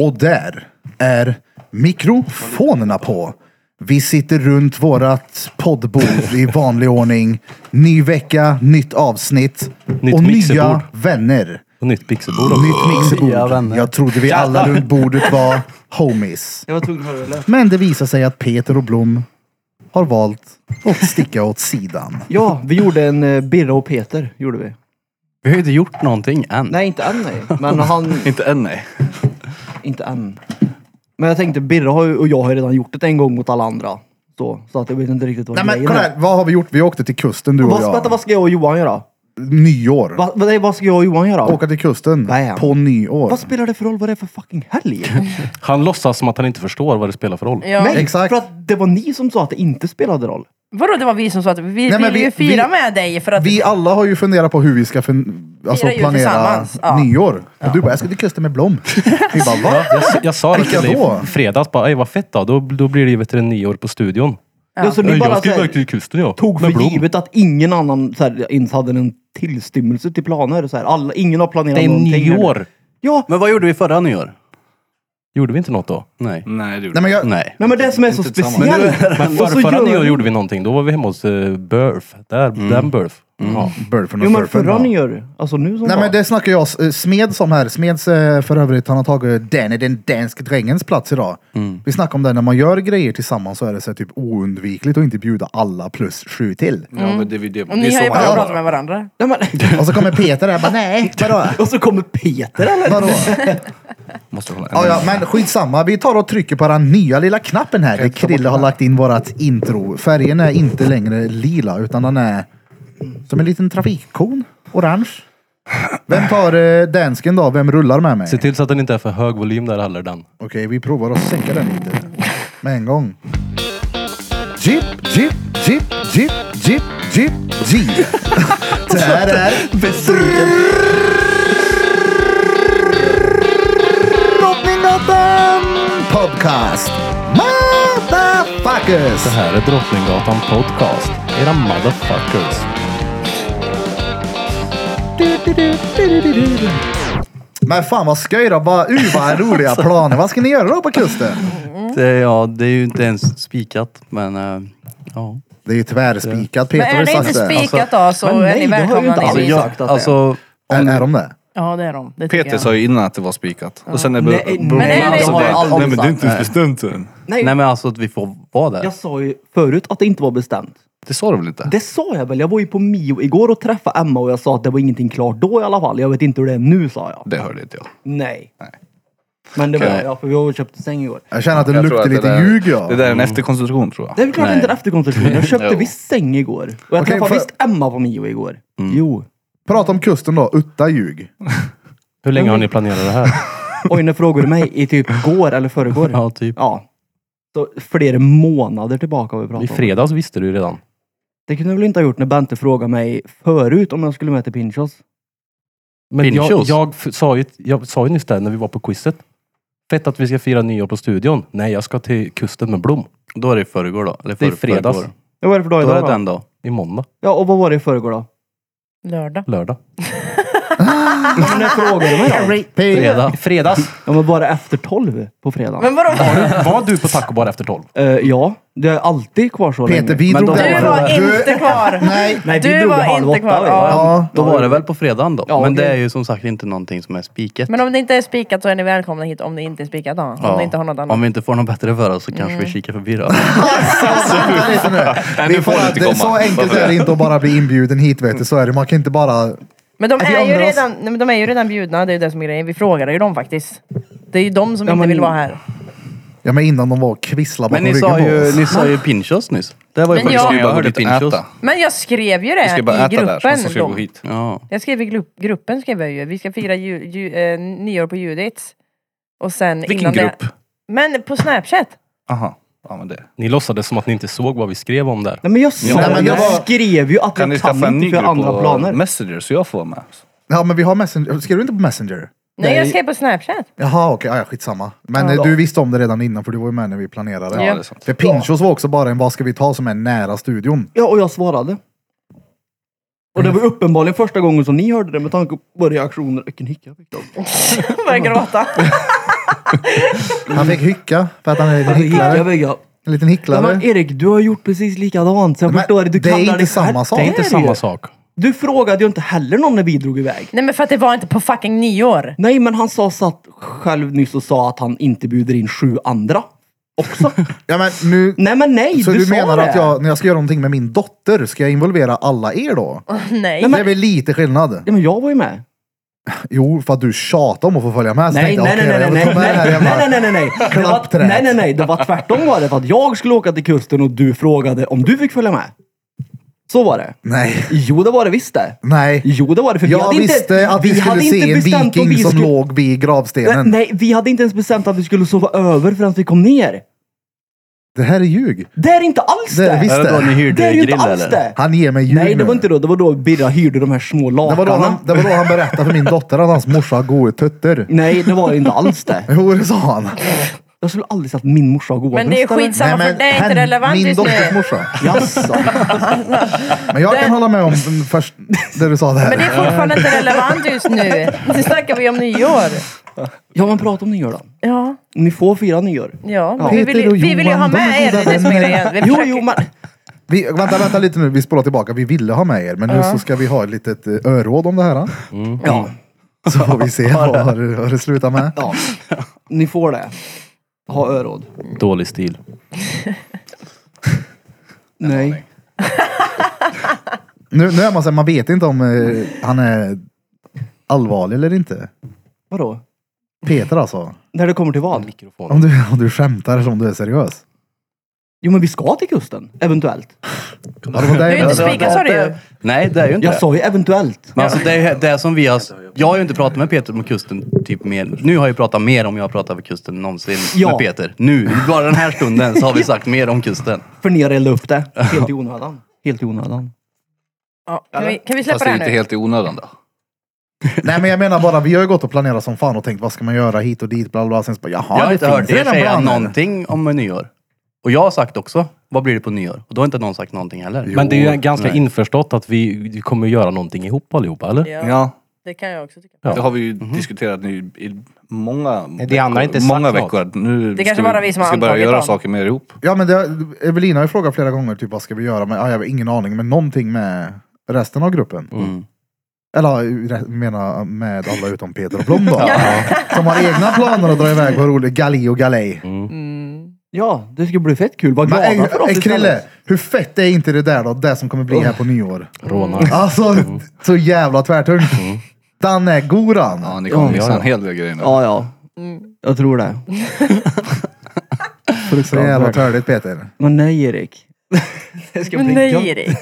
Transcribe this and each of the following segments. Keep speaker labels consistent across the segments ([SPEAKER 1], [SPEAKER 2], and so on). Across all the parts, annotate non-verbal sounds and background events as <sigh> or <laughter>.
[SPEAKER 1] Och där är mikrofonerna på. Vi sitter runt vårat poddbord i vanlig ordning. Ny vecka, nytt avsnitt
[SPEAKER 2] Nytt
[SPEAKER 1] och
[SPEAKER 2] mixerbord.
[SPEAKER 1] nya vänner.
[SPEAKER 2] Och nytt pixelbord
[SPEAKER 1] Och
[SPEAKER 2] också.
[SPEAKER 1] nytt mixerbord.
[SPEAKER 3] Nya vänner.
[SPEAKER 1] Jag trodde vi alla runt bordet var homies.
[SPEAKER 4] Jag var tvungen att höra det.
[SPEAKER 1] Men det visar sig att Peter och Blom har valt att sticka åt sidan.
[SPEAKER 4] Ja, vi gjorde en eh, Birra och Peter. Gjorde vi.
[SPEAKER 2] Vi har ju inte gjort någonting än.
[SPEAKER 4] Nej, inte än nej. Men han...
[SPEAKER 3] Inte än nej.
[SPEAKER 4] inte än. Men jag tänkte, Birra har ju, och jag har ju redan gjort det en gång mot alla andra. Så, så att jag vet inte riktigt vad
[SPEAKER 1] Nej men
[SPEAKER 4] grejen
[SPEAKER 1] kolla
[SPEAKER 4] är.
[SPEAKER 1] här, vad har vi gjort? Vi åkte till kusten du och
[SPEAKER 4] Vad, vänta,
[SPEAKER 1] jag.
[SPEAKER 4] vad ska jag och Johan göra?
[SPEAKER 1] Nyår.
[SPEAKER 4] Va, vad, nej, vad ska jag och Johan göra?
[SPEAKER 1] Åka till kusten
[SPEAKER 4] Bam.
[SPEAKER 1] på nyår.
[SPEAKER 4] Vad spelar det för roll vad det är för fucking
[SPEAKER 1] <laughs>
[SPEAKER 4] helg?
[SPEAKER 2] Han låtsas som att han inte förstår vad det spelar för roll.
[SPEAKER 5] Ja.
[SPEAKER 4] nej,
[SPEAKER 1] Exakt.
[SPEAKER 4] för att det var ni som sa att det inte spelade roll.
[SPEAKER 5] Vadå, det var vi som sa att vi
[SPEAKER 1] men
[SPEAKER 5] ville
[SPEAKER 1] vi-
[SPEAKER 5] ju fira
[SPEAKER 1] vi-
[SPEAKER 5] med dig för att...
[SPEAKER 1] Vi alla har ju funderat på hur vi ska fun- alltså
[SPEAKER 5] jul
[SPEAKER 1] planera
[SPEAKER 5] tillsammans, ja.
[SPEAKER 1] nyår. Och du bara, jag ska till kusten med
[SPEAKER 5] <laughs>
[SPEAKER 1] Blom. Vi bara, va?
[SPEAKER 2] Jag, s- jag sa det till
[SPEAKER 1] Vilka
[SPEAKER 2] dig
[SPEAKER 1] då?
[SPEAKER 2] i fredags, bara, "Ej, vad fett då. då. Då blir det ju vet du, nyår på studion.
[SPEAKER 4] Ja. så ni
[SPEAKER 2] "Ej,
[SPEAKER 4] bara så här,
[SPEAKER 2] kusten jag.
[SPEAKER 4] tog för
[SPEAKER 2] Med Blom."
[SPEAKER 4] givet att ingen annan så här, ens hade en tillstymmelse till planer. Så här. Alla, ingen har planerat
[SPEAKER 2] Det är
[SPEAKER 4] någonting.
[SPEAKER 2] nyår.
[SPEAKER 4] Ja,
[SPEAKER 6] Men vad gjorde vi förra nyår?
[SPEAKER 2] Gjorde vi inte något då?
[SPEAKER 6] Nej.
[SPEAKER 3] Nej, det gjorde
[SPEAKER 1] Nej men jag,
[SPEAKER 6] Nej.
[SPEAKER 4] nej, men det som är så
[SPEAKER 3] tillsammans. <laughs>
[SPEAKER 4] speciellt.
[SPEAKER 2] Men
[SPEAKER 4] Och så
[SPEAKER 2] för, förra
[SPEAKER 4] gör
[SPEAKER 2] nyår
[SPEAKER 4] vi-
[SPEAKER 2] gjorde vi någonting. Då var vi hemma hos uh, Burf. Där,
[SPEAKER 3] Mm.
[SPEAKER 2] Den Burf. Ja.
[SPEAKER 1] Burfen och
[SPEAKER 4] Jo men
[SPEAKER 1] surfen,
[SPEAKER 4] förra
[SPEAKER 1] ja.
[SPEAKER 4] nyår, alltså nu som
[SPEAKER 1] Nej
[SPEAKER 4] var.
[SPEAKER 1] men det snackar jag eh, Smed som här. Smeds eh, för övrigt, han har tagit Danny, den danske drängens plats idag. Vi snackar om det, när man gör grejer tillsammans så är det så här, typ oundvikligt att inte bjuda alla plus sju till.
[SPEAKER 5] Mm.
[SPEAKER 3] Ja, men det, det, det,
[SPEAKER 5] och ni
[SPEAKER 3] är
[SPEAKER 5] har
[SPEAKER 3] så
[SPEAKER 5] ju
[SPEAKER 3] man
[SPEAKER 5] bara
[SPEAKER 3] gör.
[SPEAKER 5] pratat med varandra.
[SPEAKER 4] Nej, <laughs> men,
[SPEAKER 1] Och så kommer Peter där och bara, nej, vadå?
[SPEAKER 4] och så kommer Peter eller?
[SPEAKER 1] Vadå? <laughs>
[SPEAKER 6] Måste kolla.
[SPEAKER 1] Ja, ja, men skitsamma, vi tar och trycker på den nya lilla knappen här. Där Krille har lagt in vårat intro. Färgen är inte längre lila, utan den är som en liten trafikkon. Orange. Vem tar eh, dansken då? Vem rullar med mig?
[SPEAKER 2] Se till så att den inte är för hög volym där heller den.
[SPEAKER 1] Okej, vi provar att sänka den lite. Med en gång. Jeep, jeep, jeep, jeep, jeep, jeep, <laughs> jeep. Det här är... Drottninggatan Podcast. Motherfuckers!
[SPEAKER 2] Det här är Drottninggatan Podcast. Era motherfuckers.
[SPEAKER 1] Men fan vad sköj då. Bara, uh, vad
[SPEAKER 5] <laughs>
[SPEAKER 1] roliga planer. Vad ska ni göra då på kusten?
[SPEAKER 6] Det, ja, det är ju inte ens spikat, men eh, ja.
[SPEAKER 1] Det är ju tvärspikat.
[SPEAKER 5] Men
[SPEAKER 1] Peter
[SPEAKER 5] är
[SPEAKER 1] har
[SPEAKER 5] det
[SPEAKER 1] ju sagt
[SPEAKER 5] inte
[SPEAKER 1] det.
[SPEAKER 5] spikat då så
[SPEAKER 4] men
[SPEAKER 5] är
[SPEAKER 4] nej,
[SPEAKER 5] ni
[SPEAKER 4] det har ju
[SPEAKER 5] välkomna
[SPEAKER 4] inte
[SPEAKER 5] ner
[SPEAKER 4] alls-
[SPEAKER 5] i
[SPEAKER 4] jag-
[SPEAKER 5] sagt att det är.
[SPEAKER 6] alltså
[SPEAKER 1] Är, är de det?
[SPEAKER 5] Ja, det är de. Det tycker
[SPEAKER 3] Peter sa ju innan att det var spikat. Och sen är
[SPEAKER 4] Nej, nej,
[SPEAKER 3] Blom-
[SPEAKER 5] nej,
[SPEAKER 3] alltså,
[SPEAKER 5] det har jag
[SPEAKER 3] bara,
[SPEAKER 4] aldrig
[SPEAKER 3] Nej men det är
[SPEAKER 4] sagt.
[SPEAKER 3] inte ens bestämt än.
[SPEAKER 4] Nej,
[SPEAKER 6] Nej men alltså att vi får vara där.
[SPEAKER 4] jag sa ju förut att det inte var bestämt.
[SPEAKER 3] Det sa du väl inte?
[SPEAKER 4] Det sa jag väl? Jag var ju på Mio igår och träffade Emma och jag sa att det var ingenting klart då i alla fall. Jag vet inte hur det är nu sa jag.
[SPEAKER 3] Det hörde inte jag.
[SPEAKER 4] Nej. Men det var
[SPEAKER 3] Okej.
[SPEAKER 4] jag, för vi har ju köpt en säng igår.
[SPEAKER 1] Jag känner att det
[SPEAKER 3] Jag tror
[SPEAKER 1] luktar
[SPEAKER 3] att
[SPEAKER 1] lite
[SPEAKER 3] där-
[SPEAKER 1] ljug ja.
[SPEAKER 3] Det där är en efterkonstruktion tror jag.
[SPEAKER 4] Det är väl klart inte en efterkonstruktion. Jag köpte
[SPEAKER 3] Jo.
[SPEAKER 4] visst säng igår. Och jag
[SPEAKER 1] Okej,
[SPEAKER 4] träffade
[SPEAKER 1] får-
[SPEAKER 4] visst Emma på Mio igår. Jo.
[SPEAKER 1] Prata om kusten då. Utta ljug.
[SPEAKER 2] Hur länge har ni planerat det här?
[SPEAKER 4] Oj, när frågade du mig i typ går eller förrgår.
[SPEAKER 2] ja, typ.
[SPEAKER 4] Ja. Så flera månader tillbaka har vi
[SPEAKER 2] I
[SPEAKER 4] pratat om.
[SPEAKER 2] fredags visste du ju redan.
[SPEAKER 4] Det kunde jag väl inte ha gjort när Bente frågade mig förut om jag skulle med till Pinchos.
[SPEAKER 2] Men jag,
[SPEAKER 6] Pinchos.
[SPEAKER 2] jag, f- sa ju, jag sa ju nyss där när vi var på quizet. Fett att vi ska fira nyår på studion. Nej, jag ska till kusten med Blom.
[SPEAKER 6] Då är det i förrgår då. Eller
[SPEAKER 2] Det är
[SPEAKER 6] förr-
[SPEAKER 2] fredags.
[SPEAKER 6] förrgår.
[SPEAKER 4] Ja, vad är det för dag
[SPEAKER 6] Då
[SPEAKER 4] idag
[SPEAKER 6] är
[SPEAKER 4] då?
[SPEAKER 6] det den då.
[SPEAKER 2] I måndag,
[SPEAKER 4] Ja, och vad var det i förrgår då? <laughs>
[SPEAKER 5] Lördag.
[SPEAKER 2] lördag.
[SPEAKER 4] Men när frågade du
[SPEAKER 5] <laughs>
[SPEAKER 4] mig då?
[SPEAKER 2] Fredag. Fredags.
[SPEAKER 4] Ja, men bara efter tolv på fredag.
[SPEAKER 5] Men vadå?
[SPEAKER 2] Var du på taco bar efter tolv?
[SPEAKER 4] Eh, ja, det är alltid kvar så
[SPEAKER 1] Peter,
[SPEAKER 4] länge.
[SPEAKER 1] vi
[SPEAKER 6] Men
[SPEAKER 1] drog
[SPEAKER 6] då-
[SPEAKER 1] den
[SPEAKER 5] Du var
[SPEAKER 1] frågan.
[SPEAKER 5] inte kvar.
[SPEAKER 1] Nej.
[SPEAKER 4] Nej, vi
[SPEAKER 5] du
[SPEAKER 4] drog
[SPEAKER 5] var
[SPEAKER 4] halv
[SPEAKER 5] inte
[SPEAKER 4] åtta,
[SPEAKER 5] kvar.
[SPEAKER 4] va?
[SPEAKER 5] Ja.
[SPEAKER 1] <laughs> Ja.
[SPEAKER 6] Då var det väl på fredagen då.
[SPEAKER 4] Ja,
[SPEAKER 6] men
[SPEAKER 4] okej.
[SPEAKER 6] det är ju som sagt inte någonting som är spikat.
[SPEAKER 5] Men om det inte är spikat så är ni välkomna hit om det inte är spikat då. Om
[SPEAKER 6] Ja.
[SPEAKER 5] ni inte har något annat. Mm.
[SPEAKER 6] Om vi inte får något bättre för oss så kanske vi kikar förbi då.
[SPEAKER 1] Vänta lite nu.
[SPEAKER 3] Nej,
[SPEAKER 1] Vi
[SPEAKER 3] nu
[SPEAKER 1] får,
[SPEAKER 3] får du inte
[SPEAKER 1] Alltså, det,
[SPEAKER 3] komma.
[SPEAKER 1] så enkelt är det inte att bara bli inbjuden hit vet du. Så är det. Man kan inte bara...
[SPEAKER 5] Men de
[SPEAKER 1] Vi
[SPEAKER 5] är, ju
[SPEAKER 1] ångrar oss.
[SPEAKER 5] redan, nej, men de är ju redan bjudna, det är ju det som är grejen. Vi frågade ju dem faktiskt. Det är ju de som
[SPEAKER 4] Ja,
[SPEAKER 5] inte
[SPEAKER 4] men-
[SPEAKER 5] vill vara här.
[SPEAKER 1] Ja men innan de var och kvisslade
[SPEAKER 6] Men
[SPEAKER 1] bakom
[SPEAKER 6] ni
[SPEAKER 1] ryggen
[SPEAKER 6] sa,
[SPEAKER 1] på
[SPEAKER 6] ju,
[SPEAKER 1] oss.
[SPEAKER 6] ni sa ju Pinchos nyss. Det var ju
[SPEAKER 5] Men
[SPEAKER 6] första
[SPEAKER 5] jag-
[SPEAKER 6] gången jag
[SPEAKER 3] bara
[SPEAKER 6] hörde
[SPEAKER 3] gå dit och
[SPEAKER 6] Pinchos.
[SPEAKER 3] äta.
[SPEAKER 5] Men jag skrev ju
[SPEAKER 3] Vi
[SPEAKER 5] det
[SPEAKER 3] ska bara
[SPEAKER 5] i
[SPEAKER 3] äta där, sen
[SPEAKER 5] gruppen.
[SPEAKER 3] så ska vi gå
[SPEAKER 5] då.
[SPEAKER 3] hit.
[SPEAKER 6] Ja.
[SPEAKER 5] Jag skrev i grupp, gruppen skrev jag ju. Vi ska fira ju, ju, eh, nyår på Judits. Och sen
[SPEAKER 3] Vilken
[SPEAKER 5] innan
[SPEAKER 3] grupp?
[SPEAKER 5] Det, men på Snapchat.
[SPEAKER 3] Aha. Ja men det.
[SPEAKER 2] Ni låtsades som att ni inte såg vad vi skrev om där.
[SPEAKER 4] Nej men jag sa
[SPEAKER 3] Ja,
[SPEAKER 4] det,
[SPEAKER 1] men det
[SPEAKER 4] jag
[SPEAKER 1] var-
[SPEAKER 4] skrev ju att
[SPEAKER 3] Kan ni
[SPEAKER 4] jag
[SPEAKER 3] skaffa
[SPEAKER 4] kan
[SPEAKER 3] en ny
[SPEAKER 4] inte
[SPEAKER 3] grupp
[SPEAKER 4] för andra
[SPEAKER 3] på
[SPEAKER 4] planer.
[SPEAKER 3] Messenger så jag får vara med?
[SPEAKER 1] Ja men vi har Messenger. Skrev du inte på Messenger?
[SPEAKER 5] Nej,
[SPEAKER 4] Nej.
[SPEAKER 5] jag skrev på Snapchat.
[SPEAKER 1] Jaha okej, ja, ja, skitsamma. Men eh, du visste om det redan innan för du var ju med när vi planerade.
[SPEAKER 3] Ja,
[SPEAKER 5] Ja.
[SPEAKER 3] det är sant.
[SPEAKER 1] För Pinchos var också bara en vad ska vi ta som är nära studion.
[SPEAKER 4] Ja, och jag svarade. Och det var uppenbarligen första gången
[SPEAKER 5] Mm.
[SPEAKER 4] som ni hörde det med tanke på reaktioner. Vilken hicka jag fick då.
[SPEAKER 5] Började gråta.
[SPEAKER 1] Han fick hycka för att han är en liten
[SPEAKER 4] Jag
[SPEAKER 1] hycklare.
[SPEAKER 4] vägrar.
[SPEAKER 1] En liten
[SPEAKER 4] Ja,
[SPEAKER 1] hycklare.
[SPEAKER 4] men Erik, du har gjort precis likadant. Så jag
[SPEAKER 1] Men
[SPEAKER 4] förstår det. Du
[SPEAKER 1] det är
[SPEAKER 4] kallar
[SPEAKER 1] inte
[SPEAKER 4] dig
[SPEAKER 1] samma
[SPEAKER 4] själv.
[SPEAKER 1] sak.
[SPEAKER 2] Det är
[SPEAKER 4] Det
[SPEAKER 2] inte
[SPEAKER 4] ju.
[SPEAKER 2] samma sak.
[SPEAKER 4] Du frågade ju inte heller någon när vi drog iväg.
[SPEAKER 5] <laughs> Nej men för att det var inte på fucking nyår.
[SPEAKER 4] Nej, men han sa satt själv nyss och sa att han inte bjuder in sju andra
[SPEAKER 1] <laughs>
[SPEAKER 4] också.
[SPEAKER 1] Ja, men nu,
[SPEAKER 4] nej, men nej.
[SPEAKER 1] så
[SPEAKER 4] du
[SPEAKER 1] du
[SPEAKER 4] sa
[SPEAKER 1] menar
[SPEAKER 4] det.
[SPEAKER 1] att jag, när jag ska göra någonting med min dotter, ska jag involvera alla er då?
[SPEAKER 5] Nej.
[SPEAKER 4] Nej, men-
[SPEAKER 1] Det är väl lite skillnad?
[SPEAKER 4] Ja, men jag var ju med.
[SPEAKER 1] Jo, för att du tjatar om att få följa med. Så
[SPEAKER 4] Nej,
[SPEAKER 1] tänkte jag,
[SPEAKER 4] nej, nej,
[SPEAKER 1] okej,
[SPEAKER 4] nej,
[SPEAKER 1] jag
[SPEAKER 4] nej,
[SPEAKER 1] vill
[SPEAKER 4] nej,
[SPEAKER 1] ta med det här
[SPEAKER 4] nej,
[SPEAKER 1] jävla-
[SPEAKER 4] nej, nej, nej, nej. Det var,
[SPEAKER 1] Klappträet.
[SPEAKER 4] nej, nej, nej, det var tvärtom var det. För att jag skulle åka till kusten och du frågade om du fick följa med. Så var det.
[SPEAKER 1] Nej,
[SPEAKER 4] Jo, det var det visst det.
[SPEAKER 1] nej.
[SPEAKER 4] Jo, det var det. För vi
[SPEAKER 1] Jag
[SPEAKER 4] hade
[SPEAKER 1] visste
[SPEAKER 4] inte,
[SPEAKER 1] att vi, skulle
[SPEAKER 4] hade
[SPEAKER 1] se
[SPEAKER 4] inte
[SPEAKER 1] en
[SPEAKER 4] bestämt att
[SPEAKER 1] viking
[SPEAKER 4] vi
[SPEAKER 1] som
[SPEAKER 4] skulle-
[SPEAKER 1] låg vid
[SPEAKER 4] Nej,
[SPEAKER 1] gravstenen.
[SPEAKER 4] nej, vi hade inte ens bestämt att vi skulle sova över förrän vi kom ner.
[SPEAKER 1] Det här är ljug.
[SPEAKER 4] Det är inte alls
[SPEAKER 1] Det
[SPEAKER 4] det.
[SPEAKER 1] är visst
[SPEAKER 6] Är det då ni
[SPEAKER 1] det.
[SPEAKER 6] hyrde
[SPEAKER 4] Det är ju inte
[SPEAKER 6] grill,
[SPEAKER 4] alls
[SPEAKER 6] eller?
[SPEAKER 4] det.
[SPEAKER 1] Han ger mig ljug
[SPEAKER 4] Nej, det
[SPEAKER 1] nu.
[SPEAKER 4] var inte då. Det var då Birra hyrde de här små
[SPEAKER 1] det var, då
[SPEAKER 4] lakanen.
[SPEAKER 1] han, det var då han berättade för min dotter att hans morsa har goa tuttar.
[SPEAKER 4] Nej, det var inte alls det.
[SPEAKER 1] Jo, det sa han.
[SPEAKER 4] Jag skulle aldrig sagt att min morsa har goa
[SPEAKER 5] Men det är
[SPEAKER 4] bröst, eller?
[SPEAKER 5] skitsamma för det är inte
[SPEAKER 1] hen-
[SPEAKER 5] relevant
[SPEAKER 1] Min
[SPEAKER 5] just
[SPEAKER 1] dotters
[SPEAKER 5] nu.
[SPEAKER 1] morsa.
[SPEAKER 4] Jaså?
[SPEAKER 1] Men jag
[SPEAKER 5] Det-
[SPEAKER 1] kan hålla med om mm, först det du sa
[SPEAKER 5] Men det
[SPEAKER 1] där.
[SPEAKER 5] är fortfarande inte relevant just nu. Nu snackar vi om nyår.
[SPEAKER 4] Ja, men prata om nyår då.
[SPEAKER 5] Ja,
[SPEAKER 4] Ni får fira nyår.
[SPEAKER 5] ja. Men
[SPEAKER 4] Ja.
[SPEAKER 5] vi, vill,
[SPEAKER 1] Peter
[SPEAKER 5] ju-
[SPEAKER 1] och
[SPEAKER 5] vi vill ju
[SPEAKER 1] Johan,
[SPEAKER 5] ha
[SPEAKER 1] de är
[SPEAKER 5] med er. Det
[SPEAKER 1] goda
[SPEAKER 5] är det som är
[SPEAKER 1] vänner.
[SPEAKER 5] grejen. Vi
[SPEAKER 4] Jo,
[SPEAKER 5] försöker-
[SPEAKER 4] jo, men...
[SPEAKER 1] Mm. Vi, vänta, vänta lite nu. Vi spolar tillbaka. Vi ville ha med er, men nu så ska vi ha ett litet eh, öråd om det här.
[SPEAKER 4] Ja,
[SPEAKER 1] Så får vi se vad vad det, vad det slutar med.
[SPEAKER 4] ja. Ni får det. Ha öråd.
[SPEAKER 2] Dålig stil.
[SPEAKER 4] Nej.
[SPEAKER 1] Nu, nu är man så här, man vet inte om eh, han är allvarlig eller inte.
[SPEAKER 4] Vadå?
[SPEAKER 1] Peter alltså.
[SPEAKER 4] När det kommer till vad?
[SPEAKER 2] Mikrofonen.
[SPEAKER 1] Om du, om du skämtar eller om du är seriös.
[SPEAKER 4] Jo, men vi ska till kusten. Eventuellt.
[SPEAKER 1] Ja, det var
[SPEAKER 5] Du är
[SPEAKER 1] det
[SPEAKER 5] ju
[SPEAKER 1] jag
[SPEAKER 5] inte
[SPEAKER 1] menade.
[SPEAKER 5] spikad sa du ju.
[SPEAKER 6] Nej, det är ju inte
[SPEAKER 4] Jag
[SPEAKER 6] det.
[SPEAKER 4] sa ju eventuellt.
[SPEAKER 6] Men alltså det är det som vi har... Jag har ju inte pratat med Peter om kusten typ mer. Nu har jag pratat mer om jag har pratat om kusten än någonsin
[SPEAKER 4] Ja.
[SPEAKER 6] med Peter. Nu, bara den här stunden så har vi sagt mer om kusten.
[SPEAKER 4] För ni har eldat upp det. Helt i onödan. Helt i onödan.
[SPEAKER 5] Ja, kan, vi, kan vi släppa
[SPEAKER 3] Fast
[SPEAKER 5] det
[SPEAKER 3] det är
[SPEAKER 5] här
[SPEAKER 3] inte
[SPEAKER 5] nu?
[SPEAKER 3] helt i onödan då.
[SPEAKER 1] Nej men jag menar bara, vi har ju gått och planerat som fan och tänkt vad ska man göra hit och dit bla bla. bla. Sen så bara, jaha,
[SPEAKER 6] jag har inte
[SPEAKER 1] det
[SPEAKER 6] hört
[SPEAKER 1] finns
[SPEAKER 6] er
[SPEAKER 1] redan
[SPEAKER 6] säga
[SPEAKER 1] planer.
[SPEAKER 6] någonting om nyår. Och jag har sagt också, vad blir det på nyår? Och då har inte någon sagt någonting heller.
[SPEAKER 2] <laughs> Men det är ju ganska införstått att vi vi kommer göra någonting ihop allihopa, eller?
[SPEAKER 5] Ja,
[SPEAKER 3] Ja.
[SPEAKER 5] det kan jag också tycka.
[SPEAKER 2] Ja.
[SPEAKER 3] Det har vi ju
[SPEAKER 6] Mhm.
[SPEAKER 3] diskuterat nu i många
[SPEAKER 2] det andra har inte sagt
[SPEAKER 3] många
[SPEAKER 2] något.
[SPEAKER 3] veckor. att Nu
[SPEAKER 5] Det kanske
[SPEAKER 3] ska
[SPEAKER 5] bara vi som har
[SPEAKER 3] ska börja
[SPEAKER 5] antagit
[SPEAKER 3] göra
[SPEAKER 5] dem.
[SPEAKER 3] saker mer ihop.
[SPEAKER 1] Ja men det, Evelina har ju frågat flera gånger typ vad ska vi göra? Men, ja, jag har ingen aning, men någonting med resten av gruppen.
[SPEAKER 6] Mm.
[SPEAKER 1] Eller re- menar med alla utom Peter och
[SPEAKER 6] <laughs>
[SPEAKER 1] Blom då. Som har egna planer att dra iväg på rolig galej och galej.
[SPEAKER 5] Mm.
[SPEAKER 4] Ja, det ska bli fett kul. Var
[SPEAKER 1] Men
[SPEAKER 4] glada
[SPEAKER 1] ey,
[SPEAKER 4] för oss
[SPEAKER 1] ey, Krille,
[SPEAKER 4] istället.
[SPEAKER 1] hur fett är inte det där då? Det som kommer bli här på nyår.
[SPEAKER 2] Rånar.
[SPEAKER 1] Alltså, så jävla tvärtungt. Den är god han.
[SPEAKER 3] Ja, ni kommer
[SPEAKER 4] Ja,
[SPEAKER 3] missa
[SPEAKER 2] ja, ja.
[SPEAKER 3] en hel del grejer nu.
[SPEAKER 4] Ja, ja.
[SPEAKER 5] Mm.
[SPEAKER 4] Jag tror det.
[SPEAKER 1] Så jävla törligt Peter.
[SPEAKER 4] Men nej, Erik. Det ska
[SPEAKER 5] Men nej Erik.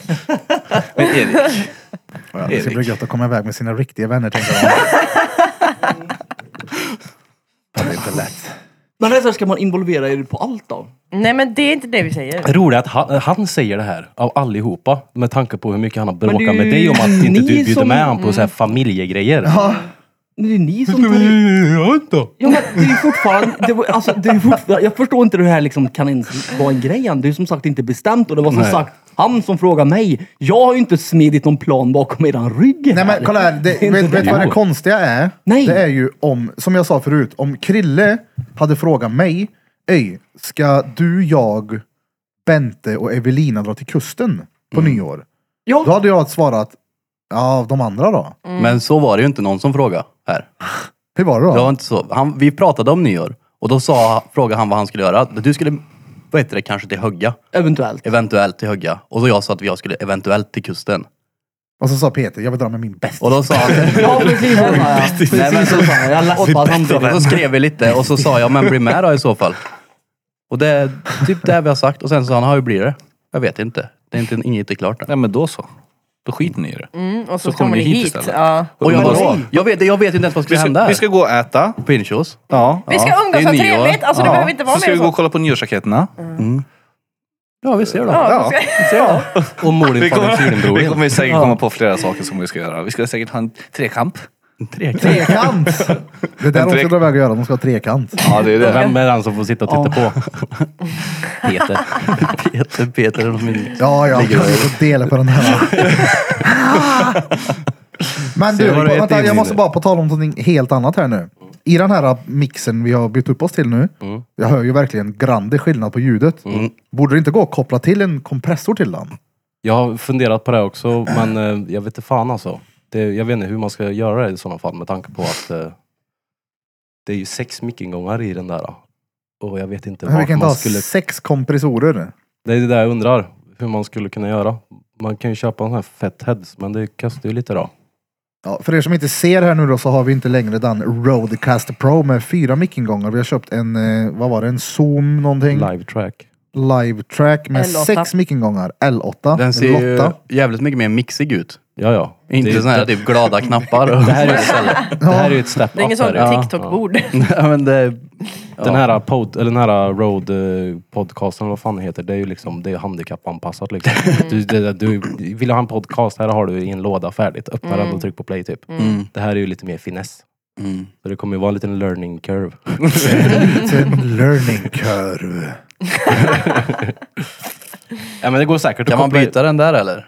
[SPEAKER 3] Men Erik,
[SPEAKER 1] Ja, det ska
[SPEAKER 3] Erik.
[SPEAKER 1] bli gött att komma iväg med sina riktiga vänner tänker jag. Ja, Det är inte lätt.
[SPEAKER 4] Men alltså, ska man involvera er på allt då?
[SPEAKER 5] Nej men det är inte det vi säger.
[SPEAKER 2] Det roliga är att han, han säger det här av allihopa med tanke på hur mycket han har bråkat
[SPEAKER 4] det är
[SPEAKER 2] med
[SPEAKER 4] ju
[SPEAKER 2] dig om att inte
[SPEAKER 4] ni
[SPEAKER 2] du bjuder
[SPEAKER 4] som- Mm.
[SPEAKER 2] med honom på så här familjegrejer.
[SPEAKER 4] Men Det är ni som tar Ja, men det är ju fortfarande, det, var- alltså, det är ju fortfarande... Jag förstår inte hur det här liksom kan ens vara en grej än. Det är ju som sagt inte bestämt och det var som
[SPEAKER 2] Nej.
[SPEAKER 4] sagt han som frågade mig. Jag har ju inte smidit någon plan bakom eran rygg här.
[SPEAKER 1] Nej men kolla här, det,
[SPEAKER 4] Det är
[SPEAKER 1] vet,
[SPEAKER 4] inte
[SPEAKER 1] vet vad
[SPEAKER 2] det.
[SPEAKER 1] det konstiga är?
[SPEAKER 4] Nej.
[SPEAKER 1] Det är ju om, som jag sa förut, om Krille hade frågat mig, Öj, ska du, jag, Bente och Evelina dra till kusten på nyår? Då
[SPEAKER 4] Ja,
[SPEAKER 1] hade jag svarat, ja de andra då?
[SPEAKER 6] Mm. Men så var det ju inte någon som frågade här.
[SPEAKER 1] Hur var det då?
[SPEAKER 6] Det var inte så. Han, vi pratade om nyår och då sa, frågade han vad han skulle göra. Du skulle, vad heter det, kanske till Högga.
[SPEAKER 4] eventuellt.
[SPEAKER 6] Eventuellt till Högga. Och så jag sa att jag skulle eventuellt till kusten.
[SPEAKER 1] Och så sa Peter, jag vill dra med min bäst.
[SPEAKER 6] Och då sa han...
[SPEAKER 4] Ja, precis så sa jag.
[SPEAKER 6] Nej, men
[SPEAKER 4] Precis
[SPEAKER 6] så-
[SPEAKER 4] så sa jag. Jag läppade
[SPEAKER 6] Och så
[SPEAKER 4] samtidigt.
[SPEAKER 6] skrev vi lite och så sa jag, men bli med då i så fall. Och det är typ det vi har sagt. Och sen sa han, ja hur blir det? Jag vet inte. Det är inte, inget är klart än.
[SPEAKER 3] nej men då så. Då skiter ni i det.
[SPEAKER 5] Mm, och så,
[SPEAKER 3] Så
[SPEAKER 5] kommer ni hit.
[SPEAKER 3] istället.
[SPEAKER 5] ja.
[SPEAKER 6] Och jag,
[SPEAKER 3] Men
[SPEAKER 6] bara,
[SPEAKER 3] nej.
[SPEAKER 6] jag, vet, jag vet inte ens vad som
[SPEAKER 3] Vi
[SPEAKER 6] ska hända
[SPEAKER 3] ska, vi
[SPEAKER 6] här.
[SPEAKER 3] ska gå och äta.
[SPEAKER 6] Pinchos.
[SPEAKER 3] Ja.
[SPEAKER 5] Vi ska
[SPEAKER 3] ja.
[SPEAKER 5] umgås
[SPEAKER 6] det är
[SPEAKER 5] och
[SPEAKER 6] nyår.
[SPEAKER 5] trevligt. Alltså det
[SPEAKER 3] Ja.
[SPEAKER 5] behöver inte vara
[SPEAKER 3] Så ska
[SPEAKER 5] mer
[SPEAKER 3] vi gå
[SPEAKER 5] så. Mm.
[SPEAKER 3] och kolla på nyårsraketterna.
[SPEAKER 6] Ja, vi ser då.
[SPEAKER 5] Ja, så ska-
[SPEAKER 2] Och mor din
[SPEAKER 3] Vi
[SPEAKER 2] far din syr din bror
[SPEAKER 3] kommer, <laughs> vi
[SPEAKER 2] din.
[SPEAKER 3] kommer säkert komma på flera saker som vi ska göra. Vi ska säkert ha en trekamp.
[SPEAKER 6] Trekant.
[SPEAKER 1] Trekant! Det där de ska dra iväg och göra, de ska ha trekant.
[SPEAKER 3] Ja, det är det.
[SPEAKER 2] Vem är den som får sitta och titta
[SPEAKER 4] <laughs>
[SPEAKER 2] på?
[SPEAKER 6] Peter. Peter, Peter är min...
[SPEAKER 1] Ja, ja, jag kan inte dela på den här. Men
[SPEAKER 6] Se
[SPEAKER 1] du,
[SPEAKER 6] vad du äter
[SPEAKER 1] vänta,
[SPEAKER 6] in i
[SPEAKER 1] jag måste
[SPEAKER 6] det.
[SPEAKER 1] bara på tal om någonting helt annat här nu. i den här mixen vi har bytt upp oss till nu.
[SPEAKER 2] Mm.
[SPEAKER 1] Jag hör ju verkligen grande skillnad på ljudet. Borde det inte gå att koppla till en kompressor till den?
[SPEAKER 2] Jag har funderat på det också, men eh, jag vet inte fan alltså. Det, jag vet inte hur man ska göra det i sådana fall med tanke på att eh, det är ju sex mickingångar i den där. Och jag vet inte
[SPEAKER 1] Vi kan
[SPEAKER 2] vart
[SPEAKER 1] inte
[SPEAKER 2] man
[SPEAKER 1] ha
[SPEAKER 2] skulle...
[SPEAKER 1] sex kompressorer.
[SPEAKER 2] Det är det där jag undrar, hur man skulle kunna göra. Man kan ju köpa en sån här fett heads, men det kostar ju lite då.
[SPEAKER 1] Ja, för er som inte ser här nu då så har vi inte längre den Rodecast Pro med fyra mickingångar. Vi har köpt en, eh, vad var det, en Zoom någonting? Live,
[SPEAKER 2] Live track.
[SPEAKER 1] track med
[SPEAKER 5] L8.
[SPEAKER 1] sex mickingångar. L8.
[SPEAKER 6] Den ser ju <laughs>
[SPEAKER 1] Lotta.
[SPEAKER 6] jävligt mycket mer mixig ut.
[SPEAKER 2] Ja, ja.
[SPEAKER 6] Inte
[SPEAKER 2] Det är-
[SPEAKER 6] sådana här typ
[SPEAKER 3] <laughs>
[SPEAKER 6] glada knappar.
[SPEAKER 2] Det här är ju
[SPEAKER 6] <laughs>
[SPEAKER 2] det här är ju ett step
[SPEAKER 5] Det är
[SPEAKER 2] up.
[SPEAKER 5] inget
[SPEAKER 2] här, ja.
[SPEAKER 5] sånt TikTok-bord. <laughs>
[SPEAKER 6] Nej, men det,
[SPEAKER 2] Den här, eh, pod, eller den här road eh, podcasten, vad fan det heter, det är ju liksom, det är handikappanpassat liksom. Du, det, du vill ha en podcast, här har du i en låda färdigt. Öppna den och tryck på play typ. Det här är ju lite mer finess.
[SPEAKER 6] Mm.
[SPEAKER 2] Så det kommer ju vara en liten learning curve. <laughs>
[SPEAKER 1] Liten learning curve.
[SPEAKER 2] ja men det går säkert
[SPEAKER 6] Kan
[SPEAKER 2] att
[SPEAKER 6] man
[SPEAKER 2] koppla-
[SPEAKER 6] byta den där eller?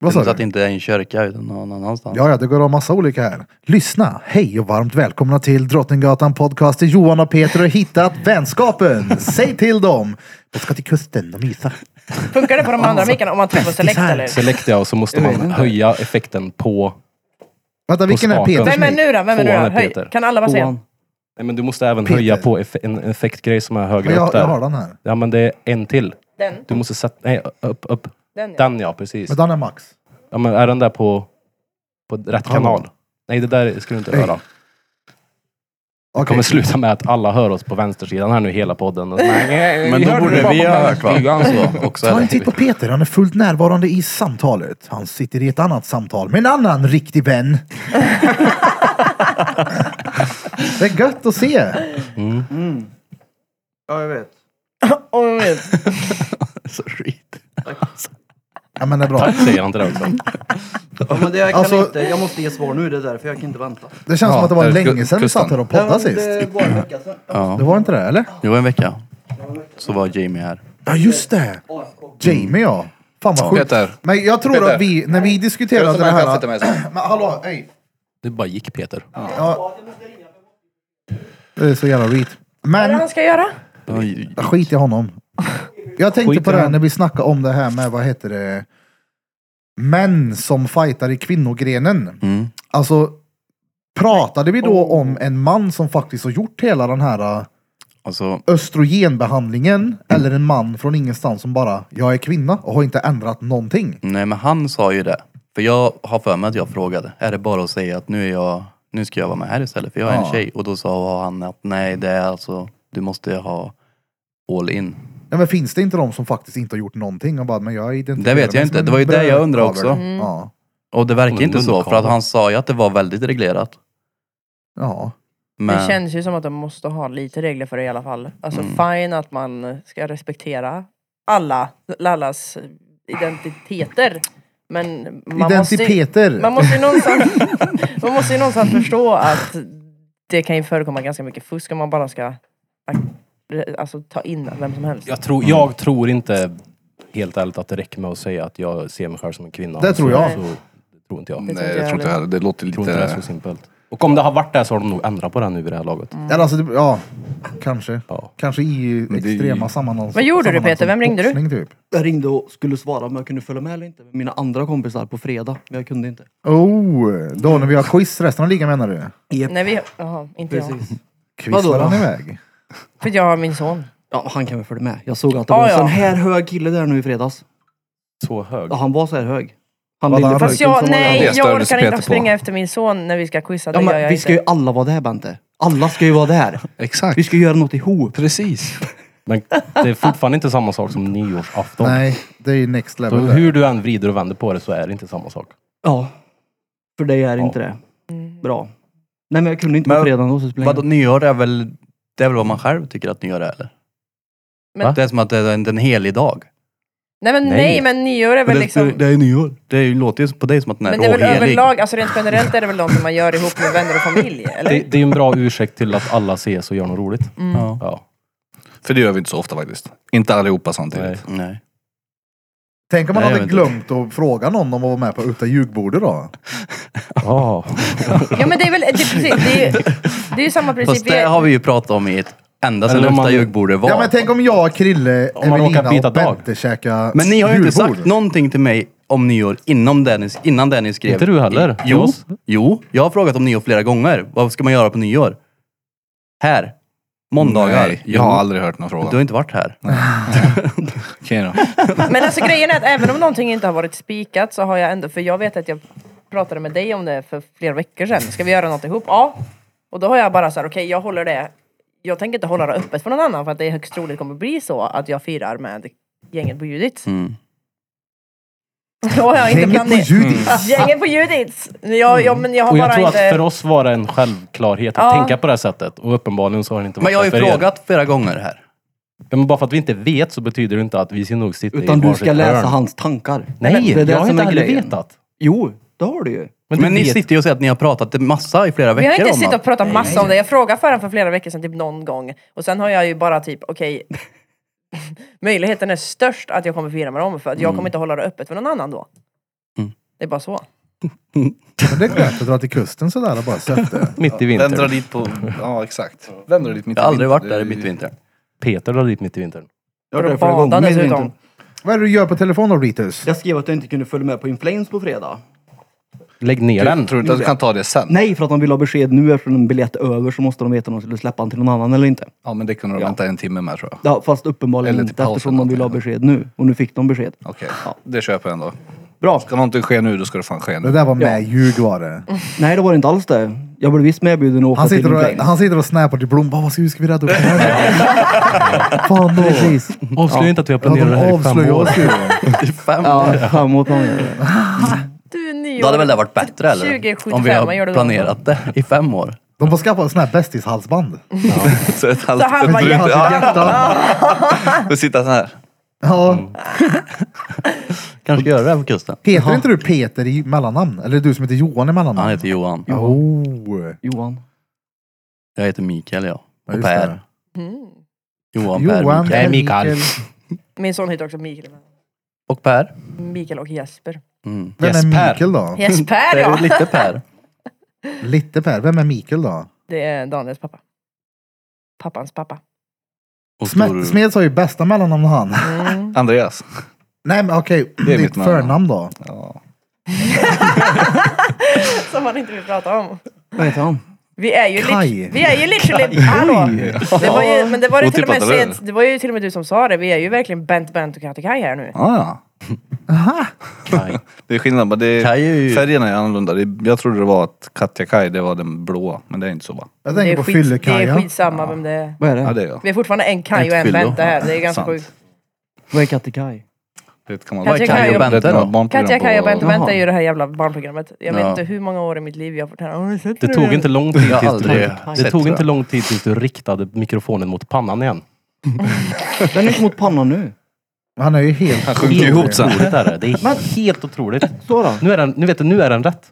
[SPEAKER 1] Vad
[SPEAKER 6] så
[SPEAKER 1] sa
[SPEAKER 6] att det
[SPEAKER 1] du?
[SPEAKER 6] inte är i en kyrka utan någon annanstans.
[SPEAKER 1] Ja, ja, det går av massa olika här. Lyssna, hej och varmt välkomna till Drottninggatan Podcast. där Johan och Peter har hittat vänskapen. Säg till dem. De ska till kusten, de gissar.
[SPEAKER 5] Funkar det på de andra mickarna om man trycker på select
[SPEAKER 1] Bästisar.
[SPEAKER 5] eller?
[SPEAKER 2] Select ja, och så måste man höja effekten på...
[SPEAKER 1] Vänta, vilken är
[SPEAKER 2] spaken.
[SPEAKER 1] Peters
[SPEAKER 5] Vem är nu då? Vem är nu
[SPEAKER 2] Tvåan är
[SPEAKER 5] då? Höj.
[SPEAKER 2] Peter.
[SPEAKER 5] Kan alla vara
[SPEAKER 4] Tvåan.
[SPEAKER 5] sen?
[SPEAKER 2] Nej men du måste även
[SPEAKER 1] Peter.
[SPEAKER 2] höja på eff- en effektgrej som är högre
[SPEAKER 1] Men jag,
[SPEAKER 2] upp där.
[SPEAKER 1] jag har den här.
[SPEAKER 2] Ja men det är en till.
[SPEAKER 5] Den?
[SPEAKER 2] Du måste sätta, nej upp, upp.
[SPEAKER 5] Den ja.
[SPEAKER 2] Den ja, precis.
[SPEAKER 1] Men den är max.
[SPEAKER 2] Ja, men är den där på, på rätt
[SPEAKER 1] Hallå.
[SPEAKER 2] kanal? Nej, det där ska du inte
[SPEAKER 1] Nej.
[SPEAKER 2] röra.
[SPEAKER 1] Okej.
[SPEAKER 2] Det kommer sluta med att alla hör oss på vänstersidan här nu hela podden. Och så, nej, nej,
[SPEAKER 6] Men
[SPEAKER 2] vi
[SPEAKER 6] då
[SPEAKER 2] hörde
[SPEAKER 6] borde
[SPEAKER 2] det
[SPEAKER 6] vi
[SPEAKER 2] bakom
[SPEAKER 6] ha hört va?
[SPEAKER 2] vänstersidan, så.
[SPEAKER 6] Så, också
[SPEAKER 1] Ta en
[SPEAKER 6] eller?
[SPEAKER 1] titt på Peter, han är fullt närvarande i samtalet. Han sitter i ett annat samtal med en annan riktig vän. det är gött att se.
[SPEAKER 4] Ja, jag vet.
[SPEAKER 5] Åh, jag vet.
[SPEAKER 6] <laughs> Så skit.
[SPEAKER 1] Ja men det är bra.
[SPEAKER 2] Tack säger han till dig också.
[SPEAKER 4] Ja, men det, jag, kan
[SPEAKER 1] Alltså-
[SPEAKER 4] inte, jag måste ge svar nu, det är därför jag kan inte vänta.
[SPEAKER 1] Det känns
[SPEAKER 6] Ja,
[SPEAKER 1] som att det var
[SPEAKER 6] där
[SPEAKER 1] länge
[SPEAKER 6] kus-
[SPEAKER 1] sedan vi
[SPEAKER 6] kusten.
[SPEAKER 1] satt här och
[SPEAKER 4] Nej,
[SPEAKER 1] poddade
[SPEAKER 4] men
[SPEAKER 1] sist.
[SPEAKER 4] Det var en vecka sedan.
[SPEAKER 1] Det
[SPEAKER 6] Ja.
[SPEAKER 1] var inte det eller?
[SPEAKER 6] Det var en vecka. Så var Jamie här.
[SPEAKER 1] Ja just det. Jamie ja. Fan vad sjukt.
[SPEAKER 3] Peter.
[SPEAKER 1] Men jag tror
[SPEAKER 3] Peter.
[SPEAKER 1] att vi, när vi
[SPEAKER 3] Jag
[SPEAKER 1] diskuterade
[SPEAKER 3] som
[SPEAKER 1] det
[SPEAKER 3] jag kan sitta
[SPEAKER 1] här.
[SPEAKER 3] med så.
[SPEAKER 1] Men hallå, hej.
[SPEAKER 2] Du bara gick Peter.
[SPEAKER 1] Ja. Det är så jävla reet.
[SPEAKER 5] Vad är det
[SPEAKER 1] Men
[SPEAKER 5] han ska göra?
[SPEAKER 6] Oj,
[SPEAKER 1] Skit i honom. Jag tänkte
[SPEAKER 2] Skit i
[SPEAKER 1] på det här
[SPEAKER 2] honom.
[SPEAKER 1] när vi snackade om det här med, vad heter det? Män som fightar i kvinnogrenen.
[SPEAKER 6] Mm. Oh.
[SPEAKER 1] Alltså, pratade vi då om en man som faktiskt har gjort hela den här äh,
[SPEAKER 6] Alltså, Mm.
[SPEAKER 1] östrogenbehandlingen? Eller en man från ingenstans som bara, jag är kvinna och har inte ändrat någonting.
[SPEAKER 6] nej men han sa ju det. För jag har för mig att jag frågade. Är det bara att säga att nu är jag, nu ska jag vara med här istället för jag är en
[SPEAKER 1] Ja.
[SPEAKER 6] tjej. Och då sa han att nej det är alltså, du måste ha all in.
[SPEAKER 1] Ja, men finns det inte de som faktiskt inte har gjort någonting? Och bara, men jag identifierar
[SPEAKER 6] Det vet jag
[SPEAKER 1] mig
[SPEAKER 6] inte.
[SPEAKER 1] som en
[SPEAKER 6] Det var ju det jag undrade
[SPEAKER 1] brödkavel."
[SPEAKER 6] också.
[SPEAKER 1] Ja.
[SPEAKER 6] Och det
[SPEAKER 2] Som
[SPEAKER 6] verkar
[SPEAKER 2] en
[SPEAKER 6] inte så. För
[SPEAKER 2] munkavle.
[SPEAKER 6] att han sa ju att det var väldigt reglerat.
[SPEAKER 1] ja.
[SPEAKER 5] Det
[SPEAKER 6] Men,
[SPEAKER 5] känns ju som att de måste ha lite regler för det i alla fall. Alltså fine att man ska respektera alla, allas identiteter. Men man måste, ju-
[SPEAKER 1] Identiteter.
[SPEAKER 5] man, måste ju någonstans, <laughs> man måste ju någonstans förstå att det kan ju förekomma ganska mycket fusk om man bara ska alltså, ta in vem som helst.
[SPEAKER 2] Jag tror, jag tror inte helt ärligt att det räcker med att säga att jag ser mig själv som en kvinna.
[SPEAKER 1] Det tror
[SPEAKER 2] Så-
[SPEAKER 1] jag.
[SPEAKER 2] Så, det tror inte jag.
[SPEAKER 5] Det
[SPEAKER 2] jag.
[SPEAKER 5] tror
[SPEAKER 3] Nej, jag tror inte heller. Det låter
[SPEAKER 2] tror inte det är så
[SPEAKER 3] lite...
[SPEAKER 2] simpelt. Och om det har varit det så har de nog ändrat på det nu i det här laget.
[SPEAKER 1] Eller alltså, det- ja, kanske.
[SPEAKER 2] Ja.
[SPEAKER 1] Kanske i
[SPEAKER 3] det är
[SPEAKER 1] extrema
[SPEAKER 3] ju-
[SPEAKER 1] sammanhang.
[SPEAKER 5] Vad gjorde du,
[SPEAKER 1] sammanhang
[SPEAKER 5] Peter?
[SPEAKER 1] som
[SPEAKER 5] Vem ringde du?
[SPEAKER 1] boxning, Typ.
[SPEAKER 4] Jag ringde och skulle svara om jag kunde följa med eller inte med mina andra kompisar på fredag, men jag kunde inte.
[SPEAKER 1] Oh, då när vi har quiz resten av ligan menar du?
[SPEAKER 5] Nej, vi, jaha, inte jag.
[SPEAKER 4] Precis.
[SPEAKER 1] Quiz
[SPEAKER 4] Vadå
[SPEAKER 1] var
[SPEAKER 4] då?
[SPEAKER 1] han iväg.
[SPEAKER 5] För jag har min son.
[SPEAKER 4] Ja, han kan väl följa med. Jag såg att det var
[SPEAKER 5] Ah,
[SPEAKER 4] en
[SPEAKER 5] ja.
[SPEAKER 4] sån här hög kille där nu i fredags.
[SPEAKER 2] Så hög.
[SPEAKER 4] Ja, han var så här hög. Han
[SPEAKER 1] Vad
[SPEAKER 4] lille
[SPEAKER 1] han-
[SPEAKER 4] pojken
[SPEAKER 5] Fast
[SPEAKER 1] som
[SPEAKER 5] jag,
[SPEAKER 1] var
[SPEAKER 5] nej,
[SPEAKER 3] där.
[SPEAKER 5] jag
[SPEAKER 3] Stördes
[SPEAKER 5] orkar
[SPEAKER 3] Peter
[SPEAKER 5] inte
[SPEAKER 3] på.
[SPEAKER 5] springa efter min son när vi ska quizza. Det
[SPEAKER 4] Ja,
[SPEAKER 5] gör
[SPEAKER 4] men
[SPEAKER 5] jag
[SPEAKER 4] vi ska ju
[SPEAKER 5] inte.
[SPEAKER 4] alla vara där Bente. Alla ska ju vara där.
[SPEAKER 3] Exakt.
[SPEAKER 4] Vi ska göra något ihop.
[SPEAKER 3] Precis.
[SPEAKER 2] Men det är fortfarande inte samma sak som nyårsafton.
[SPEAKER 1] Nej, det är ju next
[SPEAKER 2] Så
[SPEAKER 1] level.
[SPEAKER 2] hur du än vrider och vänder på det så är det inte samma sak.
[SPEAKER 4] Ja. För dig är
[SPEAKER 2] Ja.
[SPEAKER 4] inte det. Bra. Nej men jag kunde inte på
[SPEAKER 6] Men-
[SPEAKER 4] fredagen då så det spelar ingen
[SPEAKER 6] vadå, nyår är väl, det är väl vad man själv tycker att nyår är eller?
[SPEAKER 5] Men-
[SPEAKER 6] Det är som att det är en, en helig dag.
[SPEAKER 5] Nej men nej,
[SPEAKER 2] Nej.
[SPEAKER 5] men nyår är väl liksom...
[SPEAKER 6] är nyår. Det är ju- låter ju på dig som att den är
[SPEAKER 5] Men det är väl
[SPEAKER 6] råhelig.
[SPEAKER 5] överlag, alltså rent generellt är det väl de som man gör ihop med vänner och familj? Eller?
[SPEAKER 2] Det, det är ju en bra ursäkt till att alla ses och gör något roligt.
[SPEAKER 6] Ja.
[SPEAKER 2] Ja.
[SPEAKER 3] För det gör vi inte så ofta faktiskt. Inte allihopa
[SPEAKER 2] Nej.
[SPEAKER 3] samtidigt.
[SPEAKER 6] Nej.
[SPEAKER 1] Tänk om man
[SPEAKER 6] Nej, jag
[SPEAKER 1] hade
[SPEAKER 6] vet
[SPEAKER 1] glömt att fråga någon om att vara med på Utta ljugbordet då?
[SPEAKER 2] Ja. Ah.
[SPEAKER 5] Ja men det är väl, det är precis, det är, det är samma
[SPEAKER 6] Fast
[SPEAKER 5] princip. Vi
[SPEAKER 6] det
[SPEAKER 5] är,
[SPEAKER 6] har vi ju pratat om i ett ända sedan
[SPEAKER 2] Eller om
[SPEAKER 6] högsta
[SPEAKER 2] man-
[SPEAKER 6] juggbordet var.
[SPEAKER 1] Ja men tänk om jag, Krille,
[SPEAKER 2] Om man råkar
[SPEAKER 1] Evelina
[SPEAKER 2] byta
[SPEAKER 1] och
[SPEAKER 2] dag.
[SPEAKER 1] Bente käka
[SPEAKER 6] Men ni har ju inte
[SPEAKER 1] julbord.
[SPEAKER 6] sagt någonting till mig om nyår innan det ni, innan det ni skrev.
[SPEAKER 2] Inte du heller. Till
[SPEAKER 6] Jo,
[SPEAKER 2] oss.
[SPEAKER 6] jo, jag har frågat om nyår flera gånger. Vad ska man göra på nyår? Här. Måndagar.
[SPEAKER 3] Nej,
[SPEAKER 6] Jo.
[SPEAKER 3] jag har aldrig hört någon fråga.
[SPEAKER 6] Du har inte varit här.
[SPEAKER 3] Okej då.
[SPEAKER 5] men alltså grejen är att även om någonting inte har varit spikat så har jag ändå, för jag vet att jag pratade med dig om det för flera veckor sedan. Ska vi göra något ihop? Ja. Och då har jag bara så här, okej jag håller det, jag tänker inte hålla det öppet för någon annan för att det är högst troligt kommer bli så att jag firar med gänget på Judits.
[SPEAKER 6] Mm.
[SPEAKER 5] Då har jag inte
[SPEAKER 1] Gänget på
[SPEAKER 5] planerat.
[SPEAKER 1] Judis.
[SPEAKER 5] Gänget på Judits! Jag, jag, men jag har
[SPEAKER 2] Och jag
[SPEAKER 5] bara
[SPEAKER 2] tror
[SPEAKER 5] inte...
[SPEAKER 2] att för oss var det en självklarhet att
[SPEAKER 5] Ja.
[SPEAKER 2] tänka på det här sättet. Och uppenbarligen så har det inte varit
[SPEAKER 6] <laughs> Men jag har ju
[SPEAKER 2] det för er.
[SPEAKER 6] frågat flera gånger här.
[SPEAKER 2] Ja, Men bara för att vi inte vet så betyder det inte att vi ska nog sitta
[SPEAKER 4] Utan
[SPEAKER 2] i
[SPEAKER 4] du
[SPEAKER 2] varsitt
[SPEAKER 4] ska läsa
[SPEAKER 2] hörn.
[SPEAKER 4] hans tankar.
[SPEAKER 2] Nej,
[SPEAKER 4] det är det
[SPEAKER 2] jag har
[SPEAKER 4] som
[SPEAKER 2] inte
[SPEAKER 4] är
[SPEAKER 2] heller
[SPEAKER 4] grejen.
[SPEAKER 2] vetat.
[SPEAKER 4] Jo, det har du ju.
[SPEAKER 2] Men,
[SPEAKER 6] Men
[SPEAKER 2] du
[SPEAKER 6] ni
[SPEAKER 2] vet.
[SPEAKER 6] sitter ju och säger att ni har pratat massa i flera
[SPEAKER 5] Vi
[SPEAKER 6] veckor
[SPEAKER 5] har inte
[SPEAKER 6] om
[SPEAKER 5] suttit
[SPEAKER 6] att-
[SPEAKER 5] och pratat massa om det. Jag frågade för honom för flera veckor sedan, typ någon gång. Och sen har jag ju bara typ, okej. <laughs> möjligheten är störst att jag kommer fira med dem för att jag
[SPEAKER 6] Mm.
[SPEAKER 5] kommer inte hålla det öppet för någon annan då. Det är bara så.
[SPEAKER 1] Men <laughs> Det är klart att dra till kusten sådär och bara sätta.
[SPEAKER 2] Mitt i
[SPEAKER 3] Vem drar
[SPEAKER 2] vintern.
[SPEAKER 3] dit på... Ja, exakt. Vem drar dit mitt i
[SPEAKER 6] Jag har aldrig varit
[SPEAKER 3] vintern?
[SPEAKER 6] där
[SPEAKER 3] Det
[SPEAKER 6] i
[SPEAKER 3] är ju-
[SPEAKER 6] mittvintern.
[SPEAKER 2] Peter drar dit mitt i vintern.
[SPEAKER 4] Jag
[SPEAKER 5] För
[SPEAKER 4] har
[SPEAKER 5] att
[SPEAKER 4] det flera
[SPEAKER 5] bada
[SPEAKER 4] gånger. Minns
[SPEAKER 5] dessutom.
[SPEAKER 4] inte.
[SPEAKER 1] Vad är det du gör på telefon då, Ritus?
[SPEAKER 4] Jag skrev att jag inte kunde följa med på Inflames på fredag.
[SPEAKER 2] Lägg ner den.
[SPEAKER 3] Jag tror
[SPEAKER 6] Mm.
[SPEAKER 3] inte att du kan ta det sen?
[SPEAKER 4] Nej, för att de vill ha besked nu eftersom en biljett är över så måste de veta om de skulle släppa han till någon annan eller inte.
[SPEAKER 3] Ja, men det kunde de vänta en timme med tror jag.
[SPEAKER 4] Ja, fast uppenbarligen
[SPEAKER 3] Eller till
[SPEAKER 4] inte
[SPEAKER 3] pausen
[SPEAKER 4] eftersom de vill ha
[SPEAKER 3] någonting.
[SPEAKER 4] besked nu. Och nu fick de besked.
[SPEAKER 3] Okej,
[SPEAKER 4] Ja.
[SPEAKER 3] det köper jag ändå.
[SPEAKER 4] Bra.
[SPEAKER 3] Ska någonting ske nu, då ska det fan ske
[SPEAKER 1] Det
[SPEAKER 3] nu.
[SPEAKER 1] där var med ljug var det.
[SPEAKER 4] Nej, det var det inte alls det. Jag blev visst medbjuden att åka
[SPEAKER 1] Han
[SPEAKER 4] till
[SPEAKER 1] sitter
[SPEAKER 4] Inflames.
[SPEAKER 1] och, han sitter och snappar till Blom. Bara, vad ska, hur ska vi rädda upp det här?
[SPEAKER 4] <laughs>
[SPEAKER 1] Fan då.
[SPEAKER 4] Precis.
[SPEAKER 2] Avslöja inte att vi har
[SPEAKER 1] Ja,
[SPEAKER 2] planerat
[SPEAKER 1] de
[SPEAKER 2] det här i fem
[SPEAKER 1] avslöjar
[SPEAKER 2] år.
[SPEAKER 1] oss ju.
[SPEAKER 6] Fem.
[SPEAKER 4] Ja, framåt någon gång.
[SPEAKER 5] Du, nyår.
[SPEAKER 6] Då hade väl det varit bättre eller?
[SPEAKER 5] 2075,
[SPEAKER 6] om vi
[SPEAKER 5] vad gör du
[SPEAKER 6] har
[SPEAKER 5] då?
[SPEAKER 6] planerat det i fem år.
[SPEAKER 1] De får skaffa sådana här bästishalsband.
[SPEAKER 3] <laughs> Så ett halvt
[SPEAKER 5] Så han bara,
[SPEAKER 1] Han sitter
[SPEAKER 5] ja.
[SPEAKER 1] hjärta.
[SPEAKER 3] och sitta så här.
[SPEAKER 1] Ja.
[SPEAKER 6] Kanske göra det här på kusten.
[SPEAKER 1] Heter inte du Peter i mellannamn? Eller du som heter Johan i
[SPEAKER 6] Han
[SPEAKER 1] mellannamn?
[SPEAKER 6] heter Johan.
[SPEAKER 1] Oh.
[SPEAKER 4] Johan.
[SPEAKER 6] Jag heter Mikael jag.
[SPEAKER 1] Ja,
[SPEAKER 6] Och
[SPEAKER 1] just
[SPEAKER 6] Per.
[SPEAKER 1] det.
[SPEAKER 5] Mm.
[SPEAKER 6] Johan, Per,
[SPEAKER 1] Johan,
[SPEAKER 2] Nej,
[SPEAKER 6] Mikael.
[SPEAKER 2] Mikael.
[SPEAKER 5] Min son heter också Mikael.
[SPEAKER 6] Och Per.
[SPEAKER 5] Mikael och Jesper.
[SPEAKER 6] Mm.
[SPEAKER 1] Vem
[SPEAKER 2] Yes,
[SPEAKER 1] är
[SPEAKER 2] Per.
[SPEAKER 1] Mikael då?
[SPEAKER 5] Jesper
[SPEAKER 6] <laughs> Det är ju
[SPEAKER 5] ja!
[SPEAKER 6] lite Per.
[SPEAKER 1] Lite Per. Vem är Mikael då?
[SPEAKER 5] Det är Daniels pappa. Pappans pappa.
[SPEAKER 6] Och
[SPEAKER 1] Smed, Smeds har ju bästa mellannamn han. <laughs>
[SPEAKER 6] <laughs>
[SPEAKER 5] Mm.
[SPEAKER 3] Andreas.
[SPEAKER 1] Nej men okej,
[SPEAKER 3] Det är
[SPEAKER 1] ditt
[SPEAKER 3] mitt mellannamn.
[SPEAKER 1] förnamn då?
[SPEAKER 3] Ja.
[SPEAKER 5] Som han inte vill prata om.
[SPEAKER 4] Vad heter han?
[SPEAKER 5] Vi är ju,
[SPEAKER 1] Kaj.
[SPEAKER 5] lit- vi är ju literally... Hallå! Det var ju, men det var, det, till och med,
[SPEAKER 3] Otippat, eller?
[SPEAKER 5] sent- det var ju till och med du som sa det, vi är ju verkligen Bent, Bent och Katte Kaj här nu. <laughs>
[SPEAKER 3] Ah, ja.
[SPEAKER 1] Aha.
[SPEAKER 2] Nej.
[SPEAKER 3] Det är skillnad, men det är,
[SPEAKER 6] Kaj är ju-
[SPEAKER 3] färgerna är annorlunda. Det, jag trodde det var att Katja Kaj, det var den blåa, men det är inte så va?
[SPEAKER 1] Jag
[SPEAKER 5] Det
[SPEAKER 1] tänker
[SPEAKER 5] är,
[SPEAKER 1] på
[SPEAKER 5] skit, det är
[SPEAKER 1] Fyllekaja.
[SPEAKER 5] skitsamma vem det är.
[SPEAKER 4] Vad är det?
[SPEAKER 3] Ja, det är jag.
[SPEAKER 5] Vi är fortfarande en Kaj och
[SPEAKER 6] Ett
[SPEAKER 5] en
[SPEAKER 6] fyllo.
[SPEAKER 5] Bente här, det är ganska
[SPEAKER 3] Sant.
[SPEAKER 5] sjukt.
[SPEAKER 4] Vad är Kattekaj?
[SPEAKER 3] Det kan man
[SPEAKER 5] Katja Kaj och
[SPEAKER 6] Bente då?
[SPEAKER 5] Katja, Kaj och Bente,
[SPEAKER 4] Jaha.
[SPEAKER 5] Bente är ju det här jävla barnprogrammet. Jag vet
[SPEAKER 6] Ja.
[SPEAKER 5] inte hur många år i mitt liv jag har fått höra "Har du sett
[SPEAKER 2] Det
[SPEAKER 5] det
[SPEAKER 2] tog
[SPEAKER 5] där?"
[SPEAKER 2] inte lång tid
[SPEAKER 6] Jag har
[SPEAKER 2] tills
[SPEAKER 6] aldrig
[SPEAKER 2] du,
[SPEAKER 6] sett,
[SPEAKER 2] det
[SPEAKER 6] tror
[SPEAKER 2] tog
[SPEAKER 6] jag.
[SPEAKER 2] inte lång tid tills du riktade mikrofonen mot pannan igen.
[SPEAKER 4] Den är mot pannan nu.
[SPEAKER 1] Han är ju helt...
[SPEAKER 3] Han sjunker ihop sen.
[SPEAKER 2] Otroligt är det. Det är helt otroligt.
[SPEAKER 4] Så då.
[SPEAKER 2] Nu är den, nu vet du, nu är den rätt.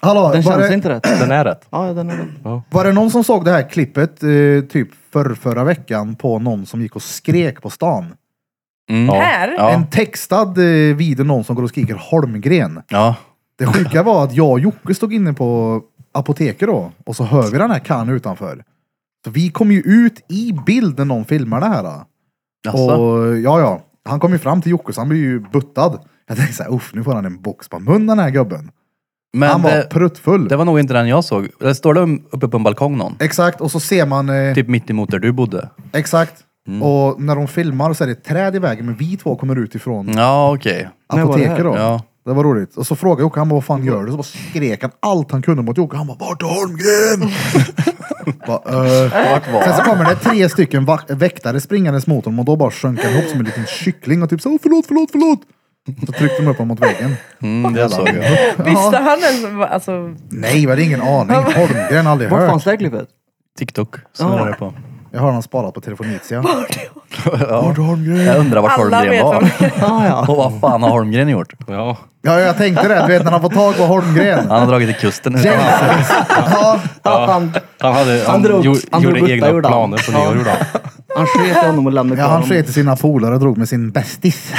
[SPEAKER 1] Hallå,
[SPEAKER 4] Den
[SPEAKER 1] var,
[SPEAKER 4] känns
[SPEAKER 1] det,
[SPEAKER 4] inte rätt.
[SPEAKER 2] Den är rätt.
[SPEAKER 4] Ja, ja, den är rätt.
[SPEAKER 1] var det någon som såg det här klippet eh, typ för förra veckan på någon som gick och skrek på stan?
[SPEAKER 5] Här?
[SPEAKER 6] Mm. Ja.
[SPEAKER 1] En textad eh, video någon som går och skriker Holmgren.
[SPEAKER 6] ja.
[SPEAKER 1] Det sjuka var att jag och Jocke stod inne på apoteket då och så hör vi den här kan utanför. Så vi kom ju ut i bild när någon filmar det här. Då.
[SPEAKER 6] Jaså?
[SPEAKER 1] Och ja, ja. Han kom ju fram till Jocke så han blev ju buttad. Jag tänkte såhär, uff nu får han en box på munnen den här gubben. han
[SPEAKER 6] Men eh,
[SPEAKER 1] var
[SPEAKER 6] det,
[SPEAKER 1] pruttfull.
[SPEAKER 6] det var nog inte den jag såg. Det står det
[SPEAKER 3] um-,
[SPEAKER 6] uppe på en balkong någon?
[SPEAKER 1] Exakt, och så ser man... Eh,
[SPEAKER 6] Typ mitt emot där du bodde.
[SPEAKER 1] Exakt.
[SPEAKER 6] Mm.
[SPEAKER 1] Och när de filmar så är det ett träd i vägen, men vi två kommer ut ifrån
[SPEAKER 6] Ja, okej.
[SPEAKER 4] Men vad är det
[SPEAKER 1] apoteket då.
[SPEAKER 6] här? Mm. Ja.
[SPEAKER 1] Det var roligt. Och så frågade Jocke, han bara, vad fan gör du? Så bara skrek han allt han kunde mot Jocke. Han bara, vart är
[SPEAKER 6] <laughs>
[SPEAKER 1] Holmgren? bara, eh.
[SPEAKER 6] Vart var
[SPEAKER 1] Sen så kommer det tre stycken vak- väktare springandes mot honom och då bara sjönk han ihop som en liten kyckling och typ så, "Åh, förlåt, förlåt, förlåt. Så tryckte de upp honom mot väggen.
[SPEAKER 6] mm, det såg jag.
[SPEAKER 5] Visste han ens vad- alltså...
[SPEAKER 1] Nej, det är ingen aning. Holmgren har aldrig
[SPEAKER 4] Vart
[SPEAKER 1] hört.
[SPEAKER 4] fanns det här klippet?
[SPEAKER 6] TikTok snurrar det på.
[SPEAKER 1] Jag har honom sparat på telefonitia.
[SPEAKER 6] <laughs> Ja.
[SPEAKER 1] Vart är Holmgren?
[SPEAKER 6] Jag undrar vart
[SPEAKER 5] Alla
[SPEAKER 6] Holmgren
[SPEAKER 5] vet
[SPEAKER 6] var.
[SPEAKER 5] vem
[SPEAKER 4] Ah, ja.
[SPEAKER 6] Och vad fan har Holmgren gjort?
[SPEAKER 2] Ja.
[SPEAKER 1] Ja, jag tänkte det. Du vet när han får tag på Holmgren.
[SPEAKER 6] Han har dragit till
[SPEAKER 3] <laughs>
[SPEAKER 6] kusten. nu.
[SPEAKER 1] Jesus. Ja.
[SPEAKER 4] Han,
[SPEAKER 2] Han, hade, han,
[SPEAKER 4] Han drog-
[SPEAKER 2] gjorde,
[SPEAKER 4] han drog
[SPEAKER 2] gjorde
[SPEAKER 4] butta
[SPEAKER 2] egna
[SPEAKER 4] ur den.
[SPEAKER 2] planer på nyår. gjorde han.
[SPEAKER 4] han sket i honom och lämnade
[SPEAKER 1] Ja,
[SPEAKER 4] kvar
[SPEAKER 1] han
[SPEAKER 4] honom.
[SPEAKER 1] sket till sina polare och drog med sin bästis.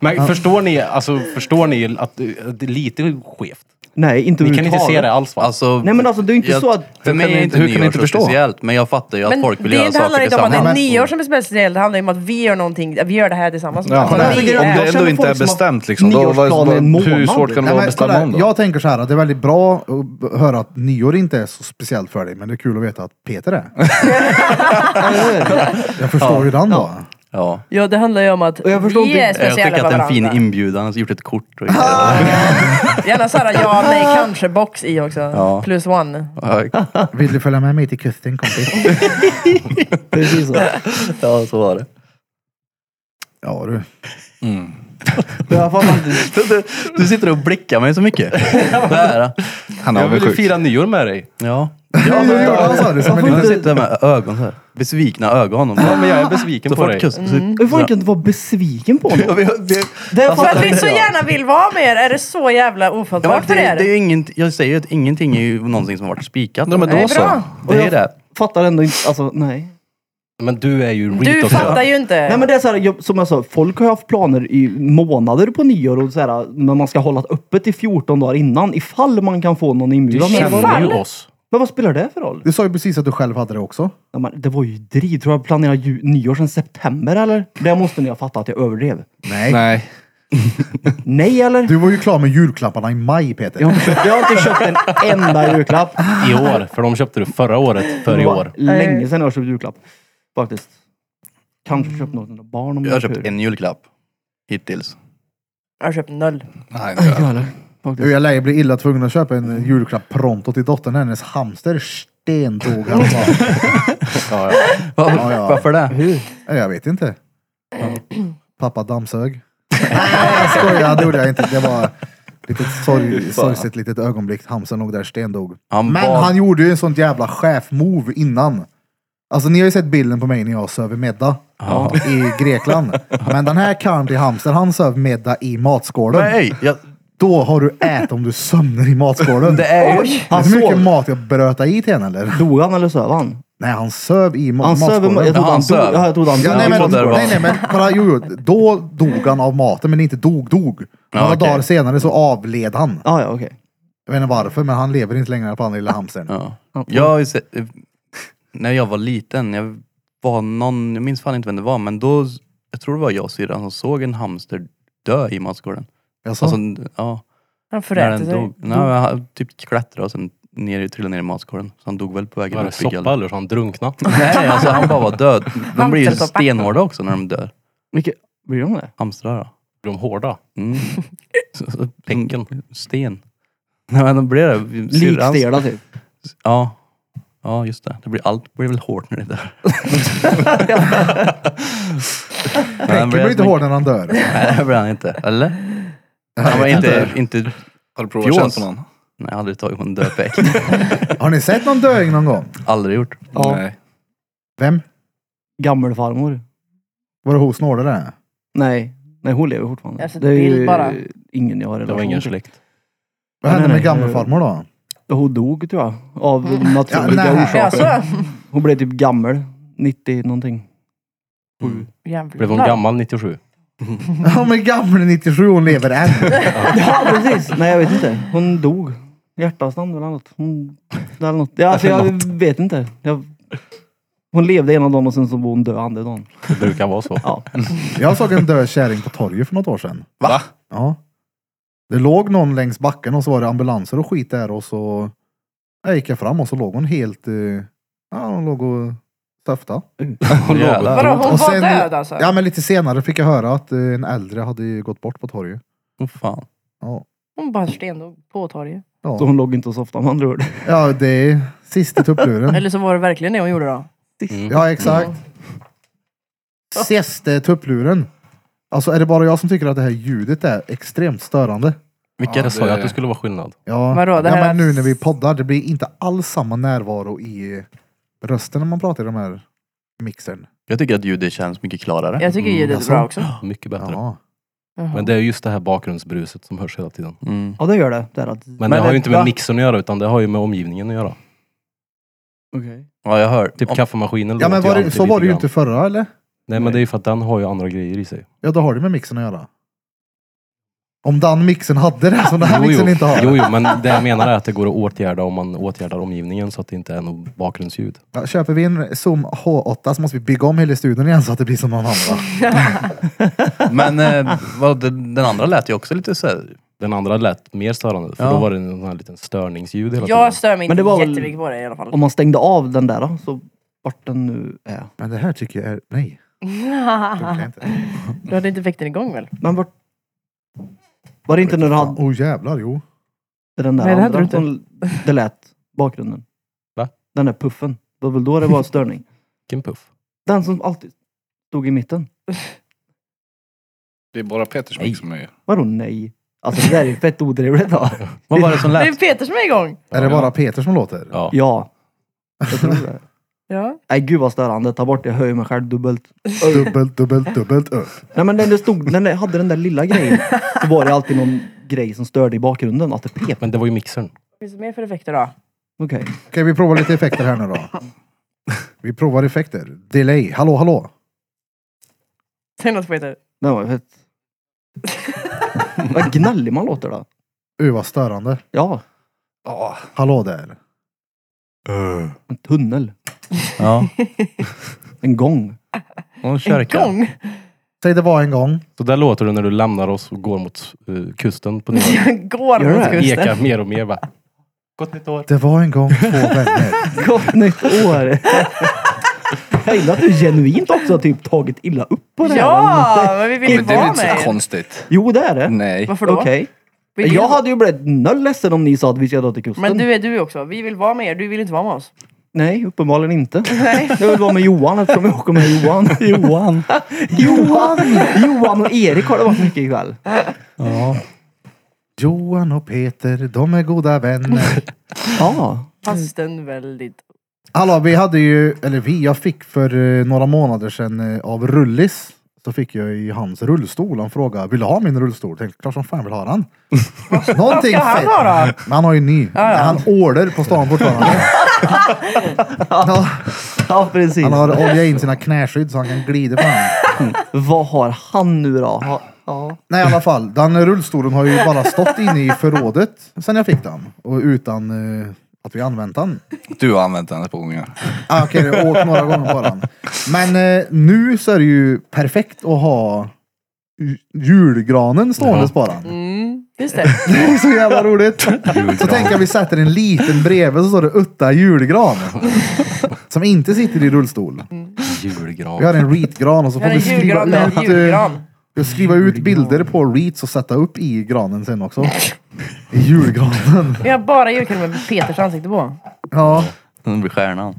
[SPEAKER 2] Men förstår ni, alltså, förstår ni att eh, det är lite skevt?
[SPEAKER 4] Nej, inte
[SPEAKER 2] Ni kan inte se
[SPEAKER 4] överhuvudtaget.
[SPEAKER 2] det alls va?
[SPEAKER 6] Alltså,
[SPEAKER 4] Nej, men alltså, det är ju inte så att-
[SPEAKER 6] För mig är inte
[SPEAKER 3] hur kan ni inte
[SPEAKER 6] nyår så
[SPEAKER 3] förstå?
[SPEAKER 6] speciellt, men jag fattar ju att
[SPEAKER 5] Men
[SPEAKER 6] folk vill
[SPEAKER 5] det
[SPEAKER 6] göra
[SPEAKER 5] inte handlar
[SPEAKER 6] saker
[SPEAKER 5] inte om att det
[SPEAKER 6] tillsammans.
[SPEAKER 5] är nyår som är speciellt, det handlar ju om att vi gör någonting, vi gör det här tillsammans.
[SPEAKER 3] Ja,
[SPEAKER 5] Alltså,
[SPEAKER 3] men
[SPEAKER 5] vi
[SPEAKER 4] alltså, grejen-
[SPEAKER 5] är-
[SPEAKER 4] jag
[SPEAKER 3] Om det
[SPEAKER 4] känner
[SPEAKER 3] ändå inte
[SPEAKER 4] folk
[SPEAKER 3] är
[SPEAKER 4] som har
[SPEAKER 3] bestämt liksom, då, vad-
[SPEAKER 4] nyårsplan i en
[SPEAKER 3] vad, hur
[SPEAKER 4] månad.
[SPEAKER 3] svårt kan det
[SPEAKER 1] Nej,
[SPEAKER 3] vara
[SPEAKER 1] men,
[SPEAKER 3] att bestämma
[SPEAKER 1] kolla,
[SPEAKER 3] om då?
[SPEAKER 1] jag tänker så här att det är väldigt bra att b- höra att nyår inte är så speciellt för dig, men det är kul att veta att Peter är. jag förstår ju den då.
[SPEAKER 6] Ja.
[SPEAKER 5] Ja, det handlar ju om att
[SPEAKER 4] jag förstår
[SPEAKER 5] vi
[SPEAKER 4] inte-
[SPEAKER 5] är
[SPEAKER 4] Jag
[SPEAKER 6] Jag
[SPEAKER 5] speciella
[SPEAKER 6] tycker
[SPEAKER 5] för
[SPEAKER 6] att det är en fin
[SPEAKER 5] varandra.
[SPEAKER 6] inbjudan, alltså, gjort ett kort och
[SPEAKER 5] Gärna såhär ja, nej, kanske box i också. Plus one.
[SPEAKER 6] ja,
[SPEAKER 1] Vill du följa med mig till kusten kompis? <laughs>
[SPEAKER 4] Precis så.
[SPEAKER 6] ja, så var det.
[SPEAKER 1] Ja du.
[SPEAKER 4] Jag fattar inte.
[SPEAKER 6] Du, du, du sitter och blickar mig så mycket. Så här.
[SPEAKER 3] Han är
[SPEAKER 2] jag vill ju
[SPEAKER 3] avundsjuk.
[SPEAKER 2] fira nyår med dig.
[SPEAKER 6] Ja.
[SPEAKER 1] <laughs> Ja, men, ja, sa du, som en
[SPEAKER 6] Du
[SPEAKER 1] liten...
[SPEAKER 6] sitter med ögon så här. Besvikna ögon. Och
[SPEAKER 2] Ja,
[SPEAKER 3] <laughs>
[SPEAKER 6] bara,
[SPEAKER 2] men jag är besviken
[SPEAKER 6] så
[SPEAKER 2] på
[SPEAKER 6] fort
[SPEAKER 2] dig.
[SPEAKER 6] kus,
[SPEAKER 4] Hur folk kan inte vara besviken
[SPEAKER 2] <laughs>
[SPEAKER 4] på
[SPEAKER 6] Ja,
[SPEAKER 4] honom?
[SPEAKER 6] vi- vi-
[SPEAKER 4] Det
[SPEAKER 5] För
[SPEAKER 4] fattar
[SPEAKER 5] att
[SPEAKER 4] jag
[SPEAKER 5] vi
[SPEAKER 4] inte.
[SPEAKER 5] så gärna vill vara med er, är det så jävla
[SPEAKER 6] Ja,
[SPEAKER 5] ofattbart
[SPEAKER 6] men
[SPEAKER 5] för
[SPEAKER 6] det,
[SPEAKER 5] er?
[SPEAKER 6] det är ju inget, jag säger ju att ingenting är ju någonting som har varit spikat.
[SPEAKER 3] Ja, men
[SPEAKER 5] Nej,
[SPEAKER 3] då så.
[SPEAKER 5] bra.
[SPEAKER 6] Det är ju det.
[SPEAKER 4] Fattar ändå inte, alltså nej.
[SPEAKER 2] Men du är ju reet
[SPEAKER 5] Du
[SPEAKER 2] också.
[SPEAKER 5] fattar ju inte.
[SPEAKER 4] Nej men det är så här, jag, som jag sa, folk har haft planer i månader på nyår och så här, men man ska hålla öppet i 14 dagar innan ifall man kan få någon
[SPEAKER 2] Du
[SPEAKER 4] inbjudan. Men,
[SPEAKER 2] känner
[SPEAKER 5] Ifall.
[SPEAKER 2] ju oss.
[SPEAKER 4] men vad spelar det för roll?
[SPEAKER 1] Du sa ju precis att du själv hade det också.
[SPEAKER 4] Ja, men, det var ju driv. Tror jag planerade ju, nyår sedan september eller? Det måste ni ha fattat att jag överdrev.
[SPEAKER 3] Nej.
[SPEAKER 4] Nej eller?
[SPEAKER 1] Du var ju klar med julklapparna i maj Peter.
[SPEAKER 4] Jag, har inte köpt, jag har inte köpt en enda julklapp.
[SPEAKER 2] I år. För de köpte du förra året för i år.
[SPEAKER 4] Länge sedan jag har köpt julklapp. Faktiskt. Kanske köpt något till barn om
[SPEAKER 6] Jag har köpt
[SPEAKER 4] tur.
[SPEAKER 6] en julklapp. Hittills.
[SPEAKER 5] Jag har köpt noll.
[SPEAKER 3] Nej,
[SPEAKER 4] Ja, eller? Faktiskt.
[SPEAKER 1] Du, jag lär ju bli illa tvungen att köpa en julklapp pronto till dottern. Hennes hamster stendog häromdagen.
[SPEAKER 2] Ja, ja.
[SPEAKER 1] Ja, ja.
[SPEAKER 6] Varför det?
[SPEAKER 1] Nej, Jag vet inte. Pappa dammsög. Nej, jag skojar. Det gjorde jag inte. Det var lite sorg, sorgset litet ögonblick. Hamstern låg där stendog.
[SPEAKER 6] Han
[SPEAKER 1] Men
[SPEAKER 6] bad-
[SPEAKER 1] han gjorde ju en sånt jävla chef-move innan. Alltså ni har ju sett bilden på mig när jag söver middag i Grekland. Men den här karln till hamster, han söv middag i matskålen.
[SPEAKER 6] Nej, jag,
[SPEAKER 1] Då har du ätit om du sömnar i matskålen.
[SPEAKER 6] det är ju...
[SPEAKER 1] Han
[SPEAKER 4] Han
[SPEAKER 1] Hur mycket
[SPEAKER 4] sov.
[SPEAKER 1] mat jag bröta i till henne eller?
[SPEAKER 4] Dog han eller söv han?
[SPEAKER 1] Nej, han söv i ma-
[SPEAKER 4] Han söv...
[SPEAKER 1] matskålen.
[SPEAKER 4] Jag trodde
[SPEAKER 6] Ja, han
[SPEAKER 4] han dog.
[SPEAKER 6] söv.
[SPEAKER 4] Ja, jag trodde han
[SPEAKER 1] Ja,
[SPEAKER 4] dog.
[SPEAKER 1] nej, men,
[SPEAKER 6] trodde det var-
[SPEAKER 1] nej, nej, men bara, jo, jo, då dog han av maten, men inte dog, dog. Några
[SPEAKER 6] okej.
[SPEAKER 1] dagar senare så avled han.
[SPEAKER 4] Ja, ja, okej.
[SPEAKER 1] Jag vet inte varför, men han lever inte längre på den lilla hamstern.
[SPEAKER 6] Ja. Jag har ju sett, eh, när jag var liten, jag var någon, jag minns fan inte vem det var, men då, jag tror det var jag och syrran som såg en hamster dö i matskålen.
[SPEAKER 1] Jaså?
[SPEAKER 6] Alltså, ja.
[SPEAKER 5] Han
[SPEAKER 6] När
[SPEAKER 5] föräter
[SPEAKER 6] den
[SPEAKER 5] sig.
[SPEAKER 6] dog. Nej, men han typ klättrade och sen ner, trillade ner i matskålen. Så han dog väl på
[SPEAKER 2] Var
[SPEAKER 6] vägen
[SPEAKER 2] det
[SPEAKER 6] upp i gallen.
[SPEAKER 2] soppa eller så han drunknat?
[SPEAKER 6] <laughs> Nej, alltså han bara var död. De <laughs> blir ju
[SPEAKER 5] Hamstersoppa.
[SPEAKER 6] stenhårda också när de dör.
[SPEAKER 4] Vilket... Blir de det?
[SPEAKER 6] Hamstrar då.
[SPEAKER 2] De hårda.
[SPEAKER 6] <laughs> Mm. Så- så- Penken. Sten. Nej men de blir det. Syrrans-
[SPEAKER 4] Likstela typ.
[SPEAKER 6] Ja. Ja just det. det blir, allt blir väl hårt när det dör. <laughs>
[SPEAKER 1] Penken blir inte hård när han dör.
[SPEAKER 6] Nej det blir han inte. Eller? Han var inte, inte...
[SPEAKER 3] Har du provat att
[SPEAKER 6] Fjås.
[SPEAKER 3] känna på någon?
[SPEAKER 6] Nej jag har aldrig tagit på en död pek.
[SPEAKER 1] Har ni sett någon döing någon gång?
[SPEAKER 6] Aldrig gjort.
[SPEAKER 4] Ja.
[SPEAKER 3] Nej.
[SPEAKER 1] Vem?
[SPEAKER 4] Gammelfarmor.
[SPEAKER 1] Var det hon snålade det?
[SPEAKER 4] Nej. Nej, hon lever fortfarande.
[SPEAKER 5] Jag har sett bild bara.
[SPEAKER 4] ingen jag har
[SPEAKER 2] Det var
[SPEAKER 4] relation
[SPEAKER 2] ingen
[SPEAKER 4] till.
[SPEAKER 2] släkt.
[SPEAKER 1] Vad hände
[SPEAKER 4] Nej,
[SPEAKER 1] med
[SPEAKER 4] nej,
[SPEAKER 1] gammelfarmor då?
[SPEAKER 4] Hon dog tror jag. Av
[SPEAKER 5] Mm.
[SPEAKER 4] naturliga
[SPEAKER 1] Ja, nej.
[SPEAKER 4] orsaker.
[SPEAKER 5] Jaså?
[SPEAKER 4] Hon blev typ gammal. 90 någonting. Sju.
[SPEAKER 2] Blev hon gammal 97?
[SPEAKER 1] Ja men gamle 97, hon lever än.
[SPEAKER 4] Ja precis. Nej jag vet inte. Hon dog. Hjärtanfall eller något. Hon... Eller något. Ja, alltså, jag vet inte. Jag... Hon levde ena dagen och sen så var hon död andra dagen.
[SPEAKER 2] Det brukar vara så.
[SPEAKER 4] Ja.
[SPEAKER 1] Jag såg en död kärring på torget för något år sedan.
[SPEAKER 3] Va?
[SPEAKER 1] Ja. Det låg någon längs backen och så var det ambulanser och skit där och så jag gick jag fram och så låg hon helt... eh, Ja, hon låg och stöftade.
[SPEAKER 6] Hon låg och
[SPEAKER 5] Vadå, hon
[SPEAKER 1] Och
[SPEAKER 5] var
[SPEAKER 1] sen-
[SPEAKER 5] död alltså?
[SPEAKER 1] Ja, men lite senare fick jag höra att eh, en äldre hade ju gått bort på torget.
[SPEAKER 6] Åh, fan.
[SPEAKER 1] Ja,
[SPEAKER 5] Hon bara stendog på torget.
[SPEAKER 4] Så
[SPEAKER 1] ja.
[SPEAKER 4] hon låg inte och softade med andra ord.
[SPEAKER 1] ja det är sista tuppluren.
[SPEAKER 5] <laughs> Eller så var det verkligen det hon gjorde då.
[SPEAKER 2] Mm.
[SPEAKER 1] Ja, exakt. Sista tuppluren. Alltså är det bara jag som tycker att det här ljudet är extremt störande?
[SPEAKER 2] Vilka
[SPEAKER 3] Ja,
[SPEAKER 2] det sa jag
[SPEAKER 3] det-
[SPEAKER 2] att det skulle vara skillnad?
[SPEAKER 1] Ja,
[SPEAKER 5] Vadå, det
[SPEAKER 1] ja
[SPEAKER 5] här-
[SPEAKER 1] men nu när vi poddar, det blir inte alls samma närvaro i rösten när man pratar i de här mixern.
[SPEAKER 6] Jag tycker att ljudet känns mycket klarare.
[SPEAKER 5] Jag tycker
[SPEAKER 4] Mm,
[SPEAKER 5] ljudet är
[SPEAKER 1] jaså.
[SPEAKER 4] alltså.
[SPEAKER 5] bra också.
[SPEAKER 2] Mycket bättre.
[SPEAKER 1] Ja.
[SPEAKER 5] Jaha.
[SPEAKER 2] Men det är just det här bakgrundsbruset som hörs hela tiden.
[SPEAKER 6] Mm.
[SPEAKER 4] Ja det gör det. det är att...
[SPEAKER 2] Men,
[SPEAKER 6] Men
[SPEAKER 2] det har
[SPEAKER 6] det-
[SPEAKER 2] ju inte med
[SPEAKER 6] va?
[SPEAKER 2] mixen att göra utan det har ju med omgivningen att göra.
[SPEAKER 4] Okej.
[SPEAKER 6] Ja jag hör.
[SPEAKER 2] Typ
[SPEAKER 6] Om-
[SPEAKER 2] kaffemaskinen
[SPEAKER 1] Ja, men
[SPEAKER 2] låter
[SPEAKER 1] var det,
[SPEAKER 2] alltid
[SPEAKER 1] så var
[SPEAKER 2] lite
[SPEAKER 1] det ju
[SPEAKER 2] grann.
[SPEAKER 1] inte förra eller?
[SPEAKER 2] Nej men det är ju för att den har ju andra grejer i sig.
[SPEAKER 1] Ja, då har det med mixen att göra. Om den mixen hade det som den här
[SPEAKER 2] jo,
[SPEAKER 1] mixen inte har.
[SPEAKER 2] jo, jo, men det jag menar är att det går att åtgärda om man åtgärdar omgivningen så att det inte är något bakgrundsljud.
[SPEAKER 1] Ja, köper vi en Zoom H8 så måste vi bygga om hela studion igen så att det blir som någon annan.
[SPEAKER 6] Men eh, vad, den den andra lät ju också lite så här.
[SPEAKER 2] Den andra lät mer störande, för
[SPEAKER 6] Ja.
[SPEAKER 2] då var det en sån här liten störningsljud hela
[SPEAKER 5] Jag
[SPEAKER 2] tiden.
[SPEAKER 5] stör mig
[SPEAKER 4] Men det
[SPEAKER 5] inte
[SPEAKER 4] var väl-
[SPEAKER 5] jättemycket på det i alla fall. <laughs>
[SPEAKER 4] Om man stängde av den där då, så vart den nu är.
[SPEAKER 1] Men det här tycker jag är... Nej. funkar inte. <laughs>
[SPEAKER 5] du hade inte väckt den igång väl?
[SPEAKER 4] Men vart... Var det inte när du
[SPEAKER 1] Fan,
[SPEAKER 4] hade
[SPEAKER 1] oh jävlar, jo.
[SPEAKER 4] den där
[SPEAKER 5] Nej, det hade
[SPEAKER 4] andra
[SPEAKER 5] du inte.
[SPEAKER 4] som det lät? Bakgrunden.
[SPEAKER 2] Va?
[SPEAKER 4] Den där puffen. Det var väl då det var störning?
[SPEAKER 2] Vilken puff.
[SPEAKER 4] Den som alltid stod i mitten.
[SPEAKER 3] Det är bara Petters mix som är...
[SPEAKER 4] Vadå nej? Alltså det där är ju fett odrevligt då.
[SPEAKER 6] <laughs> Vad var det som
[SPEAKER 5] Det är
[SPEAKER 6] lät?
[SPEAKER 5] Peter som är igång!
[SPEAKER 1] Är det bara Peter som låter?
[SPEAKER 2] Ja.
[SPEAKER 4] Ja. Jag tror det.
[SPEAKER 5] Ja.
[SPEAKER 4] Nej gud vad störande. Ta bort det. Jag höjer mig själv dubbelt.
[SPEAKER 1] Dubbelt, dubbelt, dubbelt upp.
[SPEAKER 4] Nej men när det stod, när det hade den där lilla grejen så var det alltid någon grej som störde i bakgrunden. Att det pep.
[SPEAKER 2] Men det var ju mixern.
[SPEAKER 5] Finns det mer för effekter då?
[SPEAKER 4] Okej.
[SPEAKER 1] Okej, vi provar lite effekter här nu då. Vi provar effekter. Delay. Hallå, hallå.
[SPEAKER 5] Säg något Peter.
[SPEAKER 4] Den var fett. vad gnällig man låter då.
[SPEAKER 1] Uh, vad störande.
[SPEAKER 4] Ja.
[SPEAKER 3] Ja,
[SPEAKER 1] Hallå där.
[SPEAKER 4] En tunnel.
[SPEAKER 6] Ja.
[SPEAKER 4] En gång.
[SPEAKER 6] Någon
[SPEAKER 5] En
[SPEAKER 6] kyrka.
[SPEAKER 5] gång!
[SPEAKER 1] Säg det var en gång.
[SPEAKER 2] Så där låter det när du lämnar oss och går mot eh, kusten på Nya Zeeland.
[SPEAKER 5] Jag <laughs> går
[SPEAKER 4] Gör
[SPEAKER 5] mot
[SPEAKER 4] det?
[SPEAKER 5] kusten.
[SPEAKER 2] Ekar mer och mer bara. Gott nytt år.
[SPEAKER 1] Det var en gång två vänner.
[SPEAKER 4] Gott nytt år. Jag gillar att du genuint också har typ tagit illa upp på det här. Mm.
[SPEAKER 5] Ja, men vi vill ju
[SPEAKER 3] men det är väl
[SPEAKER 5] vara
[SPEAKER 3] inte så
[SPEAKER 5] med.
[SPEAKER 3] konstigt?
[SPEAKER 4] Jo det är det.
[SPEAKER 3] Nej.
[SPEAKER 5] Varför då?
[SPEAKER 4] Okej.
[SPEAKER 5] Vi vill-
[SPEAKER 4] Jag hade ju blivit noll ledsen om ni sa att vi ska dra till kusten.
[SPEAKER 5] Men du är du också. Vi vill vara med er. Du vill inte vara med
[SPEAKER 4] Mm.
[SPEAKER 5] oss.
[SPEAKER 4] Nej, uppenbarligen inte. Jag vill vara med Johan eftersom jag åker med
[SPEAKER 1] <laughs>
[SPEAKER 4] Johan.
[SPEAKER 6] Johan.
[SPEAKER 4] Johan! Johan och Erik har det varit mycket ikväll.
[SPEAKER 6] Ja.
[SPEAKER 1] Johan och Peter, de är goda vänner.
[SPEAKER 4] Ja.
[SPEAKER 5] Fastän väldigt...
[SPEAKER 1] Hallå, vi hade ju, eller vi, jag fick för eh, några månader sedan eh, av Rullis, så fick jag i hans rullstol, han frågade, vill du ha min rullstol? Jag tänkte, klart som fan vill ha
[SPEAKER 5] <laughs>
[SPEAKER 1] den.
[SPEAKER 5] Vad
[SPEAKER 1] Någonting
[SPEAKER 5] ska han ha då?
[SPEAKER 1] Men han har ju en ny. Han order på stan
[SPEAKER 5] <laughs>
[SPEAKER 1] fortfarande. ja,
[SPEAKER 4] ja, precis.
[SPEAKER 1] han har oljat in sina knäskydd så han kan glida fram.
[SPEAKER 4] Vad har han nu då? Ha... Ja.
[SPEAKER 1] Nej i alla fall, den rullstolen har ju bara stått inne i förrådet sen jag fick den. Och utan eh, att vi använt den.
[SPEAKER 3] Du har använt den ett par gånger.
[SPEAKER 1] Ah, Okej, okay, åkt några gånger på den. Men eh, nu så är det ju perfekt att ha ju- julgranen stående på den.
[SPEAKER 5] Mm, just
[SPEAKER 3] <laughs>
[SPEAKER 5] det.
[SPEAKER 1] <laughs> Det är så jävla roligt. Så tänker jag vi sätter en liten bredvid så står det Utta julgran. Som inte sitter i rullstol. Vi
[SPEAKER 2] Julgran.
[SPEAKER 1] har en reetgran och så
[SPEAKER 5] Vi har
[SPEAKER 1] får vi
[SPEAKER 5] en
[SPEAKER 1] skriva
[SPEAKER 5] julgran med
[SPEAKER 1] ut,
[SPEAKER 5] en julgran.
[SPEAKER 1] eh, skriva ut bilder på reets och sätta upp i granen sen också. I julgranen.
[SPEAKER 5] Vi har bara julkalender med Peters ansikte på.
[SPEAKER 1] Ja,
[SPEAKER 6] Den blir stjärnan.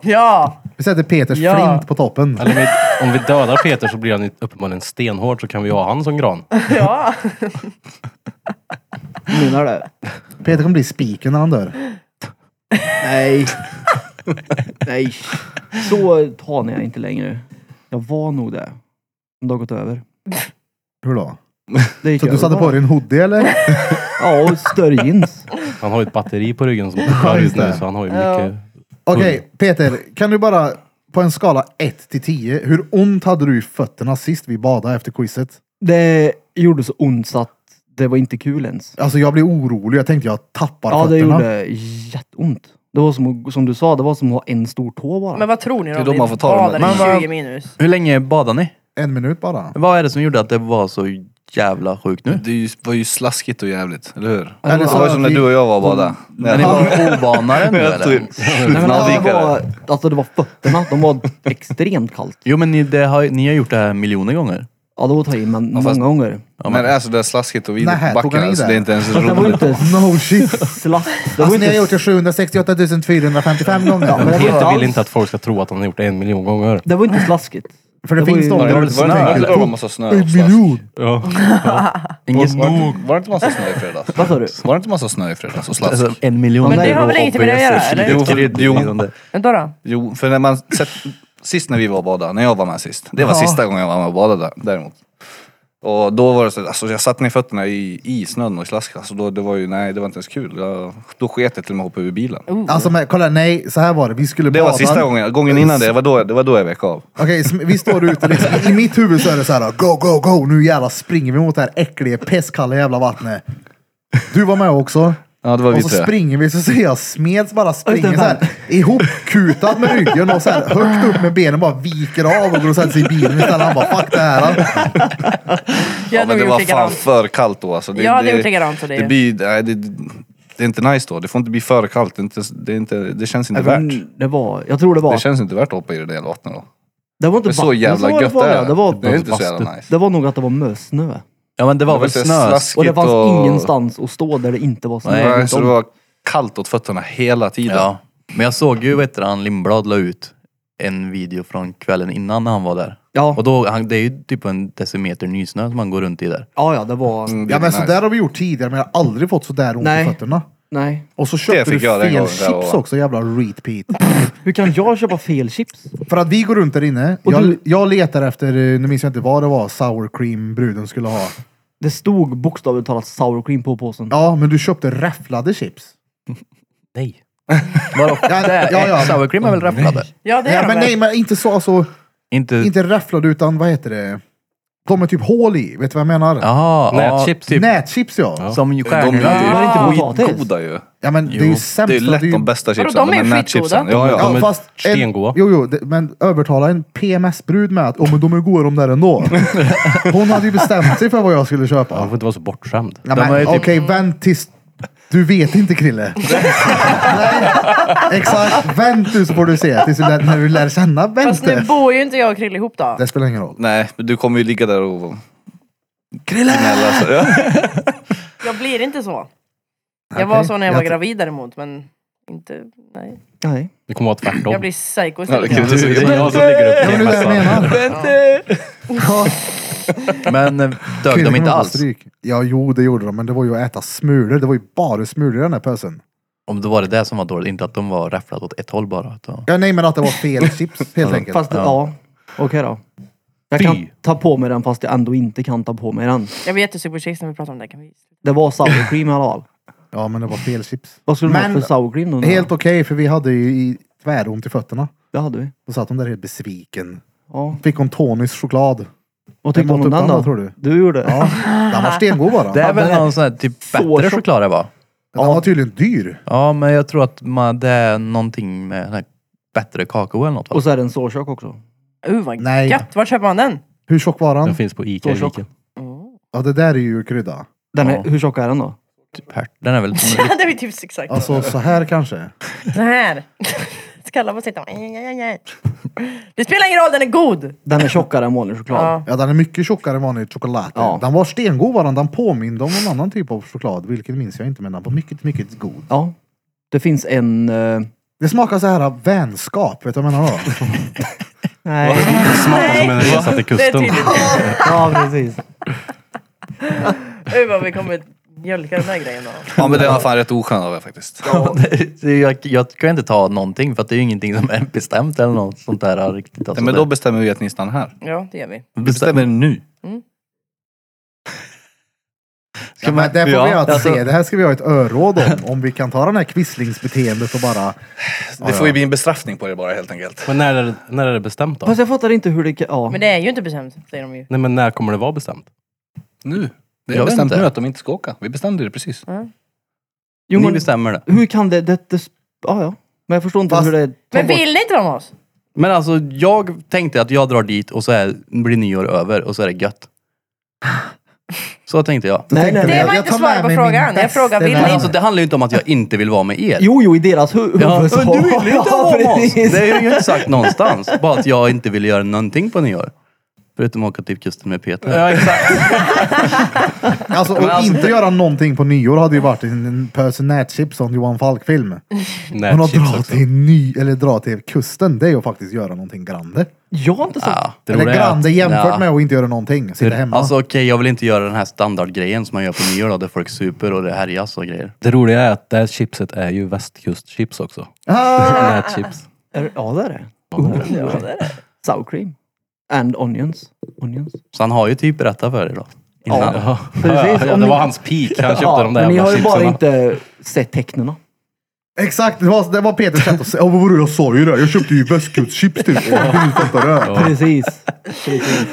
[SPEAKER 5] Ja!
[SPEAKER 1] vi sätter Peters
[SPEAKER 5] Ja.
[SPEAKER 1] flint på toppen.
[SPEAKER 2] Eller om vi, om vi dödar Peter så blir han ju uppenbarligen stenhård så kan vi ha han som gran.
[SPEAKER 5] Ja!
[SPEAKER 4] Menar du?
[SPEAKER 1] Peter kommer bli spiken när han dör.
[SPEAKER 4] Nej. Nej. Så tanig är jag inte längre. Jag var nog det. Men Det har gått över.
[SPEAKER 1] Hur då?
[SPEAKER 4] Det gick
[SPEAKER 1] Så du
[SPEAKER 4] över
[SPEAKER 1] satte
[SPEAKER 4] bara.
[SPEAKER 1] på dig en hoodie eller?
[SPEAKER 4] Ja, och större jeans.
[SPEAKER 2] Han har ju ett batteri på ryggen som drar
[SPEAKER 1] just
[SPEAKER 2] ut nu
[SPEAKER 1] det.
[SPEAKER 2] så han har ju mycket.
[SPEAKER 1] Okej, Peter, kan du bara på en skala 1 till 10, hur ont hade du i fötterna sist vi badade efter quizet?
[SPEAKER 4] Det gjorde så ont så att det var inte kul ens.
[SPEAKER 1] Alltså jag blev orolig, jag tänkte jag tappar
[SPEAKER 4] Ja, det
[SPEAKER 1] fötterna.
[SPEAKER 4] gjorde jätteont. Det var som, att- som du sa, det var som att ha en stor tå bara.
[SPEAKER 5] Men vad tror ni
[SPEAKER 3] är
[SPEAKER 5] om
[SPEAKER 3] då
[SPEAKER 5] vi
[SPEAKER 3] man får ta dem.
[SPEAKER 5] badar
[SPEAKER 6] Men vad-
[SPEAKER 5] i 20 minus?
[SPEAKER 6] <laughs> Hur länge badade ni?
[SPEAKER 1] En minut bara.
[SPEAKER 6] Vad är det som gjorde att det var så jävla sjukt nu?
[SPEAKER 3] Det är ju- var ju slaskigt och jävligt, eller hur?
[SPEAKER 1] Eller
[SPEAKER 3] Det
[SPEAKER 1] så
[SPEAKER 3] var ju
[SPEAKER 1] att
[SPEAKER 3] som när
[SPEAKER 1] vi-
[SPEAKER 3] du och jag var och badade.
[SPEAKER 6] Men ni
[SPEAKER 3] Nej,
[SPEAKER 6] var ovanare nu eller?
[SPEAKER 4] Nej, men alltså, det,
[SPEAKER 3] Avvikare.
[SPEAKER 4] var, alltså, det var fötterna, de var extremt kallt.
[SPEAKER 6] Jo men ni, det har, ni har gjort det här miljoner gånger.
[SPEAKER 4] Ja, det var att ta i, men många
[SPEAKER 3] fast-
[SPEAKER 4] gånger.
[SPEAKER 3] Men alltså det är slaskigt och vidrigt
[SPEAKER 1] Nej,
[SPEAKER 3] på
[SPEAKER 1] tog han i
[SPEAKER 3] backen. Alltså,
[SPEAKER 1] det?
[SPEAKER 3] det är inte ens
[SPEAKER 4] Fast det var
[SPEAKER 3] roligt.
[SPEAKER 4] inte
[SPEAKER 1] No shit.
[SPEAKER 4] slapp. Det var
[SPEAKER 1] Alltså ni har
[SPEAKER 4] inte,
[SPEAKER 1] gjort det 768 455 gånger.
[SPEAKER 4] men det var inte
[SPEAKER 2] Peter vill
[SPEAKER 4] alls-
[SPEAKER 2] inte att folk ska tro att han har gjort det en miljon gånger.
[SPEAKER 4] det var inte slaskigt.
[SPEAKER 1] För det,
[SPEAKER 4] Det var
[SPEAKER 1] finns
[SPEAKER 4] ju-
[SPEAKER 1] de
[SPEAKER 3] Var det
[SPEAKER 1] där
[SPEAKER 3] inte-
[SPEAKER 1] som
[SPEAKER 3] var det inte-
[SPEAKER 1] tänker,
[SPEAKER 3] var det inte massa snö? och
[SPEAKER 1] en
[SPEAKER 3] slask?
[SPEAKER 1] miljon.
[SPEAKER 2] Ja.
[SPEAKER 6] Inget
[SPEAKER 3] Var det inte- var det inte massa snö i fredags?
[SPEAKER 4] Vad sa du?
[SPEAKER 3] Var det inte massa snö i fredags och slask?
[SPEAKER 6] Alltså, typ- en miljon
[SPEAKER 4] Men det
[SPEAKER 6] euro
[SPEAKER 4] har
[SPEAKER 5] väl ingenting med det att göra,
[SPEAKER 6] obviously.
[SPEAKER 5] eller?
[SPEAKER 6] Jo, för- jo.
[SPEAKER 5] Vänta då.
[SPEAKER 3] Jo, för när man sett, sist när vi var och badade, när jag var med sist. Det var
[SPEAKER 1] Ja.
[SPEAKER 3] sista gången jag var med och badade däremot. Och då var det så, alltså jag satte ner fötterna i, i snön och i slasket. Alltså då, det var ju, nej det var inte ens kul. Jag, då sket jag till och med hoppa ur bilen.
[SPEAKER 1] Alltså men, kolla, nej, så här var det. Vi skulle
[SPEAKER 3] Det var
[SPEAKER 1] bada.
[SPEAKER 3] sista gången, gången innan det, det var då, det var då jag vek av.
[SPEAKER 1] Okej, så vi står ute liksom, i mitt huvud så är det så här, go, go, go, nu jävlar springer vi mot det här äckliga, pestkalla jävla vattnet. Du var med också.
[SPEAKER 3] Ja, det var vi
[SPEAKER 1] och så
[SPEAKER 3] tre.
[SPEAKER 1] springer vi så ser jag Smeds bara
[SPEAKER 4] Just
[SPEAKER 1] springer
[SPEAKER 4] det,
[SPEAKER 1] så här, ihopkutad med ryggen och så här högt upp med benen bara viker av och går och sätter sig i bilen istället. Han bara fuck det
[SPEAKER 3] Mm,
[SPEAKER 1] här.
[SPEAKER 5] Jag
[SPEAKER 3] Ja,
[SPEAKER 5] hade
[SPEAKER 3] men
[SPEAKER 5] nog
[SPEAKER 3] det
[SPEAKER 5] gjort
[SPEAKER 3] var fan
[SPEAKER 5] likadant.
[SPEAKER 3] för kallt då alltså.
[SPEAKER 5] Jag hade gjort likadant, så det-
[SPEAKER 3] det, blir, nej, det, det är inte nice då. Det får inte bli för kallt. Det, är inte, det, är inte, det känns inte värt.
[SPEAKER 4] Det var, jag tror det var.
[SPEAKER 3] Det känns inte värt att hoppa i det där vattnet då.
[SPEAKER 4] Det var
[SPEAKER 3] Det
[SPEAKER 4] inte
[SPEAKER 3] är så
[SPEAKER 4] vatten som
[SPEAKER 3] jävla
[SPEAKER 4] var
[SPEAKER 3] gött
[SPEAKER 4] det, var, det, var,
[SPEAKER 3] det är inte så jävla nice.
[SPEAKER 4] det var nog att det var mösnö.
[SPEAKER 6] Ja men det var
[SPEAKER 3] Det var
[SPEAKER 6] väl
[SPEAKER 3] lite
[SPEAKER 6] snö.
[SPEAKER 3] slask.
[SPEAKER 4] Och det fanns
[SPEAKER 3] och-
[SPEAKER 4] ingenstans att stå där det inte var snö.
[SPEAKER 3] Nej,
[SPEAKER 4] runt
[SPEAKER 3] så det
[SPEAKER 4] om.
[SPEAKER 3] var kallt åt fötterna hela tiden.
[SPEAKER 6] Ja. Men jag såg ju, vad heter han, Lindblad la ut en video från kvällen innan när han var där.
[SPEAKER 4] Ja.
[SPEAKER 6] Och då, han, det är ju typ en decimeter nysnö som han går runt i där.
[SPEAKER 4] ja, ja, det var...
[SPEAKER 3] Mm, det
[SPEAKER 1] Ja
[SPEAKER 3] är
[SPEAKER 1] men
[SPEAKER 3] nice.
[SPEAKER 1] så där har vi gjort tidigare men jag har aldrig fått så där ont i
[SPEAKER 4] Nej.
[SPEAKER 1] fötterna.
[SPEAKER 4] Nej.
[SPEAKER 1] Och så köpte du
[SPEAKER 3] fick jag den
[SPEAKER 1] fel
[SPEAKER 3] gången, det var-
[SPEAKER 1] chips också jävla repeat.
[SPEAKER 4] Hur kan jag köpa fel chips?
[SPEAKER 1] För att vi går runt där inne.
[SPEAKER 4] Och
[SPEAKER 1] Jag,
[SPEAKER 4] du-
[SPEAKER 1] jag letar efter, eh, nu minns jag inte vad det var, sour cream bruden skulle ha.
[SPEAKER 4] Det stod bokstavligt talat sour cream på påsen.
[SPEAKER 1] Ja men du köpte räfflade chips.
[SPEAKER 6] Nej. Vadå?
[SPEAKER 1] Ja,
[SPEAKER 6] Det är-
[SPEAKER 1] ja, ja.
[SPEAKER 6] Sour cream är väl räfflade?
[SPEAKER 5] Ja, det är
[SPEAKER 1] Ja,
[SPEAKER 5] de
[SPEAKER 1] men
[SPEAKER 5] väl.
[SPEAKER 1] nej, men inte så alltså,
[SPEAKER 6] Inte...
[SPEAKER 1] inte räfflade utan vad heter det? De är typ hål i, vet du vad jag menar?
[SPEAKER 6] Jaha.
[SPEAKER 2] Nätchips typ.
[SPEAKER 1] Nätchips ja. ja.
[SPEAKER 6] Som ju
[SPEAKER 3] De
[SPEAKER 6] stjärnor.
[SPEAKER 3] är ju
[SPEAKER 4] var inte potatis.
[SPEAKER 3] skitgoda ju.
[SPEAKER 1] men det är ju typ-
[SPEAKER 6] Jo,
[SPEAKER 1] sämst.
[SPEAKER 3] Det är ju lätt
[SPEAKER 1] ju-
[SPEAKER 3] de bästa
[SPEAKER 5] Vadå,
[SPEAKER 3] chipsen.
[SPEAKER 5] de är
[SPEAKER 3] men
[SPEAKER 5] skitgoda.
[SPEAKER 3] nätchipsen, Ja, ja.
[SPEAKER 1] Ja,
[SPEAKER 2] De är
[SPEAKER 1] fast en,
[SPEAKER 2] stengoda.
[SPEAKER 1] jo, jo, det, men övertala en PMS-brud med att oh, men de är goda de där ändå. Hon hade ju bestämt sig för vad jag skulle köpa.
[SPEAKER 2] Man får inte vara så bortskämd.
[SPEAKER 1] Ja,
[SPEAKER 6] De
[SPEAKER 1] men,
[SPEAKER 6] har ju typ-
[SPEAKER 1] Okej, vänt tills... Du vet inte Krille. Nej, exakt. Vänt du så får du se. Tills du lär, när du lär känna
[SPEAKER 5] Fast nu
[SPEAKER 1] vänster.
[SPEAKER 5] bor ju inte jag och Krille ihop då.
[SPEAKER 1] Det spelar ingen roll.
[SPEAKER 3] Nej, men du kommer ju ligga där och... Gnälla, alltså. Ja.
[SPEAKER 5] Jag blir inte så. Jag var
[SPEAKER 1] Okej.
[SPEAKER 5] så när jag
[SPEAKER 1] Jag
[SPEAKER 5] var
[SPEAKER 1] tr- gravid
[SPEAKER 5] gravid däremot, men inte... Nej.
[SPEAKER 4] Nej.
[SPEAKER 2] Det kommer vara tvärtom.
[SPEAKER 5] Jag blir psycho
[SPEAKER 3] Ja, det kan
[SPEAKER 5] istället.
[SPEAKER 3] du
[SPEAKER 2] Det
[SPEAKER 3] säga.
[SPEAKER 2] är jag som lägger upp
[SPEAKER 1] Ja, men det är det jag menar. Ja.
[SPEAKER 6] Men eh, dög de
[SPEAKER 1] Killarna
[SPEAKER 6] inte
[SPEAKER 1] var på
[SPEAKER 6] alls?
[SPEAKER 1] Stryk. Ja, jo det gjorde de, men det var ju att äta smulor. Det var ju bara smulor i den här pösen.
[SPEAKER 6] Om det var det där som var dåligt, inte att de var räfflade åt ett håll bara. Utan...
[SPEAKER 1] Ja, nej, men att det var
[SPEAKER 4] <laughs>
[SPEAKER 1] fel chips helt enkelt.
[SPEAKER 4] Fast ja, okej då. Jag
[SPEAKER 6] Fy.
[SPEAKER 4] kan ta på mig den fast jag ändå inte kan ta på mig den.
[SPEAKER 5] Jag blir jättesugen på chips när vi pratar om det. Kan vi...
[SPEAKER 4] Det var sour cream i alla fall.
[SPEAKER 1] Ja, men det var fel chips.
[SPEAKER 4] Vad skulle
[SPEAKER 1] Men-
[SPEAKER 4] du ha för sour cream då? undrar jag?
[SPEAKER 1] Helt okej, för vi hade ju i- tväront i fötterna.
[SPEAKER 4] Det hade vi.
[SPEAKER 1] Då satt hon där helt besviken.
[SPEAKER 4] Ja.
[SPEAKER 1] Fick hon Tonys choklad.
[SPEAKER 4] Vad tyckte
[SPEAKER 1] Jag
[SPEAKER 4] hon om
[SPEAKER 1] åt upp
[SPEAKER 4] den då?
[SPEAKER 1] den, tror du?
[SPEAKER 4] Du gjorde?
[SPEAKER 1] Ja, den var stengod
[SPEAKER 4] <laughs>
[SPEAKER 1] bara.
[SPEAKER 6] Det är
[SPEAKER 1] Den
[SPEAKER 6] väl någon sån här typ bättre
[SPEAKER 4] tjock.
[SPEAKER 6] choklad det var?
[SPEAKER 1] var tydligen dyr.
[SPEAKER 6] Ja, men jag tror att man, det är någonting med den här bättre kakao eller något. va?
[SPEAKER 4] Och så är det en sårkök också.
[SPEAKER 5] Uh, vad
[SPEAKER 1] Nej.
[SPEAKER 5] gött! Var köper man den?
[SPEAKER 1] Hur tjock var
[SPEAKER 2] Den
[SPEAKER 1] han?
[SPEAKER 2] finns på Ica i
[SPEAKER 4] Så tjock.
[SPEAKER 2] viken.
[SPEAKER 1] Ja, det där är ju krydda.
[SPEAKER 4] Den är,
[SPEAKER 6] Ja.
[SPEAKER 4] Hur tjock är den då?
[SPEAKER 6] Typ här. Den är väl...
[SPEAKER 5] <laughs>
[SPEAKER 3] <laughs>
[SPEAKER 5] det är typ exakt
[SPEAKER 1] Alltså så här kanske.
[SPEAKER 5] så här. <laughs> Skalla på sitt. Det spelar ingen roll, den är god!
[SPEAKER 4] Den är tjockare än vanlig choklad.
[SPEAKER 5] Ja.
[SPEAKER 1] Ja, den är mycket tjockare än vanlig choklad.
[SPEAKER 4] Ja.
[SPEAKER 1] Den var stengod var den. Den påminde om någon annan typ av choklad, vilken minns jag inte, men den var mycket, mycket god.
[SPEAKER 4] Ja. Det finns en... eh,
[SPEAKER 1] Det smakar så här vänskap, vet du vad jag menar då?
[SPEAKER 4] Nej.
[SPEAKER 2] Smakar som en resa till
[SPEAKER 5] Det är
[SPEAKER 2] kusten.
[SPEAKER 5] tydligt.
[SPEAKER 4] <laughs> ja, precis.
[SPEAKER 5] <laughs> Uh, vad vi kommer mjölka den här grejen då.
[SPEAKER 3] ja, men det var fan rätt oskön av er faktiskt.
[SPEAKER 6] Så jag, jag kan ju inte ta någonting för att det är ju ingenting som är bestämt eller något sånt där riktigt.
[SPEAKER 3] Nej,
[SPEAKER 6] Alltså,
[SPEAKER 3] men då
[SPEAKER 6] det-
[SPEAKER 3] bestämmer vi att ni stannar här.
[SPEAKER 5] Ja, det gör vi.
[SPEAKER 3] Vi bestämmer nu.
[SPEAKER 1] Ja, men det får
[SPEAKER 6] ja,
[SPEAKER 1] vi att
[SPEAKER 6] alltså-
[SPEAKER 1] se. Det här ska vi ha ett öråd om. Om vi kan ta den här quislingsbeteendet och bara...
[SPEAKER 3] Det får ju bli en bestraffning på er bara helt enkelt.
[SPEAKER 2] Men när är, det- när är det bestämt då?
[SPEAKER 4] Fast jag fattar inte hur det kan... Ja.
[SPEAKER 5] Men det är ju inte bestämt, säger de ju.
[SPEAKER 2] Nej men när kommer det vara bestämt?
[SPEAKER 3] Nu. Det är
[SPEAKER 6] Jag vet
[SPEAKER 3] bestämt
[SPEAKER 6] inte.
[SPEAKER 3] nu att de inte ska åka. Vi bestämde det precis.
[SPEAKER 4] Jo,
[SPEAKER 6] Ni
[SPEAKER 4] men
[SPEAKER 6] bestämmer det.
[SPEAKER 4] hur kan det... det, det ja, ja. Men jag förstår inte
[SPEAKER 1] Fast-
[SPEAKER 4] hur det...
[SPEAKER 5] Men vill inte de oss?
[SPEAKER 6] Men alltså jag tänkte att jag drar dit och så är, blir nyår över och så är det
[SPEAKER 3] <laughs>
[SPEAKER 6] gött. Så tänkte jag.
[SPEAKER 4] Nej, nej,
[SPEAKER 5] Det
[SPEAKER 4] nej.
[SPEAKER 5] var
[SPEAKER 1] jag
[SPEAKER 5] inte
[SPEAKER 1] tar med
[SPEAKER 5] svar på
[SPEAKER 1] mig
[SPEAKER 5] frågan.
[SPEAKER 1] min
[SPEAKER 5] Jag
[SPEAKER 1] bästa
[SPEAKER 5] frågar, vill
[SPEAKER 1] vän.
[SPEAKER 5] ni?
[SPEAKER 6] Men alltså det handlar ju inte om att jag inte vill vara med er.
[SPEAKER 4] Jo, jo, i deras huvud.
[SPEAKER 6] <laughs> Ja,
[SPEAKER 4] så-
[SPEAKER 6] men du vill inte
[SPEAKER 4] <laughs> ja,
[SPEAKER 6] vara med oss.
[SPEAKER 4] precis.
[SPEAKER 6] Det är ju inte sagt någonstans. Bara att jag inte ville göra någonting på nyår. Förutom att åka till kusten med Peter.
[SPEAKER 1] Alltså, och inte göra någonting på nyår hade ju varit en, en pöse nätchips som Johan Falk-film. Men att
[SPEAKER 2] Nätchips
[SPEAKER 1] dra
[SPEAKER 2] också.
[SPEAKER 1] till, ny, eller dra till kusten, det är ju att faktiskt göra någonting grande.
[SPEAKER 4] Jag har inte sagt...
[SPEAKER 6] Ja.
[SPEAKER 2] Det
[SPEAKER 1] eller
[SPEAKER 2] roliga är
[SPEAKER 1] grande
[SPEAKER 2] att-
[SPEAKER 1] jämfört
[SPEAKER 6] ja.
[SPEAKER 1] med att inte göra någonting. Sitta hemma.
[SPEAKER 6] Alltså okej, jag vill inte göra den här standardgrejen som man gör på nyår då, där folk super och det härjas och grejer.
[SPEAKER 2] Det roliga är att det här chipset är ju västkustchips också.
[SPEAKER 1] ah!
[SPEAKER 2] Nätchips.
[SPEAKER 4] Är det- Ja, det är det.
[SPEAKER 2] Ja, det är det.
[SPEAKER 4] Sour cream. And onions. Onions.
[SPEAKER 6] Så han har ju typ berättat för dig då. Innan.
[SPEAKER 2] Ja,
[SPEAKER 4] precis.
[SPEAKER 2] ja,
[SPEAKER 4] Om
[SPEAKER 2] det
[SPEAKER 4] ni-
[SPEAKER 2] var hans peak. Han köpte
[SPEAKER 4] Ja,
[SPEAKER 2] de där
[SPEAKER 4] men ni
[SPEAKER 2] jävla
[SPEAKER 4] har ju bara
[SPEAKER 2] chipsen.
[SPEAKER 4] inte sett tecknen.
[SPEAKER 1] Exakt, det var, det var Peters sätt att säga. Ja, vad var det jag sa ju det? Jag köpte ju västkustchips typ. till dig. Du fattar det.
[SPEAKER 4] Precis. Precis.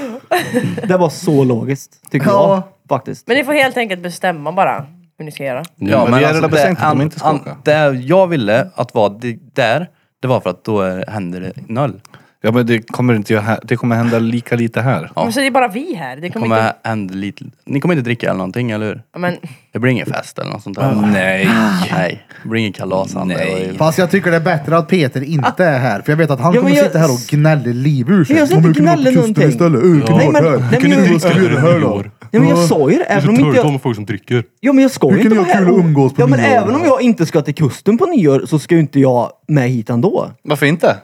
[SPEAKER 4] Det var så logiskt, tycker
[SPEAKER 1] Ja.
[SPEAKER 4] jag. Faktiskt.
[SPEAKER 5] Men ni får helt enkelt bestämma bara hur ni ska göra.
[SPEAKER 3] Ja, men vi är
[SPEAKER 6] alltså,
[SPEAKER 3] redan bestämt att de
[SPEAKER 6] an-
[SPEAKER 3] inte ska
[SPEAKER 6] an-
[SPEAKER 3] åka.
[SPEAKER 6] Det jag ville att vara di- där, det var för att då är- händer det noll.
[SPEAKER 3] Ja men det kommer inte göra här. Det kommer hända lika lite här.
[SPEAKER 5] Men så det är bara vi här. Det kommer
[SPEAKER 6] Kommer
[SPEAKER 5] inte...
[SPEAKER 6] hända lite, ni kommer inte dricka eller någonting, eller hur?
[SPEAKER 5] Ja, Men,
[SPEAKER 6] Det blir ingen fest eller något sånt där.
[SPEAKER 3] Ah, Nej.
[SPEAKER 6] Nej. Det blir ingen kalas. Anna.
[SPEAKER 3] Nej.
[SPEAKER 6] Det var ju-
[SPEAKER 1] Fast jag tycker det är bättre att Peter inte är här. För jag vet att han
[SPEAKER 4] Ja, men
[SPEAKER 1] kommer
[SPEAKER 4] jag-
[SPEAKER 1] sitta här och gnäller liv ur sig.
[SPEAKER 4] Men jag ska inte
[SPEAKER 1] "Ja, kunde varit
[SPEAKER 4] gnälla
[SPEAKER 1] på kusten
[SPEAKER 4] någonting.
[SPEAKER 1] Istället. Uh, kunde
[SPEAKER 4] Nej,
[SPEAKER 1] varit
[SPEAKER 4] men-
[SPEAKER 1] här.
[SPEAKER 4] nej, men-
[SPEAKER 1] Kunde inte göra det här då.
[SPEAKER 4] Ja, men jag sa ju det, även om inte jag...
[SPEAKER 2] folk som dricker.
[SPEAKER 4] Ja, men jag ska ju
[SPEAKER 1] Hur
[SPEAKER 4] inte
[SPEAKER 1] kan ni
[SPEAKER 4] vara
[SPEAKER 1] ha
[SPEAKER 4] här.
[SPEAKER 1] kul och umgås på
[SPEAKER 4] ja, men
[SPEAKER 1] nyår?
[SPEAKER 4] även om jag inte ska till kusten på nyår så ska ju inte jag med hit ändå.
[SPEAKER 3] Varför inte?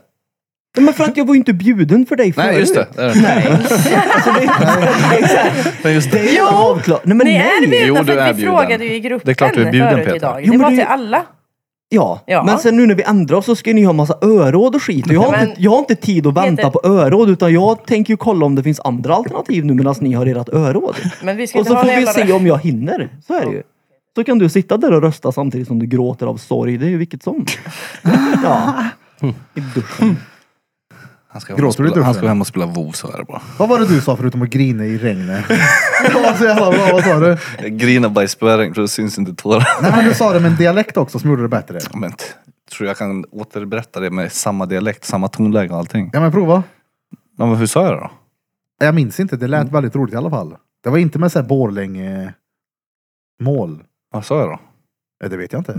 [SPEAKER 4] Ja, men för att jag var ju inte bjuden för dig förut.
[SPEAKER 3] Nej, just det. det. är det.
[SPEAKER 4] Nej. alltså, det, exakt.
[SPEAKER 3] Men just
[SPEAKER 4] Det är ju
[SPEAKER 5] Jo,
[SPEAKER 4] avklart. Nej, men
[SPEAKER 5] ni är
[SPEAKER 4] nej.
[SPEAKER 3] Jo,
[SPEAKER 5] bjudna
[SPEAKER 3] du
[SPEAKER 5] för
[SPEAKER 3] är
[SPEAKER 5] att vi
[SPEAKER 3] bjuden.
[SPEAKER 5] frågade ju i gruppen
[SPEAKER 3] Det är klart du är bjuden,
[SPEAKER 5] förut
[SPEAKER 3] Peter.
[SPEAKER 5] idag.
[SPEAKER 4] Jo,
[SPEAKER 5] det
[SPEAKER 4] men
[SPEAKER 5] var
[SPEAKER 4] du-
[SPEAKER 5] till alla.
[SPEAKER 4] Ja.
[SPEAKER 5] Ja.
[SPEAKER 4] men sen nu när vi ändrar oss så ska ni ha massa öråd och skit. Och Jag har,
[SPEAKER 5] Ja, men-
[SPEAKER 4] inte, jag har inte tid att vänta
[SPEAKER 5] Peter-
[SPEAKER 4] på öråd utan jag tänker ju kolla om det finns andra alternativ nu medan ni har ert öråd.
[SPEAKER 5] Men vi ska
[SPEAKER 4] Och
[SPEAKER 5] inte
[SPEAKER 4] så
[SPEAKER 5] ha
[SPEAKER 4] får
[SPEAKER 5] någon
[SPEAKER 4] vi
[SPEAKER 5] jävla...
[SPEAKER 4] se om jag hinner. Så är det ju. Så kan du sitta där och rösta samtidigt som du gråter av sorg. Det är ju vilket
[SPEAKER 5] <laughs>
[SPEAKER 4] som. Ja. I duschen.
[SPEAKER 3] Han ska,
[SPEAKER 1] Gråter du i
[SPEAKER 3] spela, han ska
[SPEAKER 1] duschen?
[SPEAKER 3] hem och spela WoW så är det bara.
[SPEAKER 1] Vad var det du sa förutom att grina i
[SPEAKER 4] <laughs>
[SPEAKER 1] regnet? Det var så jävla bra. Vad sa du?
[SPEAKER 3] Jag grinar by spöring för det syns inte tårar. <laughs>
[SPEAKER 1] Nej, men du sa det med en dialekt också som gjorde det bättre.
[SPEAKER 3] Men t- tror jag kan återberätta det med samma dialekt, samma tonläge och allting.
[SPEAKER 1] Ja men prova.
[SPEAKER 3] Ja, men hur sa jag då?
[SPEAKER 1] Jag minns inte. Det lät väldigt roligt i alla fall. Det var inte med såhär Borlänge-mål.
[SPEAKER 3] Vad sa jag <laughs> då?
[SPEAKER 1] Eh, Det vet jag <laughs> inte.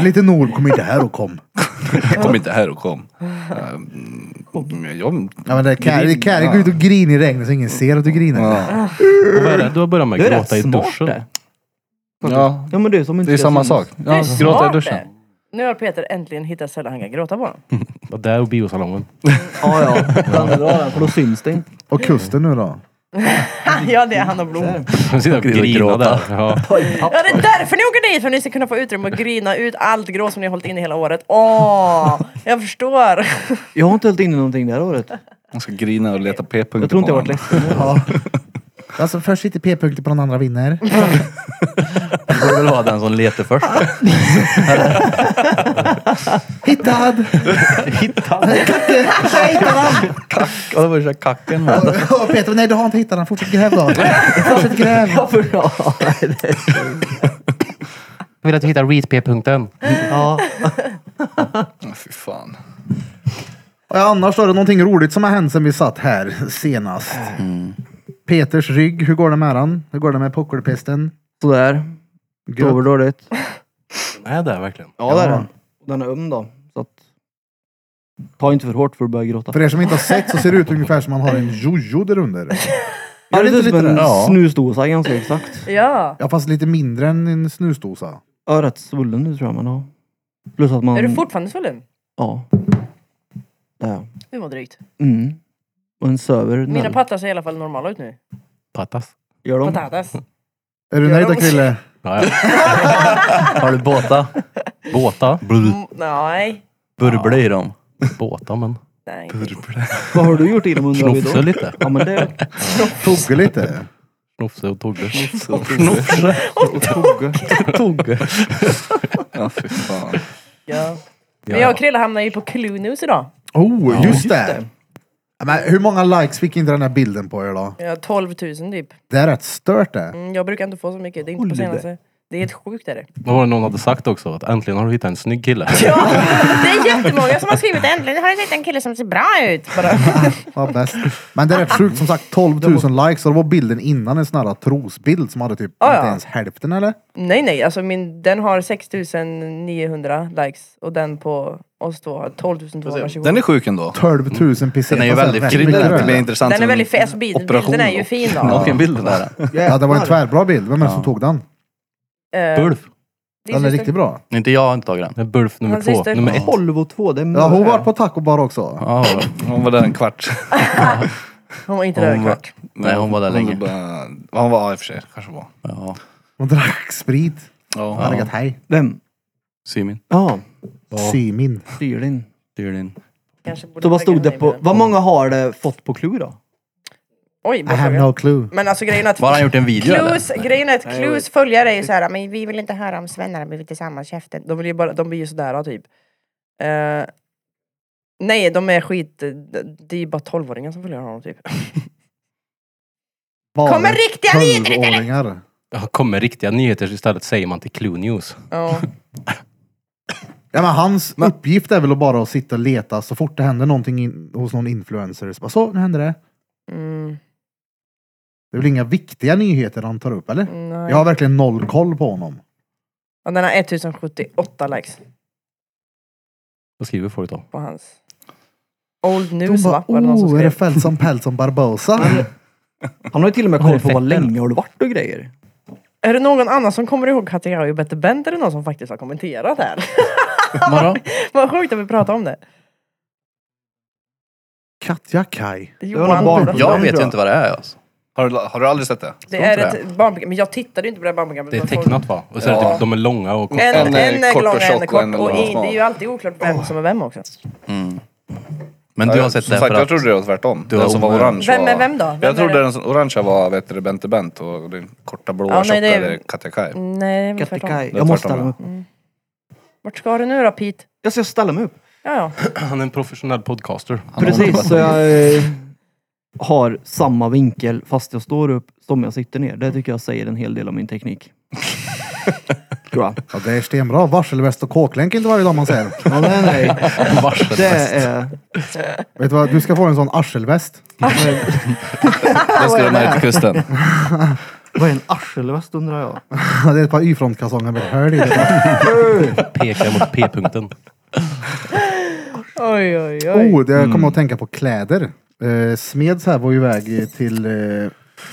[SPEAKER 1] Lite Nord kom inte här och kom.
[SPEAKER 3] Jag kom inte här och kom. Ehm, jag,
[SPEAKER 1] Ja, men det är Kari, det är Kari
[SPEAKER 3] Grin,
[SPEAKER 1] går ut och griner i regnet så ingen ser att du grinar.
[SPEAKER 3] ja.
[SPEAKER 2] Och vad är det? Du har börjat med
[SPEAKER 4] Det är
[SPEAKER 2] att
[SPEAKER 4] rätt
[SPEAKER 2] gråta i
[SPEAKER 4] smart
[SPEAKER 2] duschen.
[SPEAKER 4] det.
[SPEAKER 3] ja,
[SPEAKER 4] Ja men du som inte
[SPEAKER 3] det är
[SPEAKER 4] ska
[SPEAKER 3] samma
[SPEAKER 4] synas.
[SPEAKER 3] sak.
[SPEAKER 5] Det är
[SPEAKER 3] Ja,
[SPEAKER 5] smart
[SPEAKER 3] gråta i
[SPEAKER 5] det.
[SPEAKER 3] duschen.
[SPEAKER 5] Nu har Peter äntligen hittat ställen han kan gråta på.
[SPEAKER 2] Och där och biosalongen.
[SPEAKER 4] Ja ja. Kan du dra den för då syns det inte.
[SPEAKER 1] Och kusten nu då?
[SPEAKER 5] <laughs> ja, det är han och Blom.
[SPEAKER 2] Han sitter och
[SPEAKER 6] Och
[SPEAKER 2] grinar
[SPEAKER 6] gråta.
[SPEAKER 2] där. Ja.
[SPEAKER 5] Ja, det är därför ni åker dit! För att ni ska kunna få utrymme att grina ut allt grå som ni har hållit inne hela året. Åh, jag förstår. <laughs>
[SPEAKER 4] Jag har inte hällt in i någonting det här året.
[SPEAKER 3] Man ska grina och leta p-punkter
[SPEAKER 4] Jag tror inte jag
[SPEAKER 3] på
[SPEAKER 4] varit
[SPEAKER 3] varandra.
[SPEAKER 4] ledsen.
[SPEAKER 1] Ja. Alltså först sitter p-punkter på den andra vinner.
[SPEAKER 6] Du får väl vara den som letar först.
[SPEAKER 1] Hittad!
[SPEAKER 6] Och då var det så här kacken. va? <laughs>
[SPEAKER 1] Och Peter, nej du har inte hittat den. Fortsätt gräv då. Fortsätt gräv.
[SPEAKER 4] <laughs> Ja, för,
[SPEAKER 5] <laughs>
[SPEAKER 4] ja.
[SPEAKER 2] Jag vill att du hittar reach-p-punkten.
[SPEAKER 4] ja.
[SPEAKER 3] Ja, Fy fan.
[SPEAKER 1] Och annars då, är det någonting roligt som har hänt sen vi satt här senast? Peters rygg, hur går det med den? Hur går det med puckelpesten?
[SPEAKER 4] Sådär.
[SPEAKER 1] Gött.
[SPEAKER 4] Sover dåligt.
[SPEAKER 2] Nej, det är verkligen.
[SPEAKER 4] Ja det är
[SPEAKER 1] Ja.
[SPEAKER 4] den. Den är öm då. Så att... Ta inte för hårt för att börja gråta.
[SPEAKER 1] För er som inte har sett så ser det ut ungefär som man har en jojo där under.
[SPEAKER 4] Ja, det
[SPEAKER 1] Gör
[SPEAKER 4] ser
[SPEAKER 1] det
[SPEAKER 4] ut
[SPEAKER 1] inte
[SPEAKER 4] som
[SPEAKER 1] lite
[SPEAKER 4] en
[SPEAKER 1] det? Ja.
[SPEAKER 4] snusdosa ganska exakt.
[SPEAKER 5] Ja.
[SPEAKER 1] Ja fast lite mindre än en snusdosa.
[SPEAKER 4] Jag är rätt svullen nu tror jag men ja. Plus att man...
[SPEAKER 5] Är du fortfarande svullen?
[SPEAKER 4] Ja. Det är jag.
[SPEAKER 5] Du mår drygt.
[SPEAKER 4] Mm. Och en söver.
[SPEAKER 5] Mina
[SPEAKER 4] näll.
[SPEAKER 5] pattar ser i alla fall normala ut nu.
[SPEAKER 2] Pattas.
[SPEAKER 4] Gör de?
[SPEAKER 5] Patatas.
[SPEAKER 1] Är du
[SPEAKER 5] Ja,
[SPEAKER 1] nöjd
[SPEAKER 5] de-
[SPEAKER 1] då Krille?
[SPEAKER 2] Ja, ja.
[SPEAKER 6] Har du båta?
[SPEAKER 2] Båta.
[SPEAKER 5] Mm, nej.
[SPEAKER 6] Burbla i dem.
[SPEAKER 2] Båta, men.
[SPEAKER 5] Nej.
[SPEAKER 4] Vad har du gjort i dem undrar vi
[SPEAKER 2] Knofse
[SPEAKER 4] då?
[SPEAKER 2] lite.
[SPEAKER 4] Ja men det...
[SPEAKER 1] Tugga lite?
[SPEAKER 2] Knofse och Togge.
[SPEAKER 6] Tog.
[SPEAKER 3] Ja, fy fan.
[SPEAKER 5] Ja. Men jag och Krille hamnade ju på Clunews idag.
[SPEAKER 1] Oh, just det! Ja, Men hur många likes fick inte den här bilden på er då?
[SPEAKER 5] Ja, 12 000 typ.
[SPEAKER 1] Det är rätt stört det.
[SPEAKER 5] Mm, jag brukar inte få så mycket. Det är inte på
[SPEAKER 4] Oliver.
[SPEAKER 5] senaste. Det är helt sjukt är det.
[SPEAKER 2] Vad var det någon hade sagt också? Att äntligen har du hittat en snygg kille.
[SPEAKER 5] Ja, det är jättemånga som har skrivit äntligen har jag hittat en kille som ser bra ut. Bara.
[SPEAKER 1] Vad bäst. Men det är rätt sjukt som sagt 12 000 likes och det var bilden innan en sån här trosbild som hade typ
[SPEAKER 5] Ah, Ja,
[SPEAKER 1] inte
[SPEAKER 5] ja.
[SPEAKER 1] ens hälften eller?
[SPEAKER 5] Nej nej, alltså min, den har 6900 likes och den på oss två har 12 227.
[SPEAKER 3] Den är sjuk ändå.
[SPEAKER 1] 12 000 pesetas.
[SPEAKER 6] Den är ju väldigt
[SPEAKER 1] rätt
[SPEAKER 6] fin.
[SPEAKER 1] mycket
[SPEAKER 3] Det
[SPEAKER 1] det.
[SPEAKER 3] blir intressant.
[SPEAKER 5] Den är väldigt fet, alltså, bilden,
[SPEAKER 3] Operation
[SPEAKER 5] bilden är ju fin då.
[SPEAKER 6] Vilken bild det där är.
[SPEAKER 1] <laughs> Ja det var en tvärbra bild. Vem är det som tog den?
[SPEAKER 5] Eh,
[SPEAKER 2] Bulf.
[SPEAKER 5] din
[SPEAKER 1] Den är
[SPEAKER 5] syster-
[SPEAKER 1] riktigt bra.
[SPEAKER 6] Inte jag har inte tagit den.
[SPEAKER 2] Det är Bulf nummer
[SPEAKER 5] Hans
[SPEAKER 2] två.
[SPEAKER 5] syster.
[SPEAKER 2] Nummer ett.
[SPEAKER 4] 12 och 2, det är
[SPEAKER 1] Ja hon
[SPEAKER 4] mörkt.
[SPEAKER 1] var på taco bar också.
[SPEAKER 6] Ja,
[SPEAKER 3] Hon var där en kvart.
[SPEAKER 5] Hon var inte där
[SPEAKER 6] hon
[SPEAKER 5] en
[SPEAKER 6] var,
[SPEAKER 5] kvart.
[SPEAKER 6] nej, hon var där länge.
[SPEAKER 3] bara- Hon var, ja, i och för sig. Kanske var.
[SPEAKER 6] Ja.
[SPEAKER 1] Hon drack sprit.
[SPEAKER 3] Ja.
[SPEAKER 1] Hon hade gett hej.
[SPEAKER 4] Vem?
[SPEAKER 6] Symin.
[SPEAKER 4] Ja.
[SPEAKER 1] Symin.
[SPEAKER 4] Styrlin.
[SPEAKER 6] Styrlin.
[SPEAKER 5] Kanske borde
[SPEAKER 4] Så vad
[SPEAKER 5] lägga
[SPEAKER 4] stod det
[SPEAKER 5] den i
[SPEAKER 4] på...
[SPEAKER 5] bilen.
[SPEAKER 4] Vad många har det fått på Clue då?
[SPEAKER 5] Oj,
[SPEAKER 1] I have no clue.
[SPEAKER 5] Men alltså grejen är att...
[SPEAKER 6] Var har han gjort en video eller?
[SPEAKER 5] Clues, grejen är att Clues följare är ju såhär, men vi vill inte höra om svennar har blivit tillsammans, käften. De, vill ju bara, de blir ju sådär typ. Eh, nej, de är skit... Det är ju bara tolvåringar som följer honom typ.
[SPEAKER 1] Bara
[SPEAKER 5] Kommer riktiga nyheter istället!
[SPEAKER 1] 12-åringar.
[SPEAKER 2] Ja, kommer riktiga nyheter istället säger man till Clue News.
[SPEAKER 5] Ja.
[SPEAKER 1] Ja, men hans uppgift är väl att bara att sitta och leta så fort det händer någonting in, hos någon influencer. Så, bara, så, nu händer det.
[SPEAKER 5] Mm,
[SPEAKER 1] Det är väl inga viktiga nyheter han tar upp, eller?
[SPEAKER 5] nej.
[SPEAKER 1] Jag har verkligen noll koll på honom.
[SPEAKER 5] Och den har 1078 likes
[SPEAKER 2] Vad skriver folk då?
[SPEAKER 5] på hans. Old
[SPEAKER 1] De
[SPEAKER 5] news
[SPEAKER 1] bara,
[SPEAKER 5] va? Var det någon som
[SPEAKER 1] oh, är det
[SPEAKER 5] skrev?
[SPEAKER 1] Feltson Peltson Barbosa?
[SPEAKER 4] Han har ju till och med
[SPEAKER 2] Vad är
[SPEAKER 4] koll på
[SPEAKER 2] det
[SPEAKER 4] vad
[SPEAKER 2] fett,
[SPEAKER 4] länge har du varit och grejer.
[SPEAKER 5] Är det någon annan som kommer ihåg Katja och Bette Bent? Är det någon som faktiskt har kommenterat det här? <laughs>
[SPEAKER 6] Vadå?
[SPEAKER 5] Vad sjukt att vi pratar om det.
[SPEAKER 1] Katja Kaj.
[SPEAKER 4] var någon barn-
[SPEAKER 5] Olofsson.
[SPEAKER 6] Jag vet ju inte vad det är alltså.
[SPEAKER 3] Har du, har du aldrig sett det?
[SPEAKER 5] Det är ett barnprogram, men jag tittade ju inte på det här barnprogrammet.
[SPEAKER 2] Det är
[SPEAKER 5] Man får-
[SPEAKER 2] tecknat va? Och så är det
[SPEAKER 3] Ja.
[SPEAKER 2] typ, de är långa och korta.
[SPEAKER 5] En, en,
[SPEAKER 3] En är
[SPEAKER 5] är
[SPEAKER 3] kort
[SPEAKER 5] lång
[SPEAKER 3] och
[SPEAKER 5] och en är
[SPEAKER 3] tjock och en
[SPEAKER 5] kort.
[SPEAKER 3] är
[SPEAKER 5] Och
[SPEAKER 3] lång och
[SPEAKER 5] i, det är ju
[SPEAKER 3] smal.
[SPEAKER 5] alltid oklart vem som är vem också.
[SPEAKER 6] Men du har
[SPEAKER 3] Jag-
[SPEAKER 6] sett
[SPEAKER 3] som
[SPEAKER 6] det
[SPEAKER 3] sagt,
[SPEAKER 6] för
[SPEAKER 3] jag
[SPEAKER 6] att...
[SPEAKER 3] trodde det var tvärtom.
[SPEAKER 6] Du
[SPEAKER 3] den
[SPEAKER 6] har
[SPEAKER 3] som var
[SPEAKER 6] omöjligt.
[SPEAKER 3] orange
[SPEAKER 5] Vem
[SPEAKER 3] var...
[SPEAKER 5] är vem då? Vem
[SPEAKER 3] jag
[SPEAKER 5] är
[SPEAKER 3] trodde
[SPEAKER 5] det?
[SPEAKER 3] den som orangea var vet du, Bente Bent och den korta blåa
[SPEAKER 5] Ja, nej,
[SPEAKER 3] tjocka
[SPEAKER 5] det är-
[SPEAKER 3] är... Katja Kaj.
[SPEAKER 5] Nej, det är väl Mm, tvärtom.
[SPEAKER 4] Kattekaj.
[SPEAKER 3] Det är
[SPEAKER 4] Jag måste
[SPEAKER 3] tvärtom,
[SPEAKER 4] ställa mig upp.
[SPEAKER 5] Vart ska du nu då Pete?
[SPEAKER 4] Jag ska ställa mig upp.
[SPEAKER 5] Ja, ja.
[SPEAKER 2] Han är en professionell podcaster.
[SPEAKER 4] Precis, så jag eh, har samma vinkel fast jag står upp som jag sitter ner. Det tycker jag säger en hel del om min
[SPEAKER 3] <laughs>
[SPEAKER 4] teknik. Tror jag.
[SPEAKER 1] Ja, det är stenbra. Varselväst och kåklänk inte varje dag man säger.
[SPEAKER 4] Ja, nej, nej. <laughs> Det är...
[SPEAKER 1] Vet du vad? Du ska få en sån arselväst. <laughs>
[SPEAKER 3] Det ska de ha ut till kusten.
[SPEAKER 5] <laughs>
[SPEAKER 4] Vad är en arselväst undrar jag?
[SPEAKER 1] Ja, Det är ett par Y-frontkalsonger med ett hål i. Det är
[SPEAKER 2] Pekar mot p-punkten.
[SPEAKER 5] Oj, oj,
[SPEAKER 1] bara-
[SPEAKER 5] oj. Mm.
[SPEAKER 1] Oh, det jag kommer att tänka på kläder. Eh, Smeds här var ju iväg till eh,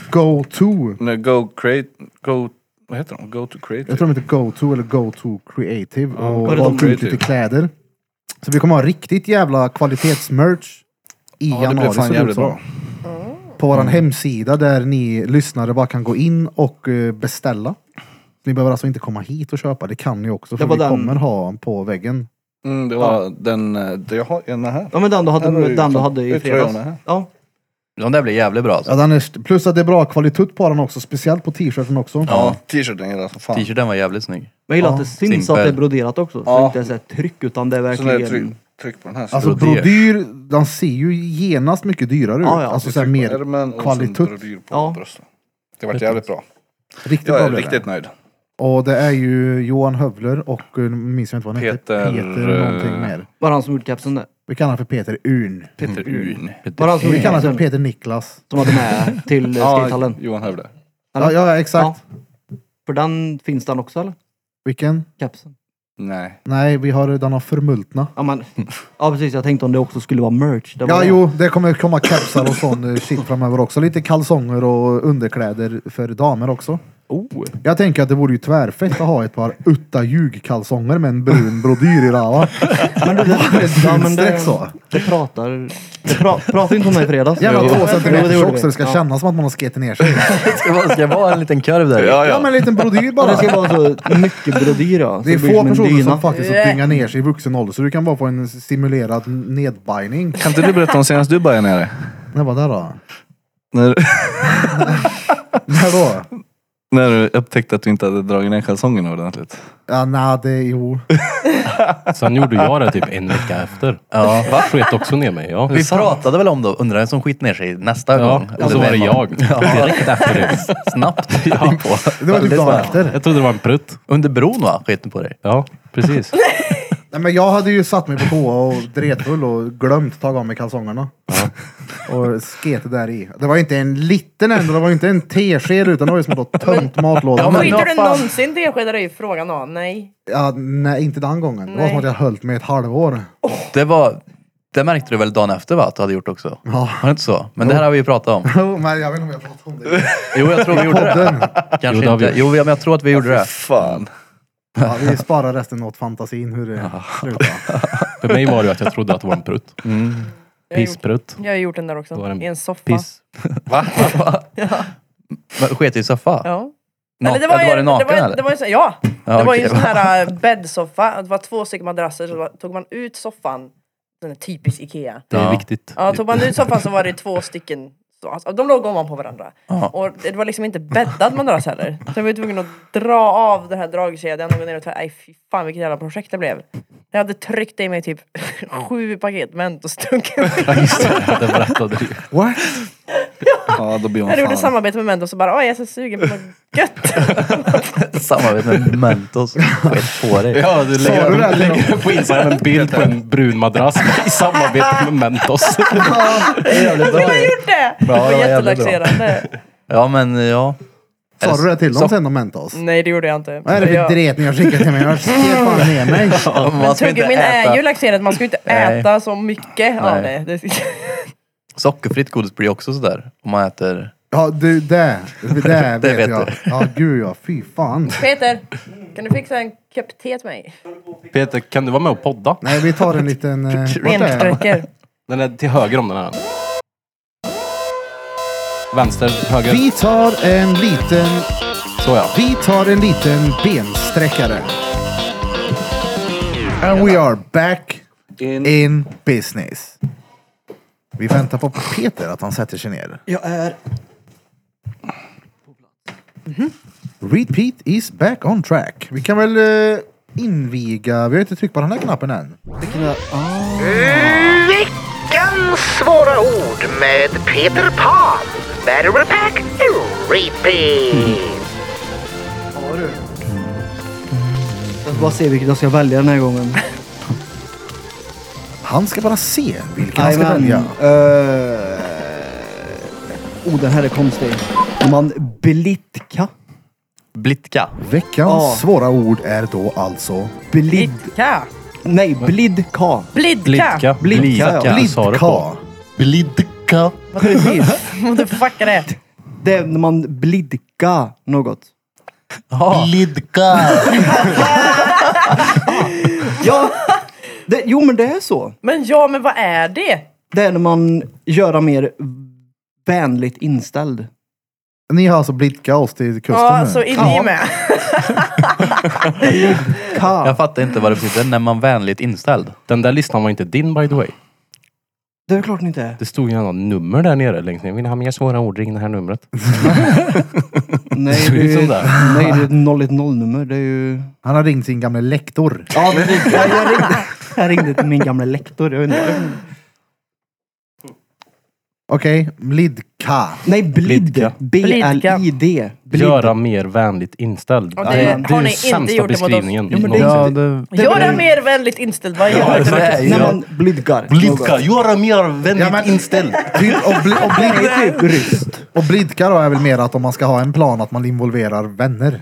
[SPEAKER 1] Go To.
[SPEAKER 3] Nu, Go create... Go... Vad heter de? Go to create.
[SPEAKER 1] Jag tror de heter Go To eller Go To Creative. Och
[SPEAKER 3] Var
[SPEAKER 1] var
[SPEAKER 3] det de typ?
[SPEAKER 1] de ut
[SPEAKER 3] creative?
[SPEAKER 1] lite kläder. Så vi kommer ha riktigt jävla kvalitetsmerch i
[SPEAKER 3] Ja, det
[SPEAKER 1] januari.
[SPEAKER 3] blev fan
[SPEAKER 1] ser det ut
[SPEAKER 3] jävligt
[SPEAKER 1] som.
[SPEAKER 3] bra. Mm.
[SPEAKER 1] på vår hemsida där ni lyssnare bara kan gå in och eh, beställa. Ni behöver alltså inte komma hit och köpa, det kan ni också för
[SPEAKER 4] Det var
[SPEAKER 1] vi
[SPEAKER 4] den-
[SPEAKER 1] kommer ha en på väggen.
[SPEAKER 3] Mm, det var den... eh, det- Jag har en här.
[SPEAKER 4] Ja men den du
[SPEAKER 3] Här har
[SPEAKER 4] hade,
[SPEAKER 3] du
[SPEAKER 4] den du
[SPEAKER 3] fan-
[SPEAKER 4] hade
[SPEAKER 3] det
[SPEAKER 4] i
[SPEAKER 3] är tröjorna
[SPEAKER 4] fredags.
[SPEAKER 3] här.
[SPEAKER 4] Ja.
[SPEAKER 6] De där blir jävligt bra
[SPEAKER 1] Ja,
[SPEAKER 6] alltså.
[SPEAKER 1] den är, st- plus att det är bra kvalitet på den också, speciellt på t-shirten också.
[SPEAKER 3] Ja, t-shirten gillar jag som fan.
[SPEAKER 6] T-shirten var jävligt snygg.
[SPEAKER 4] Men jag gillar att det syns
[SPEAKER 6] simpel.
[SPEAKER 4] att det är broderat också. Så
[SPEAKER 3] Ja.
[SPEAKER 4] det inte är så här tryck utan det är
[SPEAKER 3] Så när jag
[SPEAKER 4] verkligen...
[SPEAKER 3] tryck, tryck på den här. så-
[SPEAKER 1] Alltså
[SPEAKER 6] Brodyr.
[SPEAKER 1] brodyr, den ser ju genast mycket dyrare ut.
[SPEAKER 4] Ja, ja.
[SPEAKER 1] Alltså
[SPEAKER 3] Vi
[SPEAKER 1] så här,
[SPEAKER 3] trycker på
[SPEAKER 1] mer
[SPEAKER 3] ärmen och
[SPEAKER 1] kvalitet.
[SPEAKER 3] sen drar vi på
[SPEAKER 4] Ja.
[SPEAKER 3] bröstet. Det vart jävligt bra.
[SPEAKER 1] riktigt
[SPEAKER 3] Jag
[SPEAKER 1] bra
[SPEAKER 3] är
[SPEAKER 1] blev det.
[SPEAKER 3] riktigt nöjd.
[SPEAKER 1] Och det är ju Johan Hövler och, eh, nu minns jag inte vad han heter,
[SPEAKER 3] Peter,
[SPEAKER 1] Peter någonting
[SPEAKER 3] eh,
[SPEAKER 1] mer.
[SPEAKER 4] Var det han som gjorde kepsen där?
[SPEAKER 1] Vi kallar honom för Peter Urn.
[SPEAKER 3] Peter Uyn.
[SPEAKER 4] Var det han som
[SPEAKER 1] Vi
[SPEAKER 4] gjorde
[SPEAKER 1] kallar honom för
[SPEAKER 4] kepsen
[SPEAKER 1] Peter Niklas.
[SPEAKER 4] som hade med till eh,
[SPEAKER 3] <laughs> Ja,
[SPEAKER 4] skatehallen?
[SPEAKER 3] Johan Hövde.
[SPEAKER 1] Ja, ja exakt.
[SPEAKER 4] För den finns den också eller?
[SPEAKER 1] Vilken?
[SPEAKER 4] Kepsen?
[SPEAKER 3] Nej.
[SPEAKER 1] Nej, vi har den har förmultna.
[SPEAKER 4] Ja men... Ja precis, jag tänkte om det också skulle vara merch. Det var
[SPEAKER 1] Ja,
[SPEAKER 4] det.
[SPEAKER 1] jo, det kommer komma kepsar och sån eh, shit framöver också. Lite kalsonger och underkläder för damer också.
[SPEAKER 4] Oh.
[SPEAKER 1] Jag tänker att det vore ju tvärfett att ha ett par utta ljugkalsonger med en brun brodyr i rava.
[SPEAKER 4] Men du, det, ja, men
[SPEAKER 1] Streck
[SPEAKER 4] det,
[SPEAKER 1] så.
[SPEAKER 4] det pratar... Det pra, pratar inte om mig i fredags.
[SPEAKER 1] Jävla två centimeter
[SPEAKER 4] gjorde
[SPEAKER 1] tjock
[SPEAKER 4] vi.
[SPEAKER 1] så det ska
[SPEAKER 4] Ja.
[SPEAKER 1] kännas som att man har skitit ner sig.
[SPEAKER 6] Det ska vara, ska vara en liten kurv där.
[SPEAKER 3] Ja,
[SPEAKER 1] Ja,
[SPEAKER 3] ja.
[SPEAKER 1] men en liten brodyr
[SPEAKER 4] Ja,
[SPEAKER 1] bara.
[SPEAKER 4] det ska vara så mycket brodyr ja. Så
[SPEAKER 1] Det är
[SPEAKER 4] blir
[SPEAKER 1] få
[SPEAKER 4] som en
[SPEAKER 1] personer
[SPEAKER 4] dyna.
[SPEAKER 1] som faktiskt dyngar ner sig i vuxen ålder så du kan bara få en simulerad nedbindning.
[SPEAKER 3] Kan inte du berätta om senast du började ner dig?
[SPEAKER 1] När var det då?
[SPEAKER 3] När,
[SPEAKER 1] När då?
[SPEAKER 3] när du upptäckte att du inte hade dragit ner kalsongerna ordentligt.
[SPEAKER 1] Ja, nej, det, jo.
[SPEAKER 2] Sen gjorde jag det typ en vecka efter.
[SPEAKER 6] Ja.
[SPEAKER 2] Jag sket också ner mig. Ja.
[SPEAKER 6] Vi pratade väl om då, undrar vem som skit ner sig nästa
[SPEAKER 2] Ja,
[SPEAKER 6] gång?
[SPEAKER 2] och så var det
[SPEAKER 6] vem? <laughs>
[SPEAKER 2] jag. Direkt efter det.
[SPEAKER 6] Snabbt ja. <laughs> på.
[SPEAKER 1] Det var typ dagen efter.
[SPEAKER 2] Jag trodde det var en prutt.
[SPEAKER 6] Under bron va? Skit ni på dig?
[SPEAKER 2] Ja, precis.
[SPEAKER 1] Nej, men jag hade ju satt mig på toa och dretfull och glömt ta av mig kalsongerna. Och sket där i. Det var ju inte en liten ändå, det var ju inte en tesked utan det var ju som att ha tömt matlådan.
[SPEAKER 6] men-
[SPEAKER 5] Skiter du
[SPEAKER 6] vad fan?
[SPEAKER 5] någonsin teskedar är ju frågan då. Nej.
[SPEAKER 1] Ja, nej, inte den gången. Det var som
[SPEAKER 5] Nej.
[SPEAKER 1] att jag höll mig ett halvår.
[SPEAKER 6] Det var... Det märkte du väl dagen efter va? Att du hade gjort också?
[SPEAKER 1] Ja. <laughs>
[SPEAKER 6] Var det inte så? Men det här har vi ju pratat om.
[SPEAKER 1] Jo, men jag vet inte om jag pratat om <laughs> det.
[SPEAKER 6] Jo, jag tror vi gjorde det.
[SPEAKER 1] Podden.
[SPEAKER 2] Jo,
[SPEAKER 6] Kanske
[SPEAKER 2] det har vi
[SPEAKER 6] inte. Jo, men jag tror att vi
[SPEAKER 5] <laughs>
[SPEAKER 6] gjorde det.
[SPEAKER 3] Ah, Fan.
[SPEAKER 1] Ja, vi sparar resten åt fantasin hur det slutar.
[SPEAKER 2] För mig var det ju att jag trodde att det var en prutt.
[SPEAKER 5] Jag har gjort-
[SPEAKER 2] Pissprutt.
[SPEAKER 5] Jag har gjort den där också.
[SPEAKER 2] Då var den
[SPEAKER 5] I en soffa.
[SPEAKER 2] Piss.
[SPEAKER 6] Men sket i soffa?
[SPEAKER 5] Ja.
[SPEAKER 6] Nak-
[SPEAKER 5] Eller
[SPEAKER 6] var, det naken
[SPEAKER 5] det var,
[SPEAKER 6] eller?
[SPEAKER 5] Det var ju så, ja!
[SPEAKER 6] Ja,
[SPEAKER 5] det var ju en
[SPEAKER 6] okej.
[SPEAKER 5] sån här äh, bäddsoffa. Det var två stycken madrasser, så det var- tog man ut soffan, den är typisk Ikea.
[SPEAKER 2] Det är
[SPEAKER 6] Ja.
[SPEAKER 2] viktigt.
[SPEAKER 5] Ja, tog man ut soffan så var det två stycken då. Alltså, de låg ovanpå varandra.
[SPEAKER 6] Ja.
[SPEAKER 5] Och det var liksom inte bäddad madrass heller. Så jag var ju tvungen att dra av den här dragkedjan och gå ner och ta... Nej fy fan vilket jävla projekt det blev. Jag hade tryckt i mig typ <laughs> sju paket Mentos-dunk.
[SPEAKER 6] Det berättade du. <laughs>
[SPEAKER 1] What?
[SPEAKER 3] Ja, då blir man
[SPEAKER 5] Jag gjorde
[SPEAKER 3] fan...
[SPEAKER 5] samarbete med Mentos och bara åh jag är så sugen på något gött. <laughs>
[SPEAKER 6] Samarbete med Mentos. Skit på dig.
[SPEAKER 2] Ja, du
[SPEAKER 1] Sa du <laughs> det
[SPEAKER 2] lägger,
[SPEAKER 1] till
[SPEAKER 2] lägger upp på Instagram en bild på en brun madrass i samarbete med Mentos.
[SPEAKER 6] Det är jävligt
[SPEAKER 5] Jag
[SPEAKER 6] bra.
[SPEAKER 5] har gjort det!
[SPEAKER 6] Bra,
[SPEAKER 5] det var
[SPEAKER 6] det var jävligt bra.
[SPEAKER 5] jättelaxerande.
[SPEAKER 6] Ja men ja.
[SPEAKER 1] Sa du det till
[SPEAKER 6] Så-
[SPEAKER 1] dem sen om Mentos?
[SPEAKER 5] Nej det gjorde jag inte.
[SPEAKER 1] Vad är det
[SPEAKER 5] Jag-
[SPEAKER 1] för dret ni har skickat till mig? Jag <laughs> ser fan ner mig.
[SPEAKER 6] Man ska inte
[SPEAKER 5] Tuggummin är ju
[SPEAKER 6] äta.
[SPEAKER 5] laxerat, man ska ju inte
[SPEAKER 6] Nej.
[SPEAKER 5] äta så mycket av
[SPEAKER 6] Nej.
[SPEAKER 5] det. det. <laughs>
[SPEAKER 6] Sockerfritt godis blir också sådär. Om man äter.
[SPEAKER 1] Ja, du, <laughs> det. Det
[SPEAKER 6] Det vet
[SPEAKER 1] vet jag.
[SPEAKER 6] du.
[SPEAKER 1] Ja, gud ja. Fy fan.
[SPEAKER 5] Peter, kan du fixa en kopp te till mig?
[SPEAKER 2] Peter, kan du vara med och podda?
[SPEAKER 1] Nej, vi tar en liten... Eh, vart är det?
[SPEAKER 5] Bensträcker.
[SPEAKER 2] Den är till höger om den här. Vänster, höger.
[SPEAKER 1] Vi tar en liten...
[SPEAKER 2] Så ja.
[SPEAKER 1] Vi tar en liten bensträckare. And we are back in, business. Vi väntar på Peter att han sätter sig ner.
[SPEAKER 4] Jag är...
[SPEAKER 1] Repeat is back on track. Vi kan väl eh, inviga... Vi har inte tryckt på den här knappen än.
[SPEAKER 7] Veckans svåra ord med Peter Pan. Battery Pack Repeat.
[SPEAKER 4] Jag ska bara se vilket jag ska välja den här gången.
[SPEAKER 1] Han ska bara se vilken han ska
[SPEAKER 4] Jajamän.
[SPEAKER 1] välja.
[SPEAKER 4] Eh, oh, den här är konstig. Om Man blitka.
[SPEAKER 6] Blitka.
[SPEAKER 1] Veckans
[SPEAKER 4] Ja.
[SPEAKER 1] svåra ord är då alltså...
[SPEAKER 4] Blid...
[SPEAKER 5] Blidka.
[SPEAKER 4] Nej, blidka.
[SPEAKER 5] Blidka. <laughs>
[SPEAKER 2] Blidka. Blidka.
[SPEAKER 4] ja.
[SPEAKER 2] Blidka. Sa du på.
[SPEAKER 1] Lidka.
[SPEAKER 6] Blidka.
[SPEAKER 4] Precis.
[SPEAKER 5] Motherfucker det.
[SPEAKER 4] Det är när man blidka något.
[SPEAKER 6] Blidka.
[SPEAKER 4] <laughs> Ja, det, jo men det är så.
[SPEAKER 5] Men ja, men vad är det?
[SPEAKER 4] Det är när man gör mer vänligt inställd.
[SPEAKER 1] Ni har alltså blidkat oss till kusten
[SPEAKER 5] Ja,
[SPEAKER 1] nu?
[SPEAKER 5] så in i med.
[SPEAKER 4] Ka.
[SPEAKER 6] Jag fattar inte vad det betyder. När man vänligt inställd.
[SPEAKER 2] Den där listan var inte din by the way.
[SPEAKER 4] Det är klart det inte är.
[SPEAKER 2] Det stod ju något nummer där nere längst ner. Vill ni ha mer svåra ord? Ring det här numret.
[SPEAKER 4] Nej,
[SPEAKER 2] ser
[SPEAKER 4] det
[SPEAKER 2] ut
[SPEAKER 4] är,
[SPEAKER 2] som det.
[SPEAKER 4] nej, det är ett 010-nummer. Det är ju...
[SPEAKER 1] Han har ringt sin gamla lektor.
[SPEAKER 4] Ja, det är, jag, jag, ringde, jag ringde till min gamla lektor. Jag undrar.
[SPEAKER 1] Okej, blidka.
[SPEAKER 4] Nej, blid.
[SPEAKER 2] Blidka.
[SPEAKER 4] B-L-I-D. Blid.
[SPEAKER 2] Göra mer vänligt inställd.
[SPEAKER 5] Ja, det
[SPEAKER 2] är-
[SPEAKER 5] har
[SPEAKER 2] är
[SPEAKER 5] ni
[SPEAKER 2] ju
[SPEAKER 5] inte
[SPEAKER 2] sämsta
[SPEAKER 5] gjort det mot oss.
[SPEAKER 2] beskrivningen.
[SPEAKER 4] Ja, men det är
[SPEAKER 2] någonsin.
[SPEAKER 4] inte-
[SPEAKER 6] det...
[SPEAKER 5] Gör den mer vänligt inställd. Vad gör
[SPEAKER 6] det
[SPEAKER 5] det?
[SPEAKER 6] är ju-
[SPEAKER 4] När man blidgar.
[SPEAKER 2] Blidka. Göra mer vänligt inställd.
[SPEAKER 1] <laughs> Typ, och, bli, och,
[SPEAKER 4] Det
[SPEAKER 1] blid,
[SPEAKER 4] är typ ryst.
[SPEAKER 1] och blidka då är väl mer att om man ska ha en plan att man involverar vänner.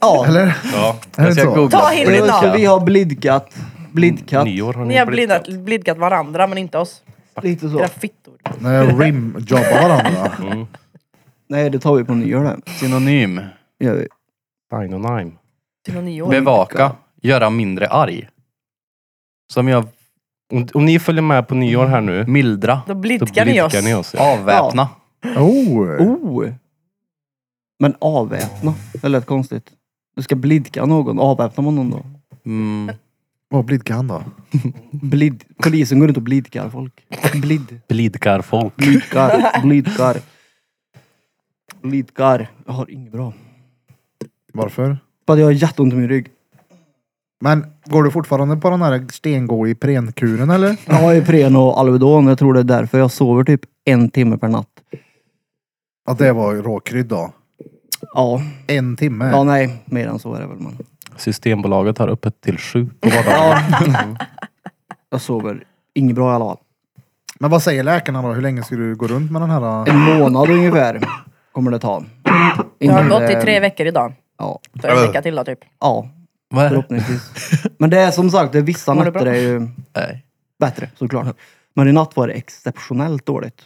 [SPEAKER 4] Ja.
[SPEAKER 1] Eller?
[SPEAKER 6] Ja.
[SPEAKER 1] Är det
[SPEAKER 6] Jag ska
[SPEAKER 1] så?
[SPEAKER 6] googla.
[SPEAKER 5] Ta hit
[SPEAKER 4] Då
[SPEAKER 5] Blidka.
[SPEAKER 4] ska vi ha blidkat. Blidkat.
[SPEAKER 2] Nyår har
[SPEAKER 5] Ni har
[SPEAKER 2] ni
[SPEAKER 5] blidkat, blidkat varandra, men inte oss.
[SPEAKER 4] Lite så.
[SPEAKER 5] Era fittor.
[SPEAKER 1] När rimjobbar varandra.
[SPEAKER 2] Mm.
[SPEAKER 4] Nej, det tar vi på nyår det.
[SPEAKER 6] Synonym.
[SPEAKER 4] Gör vi.
[SPEAKER 2] Dinonym.
[SPEAKER 5] Till någon nyår.
[SPEAKER 6] Bevaka. Göra mindre arg. Som jag
[SPEAKER 2] Om, om ni följer med på nyår här nu,
[SPEAKER 6] mildra.
[SPEAKER 5] Då
[SPEAKER 2] då
[SPEAKER 5] blidkar ni oss.
[SPEAKER 2] blidkar ni oss. ja.
[SPEAKER 6] Avväpna.
[SPEAKER 1] Oh.
[SPEAKER 4] Oh! Men avväpna. Det lät konstigt. Du ska blidka någon. Avväpnar man någon då?
[SPEAKER 6] Mm.
[SPEAKER 1] Vad blidka han då?
[SPEAKER 4] Blid. Polisen går inte och blidkar folk. Blid.
[SPEAKER 2] Blidkar folk.
[SPEAKER 4] Blidkar. Blidkar. Blidkar. Jag har inget bra.
[SPEAKER 1] Varför?
[SPEAKER 4] Bara jag har jätteont i min rygg.
[SPEAKER 1] Men går du fortfarande på den här stengå i prenkuren eller?
[SPEAKER 4] Jag har Ipren och Alvedon. Jag tror det är därför jag sover typ en timme per natt.
[SPEAKER 1] Att det var råkrydd då.
[SPEAKER 4] Ja.
[SPEAKER 1] En timme.
[SPEAKER 4] Ja, nej. Mer än så är det väl man.
[SPEAKER 2] Systembolaget har öppet till sju på vardagen.
[SPEAKER 4] Ja. <laughs> Jag sover inget bra i alla fall.
[SPEAKER 1] Men vad säger läkarna då? Hur länge ska du gå runt med den här? eh,
[SPEAKER 4] En månad ungefär kommer det ta.
[SPEAKER 5] Det har gått i tre veckor idag.
[SPEAKER 4] Ja.
[SPEAKER 5] Så en vecka till då typ.
[SPEAKER 4] Ja.
[SPEAKER 6] Vad är det?
[SPEAKER 4] Förhoppningsvis. Men det är som sagt, det är vissa
[SPEAKER 5] Mår du
[SPEAKER 4] nätter
[SPEAKER 5] bra?
[SPEAKER 4] är ju
[SPEAKER 6] Nej.
[SPEAKER 4] bättre såklart. Men i natt var det exceptionellt dåligt.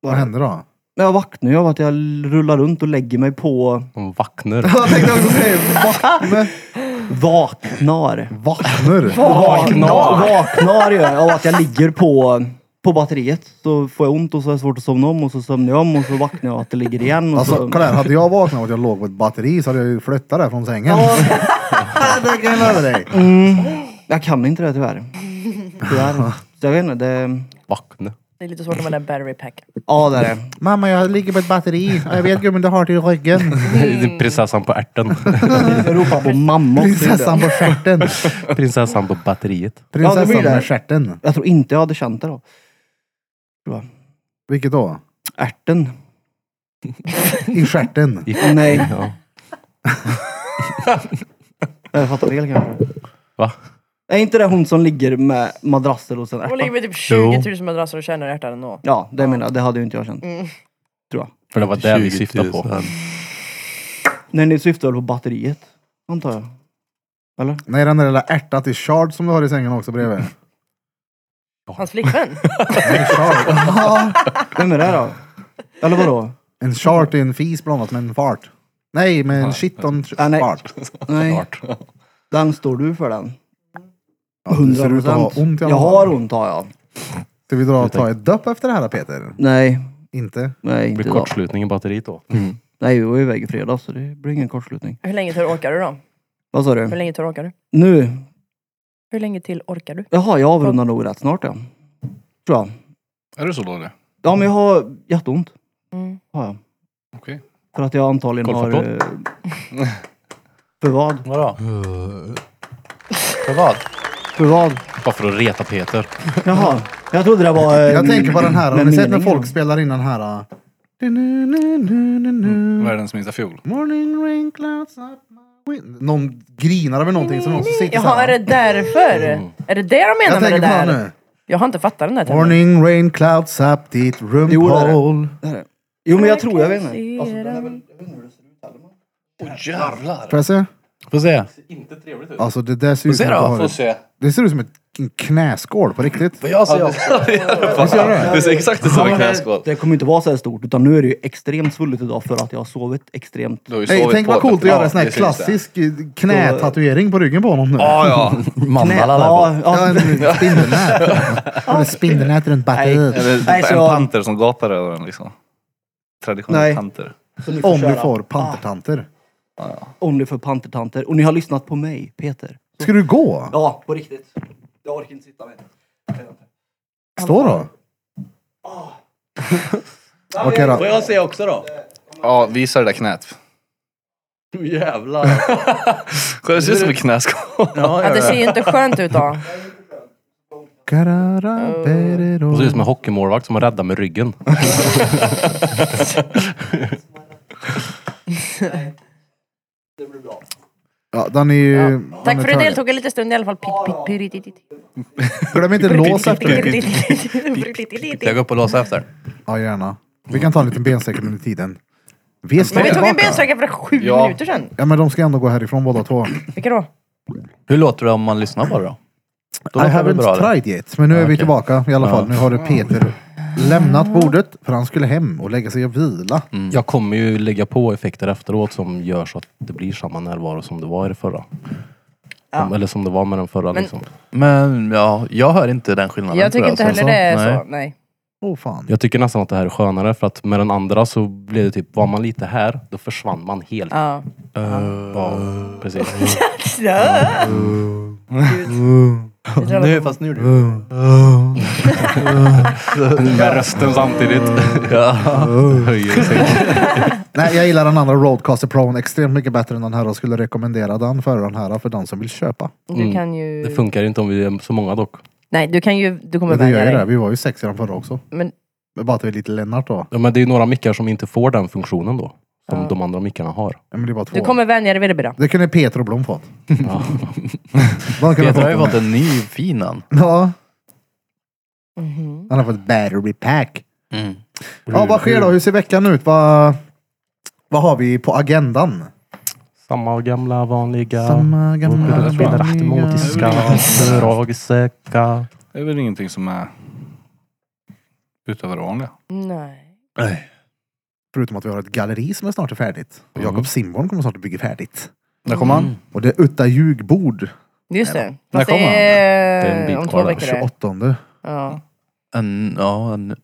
[SPEAKER 1] Vad händer
[SPEAKER 4] <laughs>
[SPEAKER 1] då?
[SPEAKER 4] Men jag vaknar ju av att jag rullar runt och lägger mig på...
[SPEAKER 2] De vacknar.
[SPEAKER 1] Jag tänkte också säga vakna.
[SPEAKER 4] Vaknar. <laughs>
[SPEAKER 1] Vaknar.
[SPEAKER 4] Vaknar! Vaknar gör jag av att jag ligger på, på batteriet. Så får jag ont och så är det svårt att somna om och så somnar jag om och så vaknar jag av att det ligger igen. Och
[SPEAKER 1] Alltså
[SPEAKER 4] så...
[SPEAKER 1] kolla här, hade jag vaknat av att jag låg på ett batteri så hade jag ju flyttat där från sängen. <laughs> det kan jag lova dig.
[SPEAKER 4] Jag kan inte det tyvärr. Tyvärr. Så jag vet inte, det...
[SPEAKER 2] Vackna.
[SPEAKER 5] Det är lite svårt med den där battery pack.
[SPEAKER 4] Ja, det är det.
[SPEAKER 1] Mamma, jag ligger på ett batteri. Jag vet gumman, du har det i ryggen.
[SPEAKER 5] Mm.
[SPEAKER 2] Det är Prinsessan på ärten. <laughs>
[SPEAKER 1] Mm.
[SPEAKER 4] Jag ropar på mamma också.
[SPEAKER 1] Prinsessan på stjärten.
[SPEAKER 2] Prinsessan på batteriet.
[SPEAKER 4] Ja, det blir
[SPEAKER 1] Prinsessan
[SPEAKER 4] det.
[SPEAKER 1] med stjärten.
[SPEAKER 4] Jag tror inte jag hade känt det då. Tror jag.
[SPEAKER 1] Vilket då?
[SPEAKER 4] Ärten.
[SPEAKER 1] I stjärten.
[SPEAKER 4] Nej,
[SPEAKER 2] Ja.
[SPEAKER 4] jag fattar fel kanske.
[SPEAKER 2] Va?
[SPEAKER 4] Är inte det hon som ligger med madrasser och sen
[SPEAKER 5] Och ligger
[SPEAKER 4] ärtan?
[SPEAKER 5] med typ 20 000 madrasser och känner hjärtat ändå.
[SPEAKER 4] Ja, det menar jag. Det hade ju inte jag känt.
[SPEAKER 5] Mm.
[SPEAKER 4] Tror jag.
[SPEAKER 2] För det var det vi
[SPEAKER 6] 20
[SPEAKER 2] syftade
[SPEAKER 6] 000.
[SPEAKER 2] på.
[SPEAKER 4] Nej, ni syftar väl på batteriet? Antar jag. Eller?
[SPEAKER 1] Nej, den där lilla ärtan till Shard som du har i sängen också bredvid.
[SPEAKER 5] Hans flickvän.
[SPEAKER 1] En Shard.
[SPEAKER 4] <laughs> Vem är det då? Eller vadå?
[SPEAKER 1] En Shard är en fis blandat med en fart. Nej, med en shit on
[SPEAKER 4] Ah, nej.
[SPEAKER 1] fart.
[SPEAKER 4] Nej. Den står du för den.
[SPEAKER 1] Ja, du
[SPEAKER 4] Hundra
[SPEAKER 1] ser ut att ha
[SPEAKER 4] procent.
[SPEAKER 1] ont i
[SPEAKER 4] Jag
[SPEAKER 1] alla fall.
[SPEAKER 4] har ont har jag.
[SPEAKER 1] Ska vi dra och ta ett dopp efter det här Peter?
[SPEAKER 4] Nej,
[SPEAKER 1] Inte?
[SPEAKER 4] nej
[SPEAKER 2] Det
[SPEAKER 4] inte
[SPEAKER 2] blir
[SPEAKER 4] idag.
[SPEAKER 2] kortslutning i batteriet då.
[SPEAKER 4] Nej, vi var ju iväg i fredags så det blir ingen kortslutning.
[SPEAKER 5] Hur länge till orkar du då?
[SPEAKER 4] Vad sa
[SPEAKER 5] Hur
[SPEAKER 4] du?
[SPEAKER 5] länge till orkar du?
[SPEAKER 4] Nu?
[SPEAKER 5] Hur länge till orkar du?
[SPEAKER 4] Jaha, jag avrundar nog rätt snart ja. Tror jag.
[SPEAKER 3] Är du så dålig?
[SPEAKER 4] Ja, men jag har jätteont.
[SPEAKER 5] Mm.
[SPEAKER 4] Har jag.
[SPEAKER 3] Okej.
[SPEAKER 4] För att jag antagligen har...
[SPEAKER 2] Golfapplåd?
[SPEAKER 4] eh, För vad?
[SPEAKER 6] Vadå? För vad?
[SPEAKER 4] För vad?
[SPEAKER 2] Bara för att reta Peter.
[SPEAKER 4] Jaha, jag trodde det var... eh,
[SPEAKER 1] Jag tänker på den här, har
[SPEAKER 4] med
[SPEAKER 1] ni sett när
[SPEAKER 4] meningen.
[SPEAKER 1] folk spelar in den här? uh,
[SPEAKER 5] Mm.
[SPEAKER 1] du-nu-nu-nu-nu-nu,
[SPEAKER 3] Världens minsta fiol.
[SPEAKER 1] Morning rain clouds up my wind. Någon grinar över någonting som någon som sitter
[SPEAKER 5] Jaha, är det därför? Är det det de menar
[SPEAKER 1] Jag
[SPEAKER 5] med det
[SPEAKER 1] tänker på
[SPEAKER 5] där?
[SPEAKER 1] den nu.
[SPEAKER 5] Jag har inte fattat den där termen.
[SPEAKER 1] Morning rain clouds up ditt room
[SPEAKER 4] Jo, det är det.
[SPEAKER 1] hole.
[SPEAKER 4] Jo, men jag tror, jag vet inte.
[SPEAKER 5] Se dem.
[SPEAKER 1] Får jag se?
[SPEAKER 6] Får se.
[SPEAKER 1] Alltså det där ser ut
[SPEAKER 6] se
[SPEAKER 1] som att
[SPEAKER 6] då,
[SPEAKER 1] du har
[SPEAKER 6] får
[SPEAKER 1] ett- Det ser ut som ett en knäskål på riktigt.
[SPEAKER 6] Får jag se också?
[SPEAKER 3] Det ser exakt ut som en knäskål.
[SPEAKER 4] Det kommer inte vara så här stort, utan nu är det ju extremt svullet idag för att jag har sovit extremt.
[SPEAKER 3] Du har ju
[SPEAKER 1] Hey,
[SPEAKER 3] sovit
[SPEAKER 1] tänk
[SPEAKER 3] på
[SPEAKER 1] vad coolt att
[SPEAKER 3] det.
[SPEAKER 1] göra
[SPEAKER 3] Ja,
[SPEAKER 1] en sån här
[SPEAKER 3] precis det.
[SPEAKER 1] klassisk eh, knätatuering på ryggen på honom nu.
[SPEAKER 3] Ja, ja.
[SPEAKER 6] Mandala där på.
[SPEAKER 4] ja,
[SPEAKER 1] Ja,
[SPEAKER 4] ja.
[SPEAKER 1] en spindelnät. Eller spindelnät runt batteriet.
[SPEAKER 3] Eller typ
[SPEAKER 4] Nej, så-
[SPEAKER 3] en panter som gapar över den liksom. Traditionell
[SPEAKER 4] Nej.
[SPEAKER 3] panter.
[SPEAKER 4] Så ni får
[SPEAKER 1] Om du
[SPEAKER 4] köra. Ah.
[SPEAKER 1] får pantertanter.
[SPEAKER 4] Only för pantertanter. Och ni har lyssnat på mig, Peter.
[SPEAKER 1] Ska du gå?
[SPEAKER 4] Ja, på riktigt. Jag orkar inte sitta med.
[SPEAKER 1] Stå då. Okej
[SPEAKER 6] Får
[SPEAKER 1] då.
[SPEAKER 6] jag se också då?
[SPEAKER 3] Ja, visa det där knät.
[SPEAKER 6] Oh, jävlar.
[SPEAKER 3] <laughs> Kolla, det ser ut som en knäskål.
[SPEAKER 6] Ja,
[SPEAKER 5] Ja,
[SPEAKER 6] ja,
[SPEAKER 5] det ser
[SPEAKER 6] ja.
[SPEAKER 5] ju inte skönt ut <laughs> då.
[SPEAKER 1] Karara, berero.
[SPEAKER 2] Hon ser ut som en hockeymålvakt som har räddat med ryggen.
[SPEAKER 1] Ja, den är ju... den är
[SPEAKER 5] Tack för att du
[SPEAKER 1] trög.
[SPEAKER 5] deltog en liten stund i alla fall. Pip, pip, pip,
[SPEAKER 1] Glöm inte lås efter dig.
[SPEAKER 6] Jag går upp och låser efter.
[SPEAKER 1] Ja, gärna. Vi kan ta en liten bensträckning under tiden. Vi är
[SPEAKER 5] Men vi tog en
[SPEAKER 1] tillbaka.
[SPEAKER 5] bensträcka för sju
[SPEAKER 3] Ja.
[SPEAKER 5] minuter sedan.
[SPEAKER 1] Ja, men de ska ändå gå härifrån båda två.
[SPEAKER 5] Vilka då?
[SPEAKER 6] Hur låter det om man lyssnar på det då? Då
[SPEAKER 1] I
[SPEAKER 6] låter det väl
[SPEAKER 1] haven't
[SPEAKER 6] bra,
[SPEAKER 1] tried yet, men nu är vi
[SPEAKER 6] okej.
[SPEAKER 1] tillbaka i alla fall. Nu har Peter lämnat bordet för han skulle hem och lägga sig och vila.
[SPEAKER 2] Jag kommer ju lägga på effekter efteråt som gör så att det blir samma närvaro som det var i det förra. Som, eller som det var med den förra
[SPEAKER 5] Men-
[SPEAKER 2] liksom.
[SPEAKER 6] det. Men ja, jag hör inte den skillnaden.
[SPEAKER 5] Jag
[SPEAKER 6] tror
[SPEAKER 5] tycker inte
[SPEAKER 6] alltså.
[SPEAKER 5] heller det är
[SPEAKER 6] Nej.
[SPEAKER 5] så. Nej.
[SPEAKER 1] Åh fan.
[SPEAKER 2] Jag tycker nästan att det här är skönare för att med den andra så blev det typ, var man lite här, då försvann man helt.
[SPEAKER 5] Ja.
[SPEAKER 2] Ja, precis.
[SPEAKER 6] Nu, fast nu är det...
[SPEAKER 2] Med rösten samtidigt. Höjer sig.
[SPEAKER 1] Nej, jag gillar den andra Roadcaster Pro extremt mycket bättre än den här och skulle rekommendera den före den här för den som vill köpa.
[SPEAKER 5] Du kan ju...
[SPEAKER 2] Det funkar inte om vi är så många dock.
[SPEAKER 5] Nej, du kan ju... Du kommer
[SPEAKER 1] Men det gör ju
[SPEAKER 5] vänja
[SPEAKER 1] det.
[SPEAKER 5] dig.
[SPEAKER 1] Vi var ju sex i den förra också.
[SPEAKER 5] Men
[SPEAKER 1] Men bara att vi är lite Lennart då.
[SPEAKER 2] Ja, men det är ju några mickar som inte får den funktionen då. Som de andra
[SPEAKER 1] <laughs>
[SPEAKER 2] mickarna har.
[SPEAKER 1] Ja, men det är bara två.
[SPEAKER 5] du kommer vänja dig vid det Bira.
[SPEAKER 1] Det kunde Peter och Blom fått. De kunde
[SPEAKER 6] Peter har ju
[SPEAKER 1] fått
[SPEAKER 6] fått
[SPEAKER 1] den.
[SPEAKER 6] en ny fin han.
[SPEAKER 1] Ja. Han har fått battery pack. Ja, vad sker då? Hur ser veckan ut? Vad, vad har vi på agendan?
[SPEAKER 2] Samma gamla vanliga.
[SPEAKER 1] Samma gamla
[SPEAKER 2] Och spelar
[SPEAKER 1] vanliga.
[SPEAKER 2] automotiska fördragsöka.
[SPEAKER 3] Det är väl ingenting som är utöver det vanliga.
[SPEAKER 5] Nej.
[SPEAKER 1] Förutom att vi har ett galleri som är snart är färdigt.
[SPEAKER 3] Mm.
[SPEAKER 1] Och Jakob Simborn kommer snart att bygga färdigt.
[SPEAKER 3] Där kommer han.
[SPEAKER 1] Och det är Utta ljugbord
[SPEAKER 5] Just det.
[SPEAKER 3] När
[SPEAKER 5] Fast det
[SPEAKER 3] kommer han?
[SPEAKER 2] Det är en
[SPEAKER 5] är
[SPEAKER 2] bit
[SPEAKER 5] om två
[SPEAKER 2] kvar där.
[SPEAKER 5] veckor. det.
[SPEAKER 1] 28.
[SPEAKER 5] Ja.
[SPEAKER 6] En, ja, en,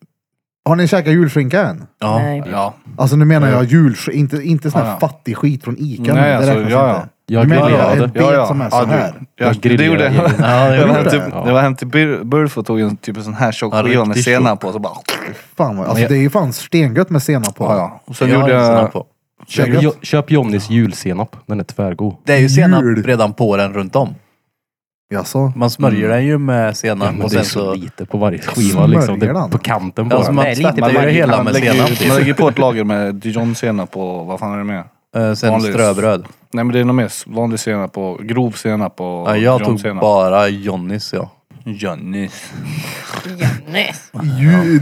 [SPEAKER 1] Har ni käkat julskinka än?
[SPEAKER 6] ja.
[SPEAKER 5] Nej.
[SPEAKER 3] Ja.
[SPEAKER 1] Alltså nu menar jag julskinka, inte, inte sån här
[SPEAKER 3] Ja, ja.
[SPEAKER 1] fattig skit från Ica.
[SPEAKER 3] Nej,
[SPEAKER 1] det
[SPEAKER 3] alltså,
[SPEAKER 1] räknas
[SPEAKER 3] ja,
[SPEAKER 1] inte.
[SPEAKER 2] Jag
[SPEAKER 1] menar
[SPEAKER 2] grillerade.
[SPEAKER 1] ett- bit som är så
[SPEAKER 3] du-
[SPEAKER 1] här.
[SPEAKER 2] Jag
[SPEAKER 3] Ja, <laughs> det
[SPEAKER 2] grillar
[SPEAKER 3] gjorde jag.
[SPEAKER 2] igen.
[SPEAKER 6] Ja, det
[SPEAKER 3] Jag var
[SPEAKER 6] gjorde
[SPEAKER 3] hem till,
[SPEAKER 2] det. Ja.
[SPEAKER 3] jag var hem till Bur- Burf och tog en typ en sån här tjock
[SPEAKER 6] Ja,
[SPEAKER 3] skiva med
[SPEAKER 6] riktigt
[SPEAKER 3] senap på. Så bara...
[SPEAKER 1] Fan vad, alltså
[SPEAKER 2] jag-
[SPEAKER 1] det är ju fan stengött med senap på.
[SPEAKER 3] Ja, ja. Och sen
[SPEAKER 6] Jag
[SPEAKER 3] gjorde
[SPEAKER 6] har en sån här
[SPEAKER 3] jag...
[SPEAKER 6] på.
[SPEAKER 2] Köp, jo, köp Johnnys julsenap. Den är tvärgod.
[SPEAKER 6] Det är ju senap
[SPEAKER 1] Jul.
[SPEAKER 6] redan på den runt om.
[SPEAKER 1] Jaså?
[SPEAKER 6] Man smörjer den ju med
[SPEAKER 2] Ja,
[SPEAKER 6] senap
[SPEAKER 2] men
[SPEAKER 6] och
[SPEAKER 2] det är
[SPEAKER 6] sen
[SPEAKER 2] så,
[SPEAKER 6] så...
[SPEAKER 2] lite på varje skiva liksom. Det,
[SPEAKER 1] Smörjer den?
[SPEAKER 2] på kanten bara.
[SPEAKER 6] Ja, så man tvättar ju det hela med
[SPEAKER 3] lägger,
[SPEAKER 6] senap.
[SPEAKER 3] man lägger på ett lager med dijonsenap och vad fan är det mer?
[SPEAKER 6] Eh, Sen
[SPEAKER 3] Vanlig-
[SPEAKER 6] ströbröd.
[SPEAKER 3] Nej men det är nog mer vanlig senap och grov senap och
[SPEAKER 6] Ja, jag tog
[SPEAKER 3] dijonsenap.
[SPEAKER 6] bara Johnnys ja.
[SPEAKER 3] Johnny's.
[SPEAKER 5] Jannis.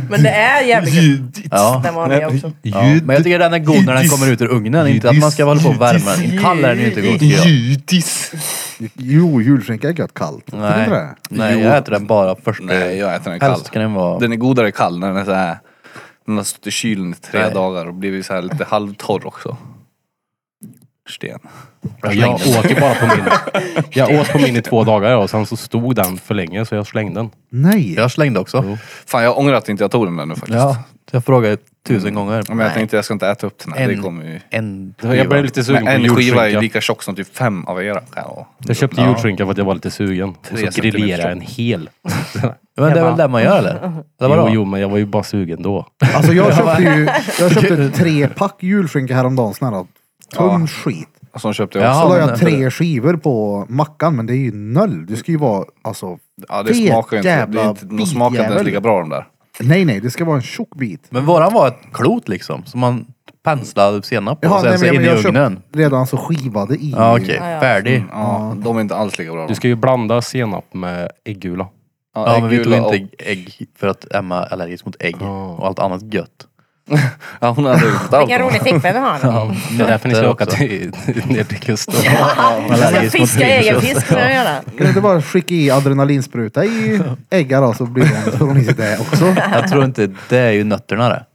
[SPEAKER 5] Men det är jävligt gött.
[SPEAKER 6] Ja.
[SPEAKER 5] Den vanliga också.
[SPEAKER 6] Ja. Men jag tycker den är god när den kommer ut ur ugnen. Inte att man ska hålla på och värma den. Kall är den ju inte god tycker jag.
[SPEAKER 3] Judis.
[SPEAKER 1] Jo, julskinka är gött kallt. Tycker du
[SPEAKER 6] Nej.
[SPEAKER 1] inte det?
[SPEAKER 6] Nej, jag äter den bara första.
[SPEAKER 3] Nej jag äter den kall.
[SPEAKER 6] Helst kan den vara...
[SPEAKER 3] Den är godare kall när den är så här. Den har stått i kylen i tre
[SPEAKER 6] Nej.
[SPEAKER 3] dagar och blivit så här lite halvtorr också. Sten.
[SPEAKER 2] Ja, jag åt ju bara på min.
[SPEAKER 6] <laughs>
[SPEAKER 2] Jag åt på min i två dagar ja, och sen så stod den för länge så jag slängde den.
[SPEAKER 1] Nej.
[SPEAKER 6] Jag slängde också.
[SPEAKER 3] Fan jag ångrar att inte jag tog den där nu faktiskt.
[SPEAKER 6] Ja, jag frågade tusen gånger.
[SPEAKER 3] Men jag tänkte jag ska inte äta upp den här. Det
[SPEAKER 6] En-
[SPEAKER 3] kommer ju...
[SPEAKER 6] En
[SPEAKER 2] Jag blev lite sugen
[SPEAKER 3] Men
[SPEAKER 2] på
[SPEAKER 3] en skiva är
[SPEAKER 2] julskinka.
[SPEAKER 3] lika tjock som typ fem av era. Ja.
[SPEAKER 2] Jag köpte julskinka för att jag var lite sugen. Och
[SPEAKER 3] Tre
[SPEAKER 2] så grillade
[SPEAKER 3] centimeter.
[SPEAKER 2] jag en hel.
[SPEAKER 6] Men det är
[SPEAKER 2] Jag
[SPEAKER 6] väl
[SPEAKER 2] bara-
[SPEAKER 6] det man gör eller? Det var
[SPEAKER 2] Jo,
[SPEAKER 6] då.
[SPEAKER 2] jo, men jag var ju bara sugen då.
[SPEAKER 1] Alltså
[SPEAKER 6] <laughs>
[SPEAKER 1] jag köpte ju jag köpte tre pack julskinka häromdagen. Sån här tung
[SPEAKER 3] Ja.
[SPEAKER 1] skit.
[SPEAKER 3] Och så köpte
[SPEAKER 6] Ja,
[SPEAKER 3] jag
[SPEAKER 1] Så
[SPEAKER 3] också.
[SPEAKER 1] la
[SPEAKER 6] men-
[SPEAKER 1] jag tre skivor på mackan, men det är ju noll. Det ska ju vara alltså...
[SPEAKER 3] Ja det
[SPEAKER 1] fet
[SPEAKER 3] smakar ju inte. Det
[SPEAKER 1] jävla
[SPEAKER 3] är inte de smakar inte ens
[SPEAKER 1] bitjävel.
[SPEAKER 3] lika bra de där.
[SPEAKER 1] Nej, nej, det ska vara en tjock bit.
[SPEAKER 6] Men våran var ett klot liksom. Som man penslade senap på.
[SPEAKER 1] Jaha,
[SPEAKER 6] och sen
[SPEAKER 1] nej,
[SPEAKER 6] så alltså
[SPEAKER 1] men-
[SPEAKER 6] in i
[SPEAKER 1] men jag köpte
[SPEAKER 6] ugnen.
[SPEAKER 1] redan så skivade i.
[SPEAKER 6] Ja okej,
[SPEAKER 5] Ja, ja.
[SPEAKER 6] färdig.
[SPEAKER 3] Ja, de är inte alls lika bra.
[SPEAKER 2] Du ska ju blanda senap med äggula.
[SPEAKER 6] Ja men vi tog
[SPEAKER 3] äggula
[SPEAKER 6] inte ägg för att Emma är allergisk mot ägg och allt annat gött.
[SPEAKER 3] och- Ja, hon hade ju fått allt.
[SPEAKER 5] Vilken rolig flickvän du har.
[SPEAKER 2] Det är därför ni ska
[SPEAKER 6] Nötter
[SPEAKER 2] åka
[SPEAKER 6] också.
[SPEAKER 2] till, <laughs> ner till kusten.
[SPEAKER 6] <laughs>
[SPEAKER 5] Jag ska fiska egen fisk kan jag göra.
[SPEAKER 1] Kan du inte bara skicka i adrenalinspruta
[SPEAKER 6] <laughs>
[SPEAKER 1] i äggar då så blir de, får de i sig det också?
[SPEAKER 6] Jag tror inte, det är ju nötterna det.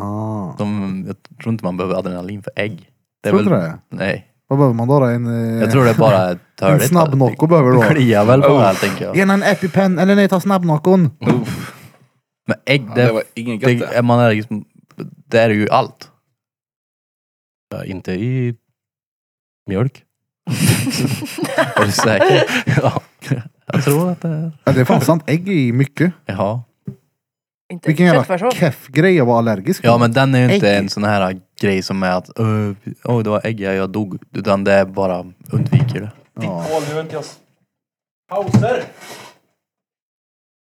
[SPEAKER 1] Ah.
[SPEAKER 6] De, jag tror inte man behöver adrenalin för ägg. Det är
[SPEAKER 1] Tror inte det?
[SPEAKER 6] Nej.
[SPEAKER 1] Vad behöver man då? då? <laughs> En, eh,
[SPEAKER 6] Jag tror det är bara törligt.
[SPEAKER 1] snabb Nocco behöver du ha.
[SPEAKER 6] Kliar väl på allt tänker jag.
[SPEAKER 1] Gärna en EpiPen, eller nej, ta snabbnockon.
[SPEAKER 6] Men ägg,
[SPEAKER 3] Ja,
[SPEAKER 6] det,
[SPEAKER 3] det var ingen gött
[SPEAKER 6] det,
[SPEAKER 3] det.
[SPEAKER 6] är man allergisk det är ju allt.
[SPEAKER 2] Ja, inte i mjölk.
[SPEAKER 6] Är du säker? ja. Jag tror att det är...
[SPEAKER 1] Ja, det är fan sant. Ägg är ju mycket.
[SPEAKER 6] Jaha.
[SPEAKER 5] Inte
[SPEAKER 1] Vilken jävla
[SPEAKER 5] köttfärssås.
[SPEAKER 1] keff grej jag var allergisk
[SPEAKER 6] Ja
[SPEAKER 1] mot.
[SPEAKER 6] men den är ju inte
[SPEAKER 1] Ägg.
[SPEAKER 6] en sån här grej som är att "Öh, oj det var ägg, ja, jag dog. Utan det är bara undviker det.
[SPEAKER 1] ja.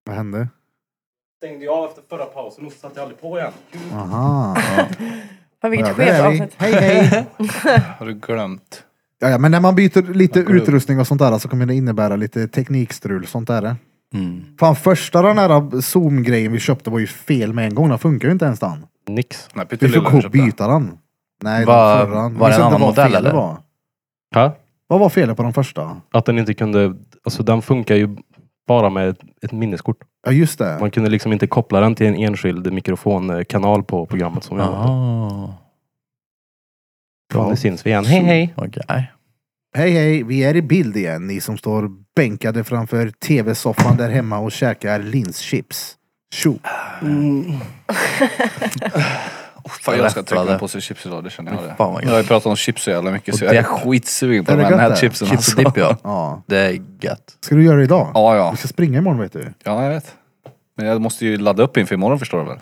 [SPEAKER 1] Vad hände?
[SPEAKER 2] Stängde jag av efter förra pausen och satte jag aldrig på igen.
[SPEAKER 1] Aha.
[SPEAKER 5] Fan vilket
[SPEAKER 1] Ja, där
[SPEAKER 5] skevt
[SPEAKER 1] är vi.
[SPEAKER 5] avsnitt.
[SPEAKER 1] Hej, hej.
[SPEAKER 3] Har du glömt?
[SPEAKER 1] Ja, ja, men när man byter lite
[SPEAKER 3] går det upp.
[SPEAKER 1] utrustning och sånt där så kommer det innebära lite teknikstrul. Sånt där.
[SPEAKER 6] Mm.
[SPEAKER 1] Fan, första den här Zoom-grejen vi köpte var ju fel med en gång. Den funkar ju inte ens den.
[SPEAKER 2] Nix.
[SPEAKER 3] Nej,
[SPEAKER 1] Vi fick
[SPEAKER 3] pyttelilla
[SPEAKER 1] gå och
[SPEAKER 3] köpte jag.
[SPEAKER 1] byta den. Nej,
[SPEAKER 6] Var-
[SPEAKER 1] den förra.
[SPEAKER 6] var
[SPEAKER 1] Men
[SPEAKER 6] det en
[SPEAKER 1] så
[SPEAKER 6] annan
[SPEAKER 1] vad
[SPEAKER 6] modell,
[SPEAKER 1] felet
[SPEAKER 6] eller?
[SPEAKER 1] Var.
[SPEAKER 2] Ha?
[SPEAKER 1] Vad var felet på den första?
[SPEAKER 2] Att den inte kunde... Alltså den funkar ju bara med ett, ett minneskort.
[SPEAKER 1] Ja, just det.
[SPEAKER 2] Man kunde liksom inte koppla den till en enskild mikrofonkanal på programmet som vi använde.
[SPEAKER 6] Jaha.
[SPEAKER 2] Ja, nu syns vi igen. Hej hej!
[SPEAKER 6] Okej.
[SPEAKER 1] Hej hej, vi är i bild igen, ni som står bänkade framför tv-soffan där hemma och käkar linschips. Tjo!
[SPEAKER 3] Oh, fan, jag ska
[SPEAKER 6] Rätt,
[SPEAKER 3] trycka
[SPEAKER 6] va, det?
[SPEAKER 3] en påse chips idag, det känner jag det.
[SPEAKER 6] Fan, vad
[SPEAKER 3] jag har ju pratat om chips så jävla mycket så
[SPEAKER 6] Och
[SPEAKER 3] jag är
[SPEAKER 6] det-
[SPEAKER 3] skitsugen på
[SPEAKER 1] Är
[SPEAKER 3] de
[SPEAKER 1] det
[SPEAKER 3] här
[SPEAKER 1] gött det?
[SPEAKER 3] nätchipsen.
[SPEAKER 6] Chips och
[SPEAKER 3] alltså. <laughs>
[SPEAKER 6] dipp ja.
[SPEAKER 1] Ja.
[SPEAKER 6] Det är gött.
[SPEAKER 1] Ska du göra det idag?
[SPEAKER 3] Ja, ja.
[SPEAKER 1] Vi ska springa imorgon vet
[SPEAKER 6] Mm.
[SPEAKER 1] du.
[SPEAKER 3] Ja, jag vet. Men jag måste ju ladda upp inför imorgon förstår du väl?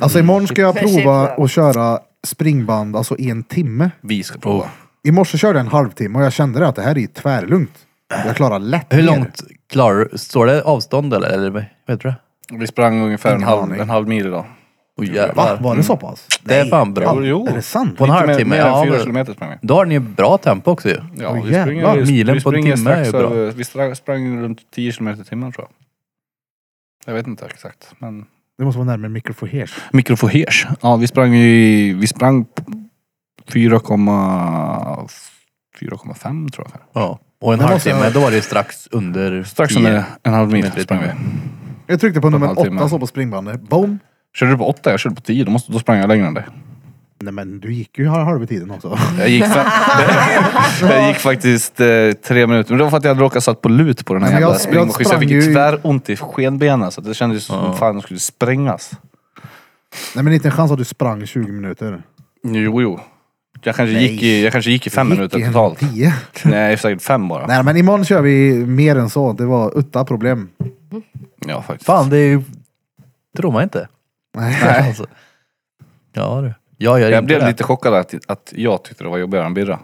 [SPEAKER 1] Alltså imorgon ska jag
[SPEAKER 5] Chips.
[SPEAKER 1] prova att köra springband, alltså i en timme.
[SPEAKER 3] Vi ska
[SPEAKER 6] Oh.
[SPEAKER 3] prova.
[SPEAKER 1] I morse körde jag en halvtimme och jag kände det att det här är ju tvärlugnt. Jag klarar lätt
[SPEAKER 6] Hur
[SPEAKER 1] ner.
[SPEAKER 6] långt klarar du? Står det avstånd eller? eller vad heter det?
[SPEAKER 3] Vi sprang ungefär en
[SPEAKER 1] Ingen
[SPEAKER 3] halv,
[SPEAKER 1] aning.
[SPEAKER 3] en halv mil idag.
[SPEAKER 6] Oj
[SPEAKER 1] Va?
[SPEAKER 6] jävlar.
[SPEAKER 1] Var det så pass?
[SPEAKER 6] Mm. Det är fan bra.
[SPEAKER 3] Jo, jo.
[SPEAKER 1] Är det sant?
[SPEAKER 6] På en
[SPEAKER 3] Lite mer-
[SPEAKER 6] halvtimme?
[SPEAKER 3] Mer än
[SPEAKER 6] Ja,
[SPEAKER 3] fyra
[SPEAKER 6] men-
[SPEAKER 3] kilometer sprang vi.
[SPEAKER 6] då har ni ju bra tempo också ju.
[SPEAKER 3] Ja,
[SPEAKER 1] Åh,
[SPEAKER 3] vi springer,
[SPEAKER 1] jävlar.
[SPEAKER 3] vi,
[SPEAKER 6] Milen
[SPEAKER 3] vi
[SPEAKER 6] på en
[SPEAKER 3] springer
[SPEAKER 6] timme är
[SPEAKER 3] strax
[SPEAKER 6] ju bra.
[SPEAKER 3] över- Vi stra- sprang runt 10 kilometer i timmen tror jag. Jag vet inte exakt. Men...
[SPEAKER 1] Det måste vara närmare mikrofohers.
[SPEAKER 3] Mikrofohers. Ja, vi sprang ju... Vi sprang 4,5 tror jag.
[SPEAKER 6] Ja. Och en
[SPEAKER 1] Det måste
[SPEAKER 6] halvtimme,
[SPEAKER 1] jag-
[SPEAKER 6] då var det ju strax under
[SPEAKER 3] Strax
[SPEAKER 6] 10.
[SPEAKER 3] under en halv mil
[SPEAKER 6] Kilometer i
[SPEAKER 3] sprang vi.
[SPEAKER 1] Jag tryckte på
[SPEAKER 3] en
[SPEAKER 1] nummer
[SPEAKER 3] halvtimme.
[SPEAKER 1] åtta så på springbandet. Boom!
[SPEAKER 3] Körde du på åtta? Jag körde på tio. Då, måste, då sprang jag längre än dig.
[SPEAKER 1] Nej men du gick ju halva tiden
[SPEAKER 6] <laughs>
[SPEAKER 1] också.
[SPEAKER 3] Jag gick,
[SPEAKER 1] <laughs>
[SPEAKER 3] fem, jag gick faktiskt eh, tre minuter. Men det var för att jag hade råkat satt på lut på den här
[SPEAKER 1] Men jag-
[SPEAKER 3] jävla
[SPEAKER 1] jag
[SPEAKER 3] springmaskinen. Så jag
[SPEAKER 1] sprang
[SPEAKER 3] fick
[SPEAKER 1] ju i-
[SPEAKER 3] ju... tväront i skenbenen. Så det kändes som fan de skulle sprängas.
[SPEAKER 1] Nej men inte en chans att du sprang 20 minuter.
[SPEAKER 3] Jo, jo. Jag kanske, gick i, jag kanske gick i fem
[SPEAKER 1] Gick
[SPEAKER 3] minuter
[SPEAKER 1] en
[SPEAKER 3] totalt.
[SPEAKER 1] tio.
[SPEAKER 3] Nej, säkert fem bara.
[SPEAKER 1] Nej men imorgon kör vi mer än så. Det var utta problem.
[SPEAKER 3] Ja, faktiskt.
[SPEAKER 6] Fan, det är ju... tror man inte.
[SPEAKER 1] Nej.
[SPEAKER 6] Alltså. Ja du. Jag gör
[SPEAKER 3] Jag
[SPEAKER 6] inte
[SPEAKER 3] blev
[SPEAKER 6] det.
[SPEAKER 3] lite chockad att, att jag tyckte det var jobbigare än Birra.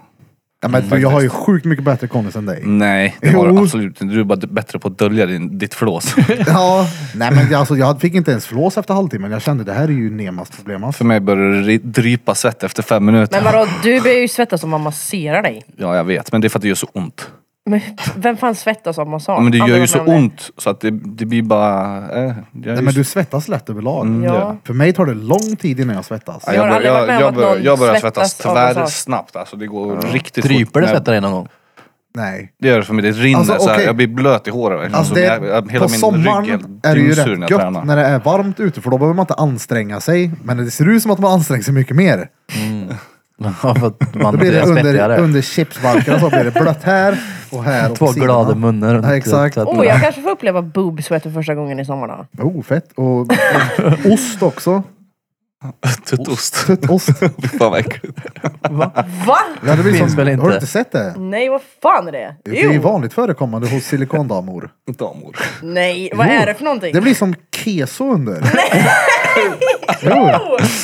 [SPEAKER 1] Ja, men
[SPEAKER 3] Mm.
[SPEAKER 1] du, jag har ju sjukt mycket bättre kondis än dig.
[SPEAKER 3] Nej, det var
[SPEAKER 1] Jo.
[SPEAKER 3] det absolut inte. Du är bara d- bättre på att dölja din,
[SPEAKER 1] <laughs>
[SPEAKER 3] ditt flås.
[SPEAKER 1] Ja, nej men jag- alltså, jag fick inte ens flås efter halvtimmen. Jag kände det här är ju Nemas problem. Alltså.
[SPEAKER 3] För mig började det ri- drypa svett efter fem minuter.
[SPEAKER 5] <laughs> Men vadå, du blir ju svettas om man masserar dig.
[SPEAKER 3] Ja, jag vet. Men det är för att det gör så ont.
[SPEAKER 5] Men vem fan svettas av massage?
[SPEAKER 3] men det
[SPEAKER 5] Aldrig
[SPEAKER 3] gör ju
[SPEAKER 5] varit
[SPEAKER 3] så
[SPEAKER 5] med om det.
[SPEAKER 3] ont så att det, det blir bara... Eh, jag
[SPEAKER 1] Nej, men du svettas lätt överlag.
[SPEAKER 3] Mm,
[SPEAKER 5] Ja.
[SPEAKER 3] det gör det.
[SPEAKER 1] För mig tar det lång tid innan jag svettas.
[SPEAKER 3] Ja,
[SPEAKER 5] Jag har
[SPEAKER 3] bör-
[SPEAKER 5] aldrig varit med om
[SPEAKER 3] jag,
[SPEAKER 5] att
[SPEAKER 3] bör-
[SPEAKER 5] någon
[SPEAKER 3] jag börjar
[SPEAKER 5] svettas
[SPEAKER 3] svettas
[SPEAKER 5] av
[SPEAKER 3] tyvärr
[SPEAKER 5] massage.
[SPEAKER 3] snabbt. Alltså det går riktigt fort.
[SPEAKER 6] Dryper det
[SPEAKER 3] Men jag-
[SPEAKER 6] svettar dig någon gång? <laughs>
[SPEAKER 1] Nej.
[SPEAKER 3] Det gör det för mig. Det rinner
[SPEAKER 1] Alltså,
[SPEAKER 3] så här,
[SPEAKER 1] okej.
[SPEAKER 3] Jag blir blöt i håret. verkligen.
[SPEAKER 1] Alltså
[SPEAKER 3] Så
[SPEAKER 1] det,
[SPEAKER 3] Mm. jag- jag- hela
[SPEAKER 1] på
[SPEAKER 3] min
[SPEAKER 1] sommaren
[SPEAKER 3] rygg
[SPEAKER 1] är det ju
[SPEAKER 3] dyngsur när
[SPEAKER 1] rätt
[SPEAKER 3] jag tränar.
[SPEAKER 1] gött när det är varmt ute för då behöver man inte anstränga sig. Men det ser ut som att man anstränger sig mycket mer.
[SPEAKER 6] Ja, för att man
[SPEAKER 1] Då blir det under,
[SPEAKER 6] svettigare.
[SPEAKER 1] under chipsbalkarna så blir det blött här och
[SPEAKER 3] <laughs>
[SPEAKER 1] här och
[SPEAKER 6] Två
[SPEAKER 1] på sidorna.
[SPEAKER 6] glada munnar.
[SPEAKER 1] Ja, exakt.
[SPEAKER 6] Så att- <laughs>
[SPEAKER 5] Oh, jag kanske får uppleva boob sweat för första gången i sommar då.
[SPEAKER 1] Oh, fett. Och, och ost också.
[SPEAKER 3] Tuttost.
[SPEAKER 1] Tött
[SPEAKER 6] <laughs>
[SPEAKER 1] ost.
[SPEAKER 3] <laughs> Fy fan vad äckligt.
[SPEAKER 5] Va?
[SPEAKER 1] Ja, det blir
[SPEAKER 6] Finns
[SPEAKER 1] som,
[SPEAKER 6] väl inte.
[SPEAKER 1] Har du inte sett det?
[SPEAKER 5] Nej, vad fan är det?
[SPEAKER 1] Det är ju
[SPEAKER 5] Jo.
[SPEAKER 1] vanligt förekommande hos silikondamor.
[SPEAKER 3] Damor.
[SPEAKER 5] Nej, vad
[SPEAKER 1] Jo.
[SPEAKER 5] är det för någonting?
[SPEAKER 1] Det blir som keso under.
[SPEAKER 5] <laughs>
[SPEAKER 1] Nej! Jo,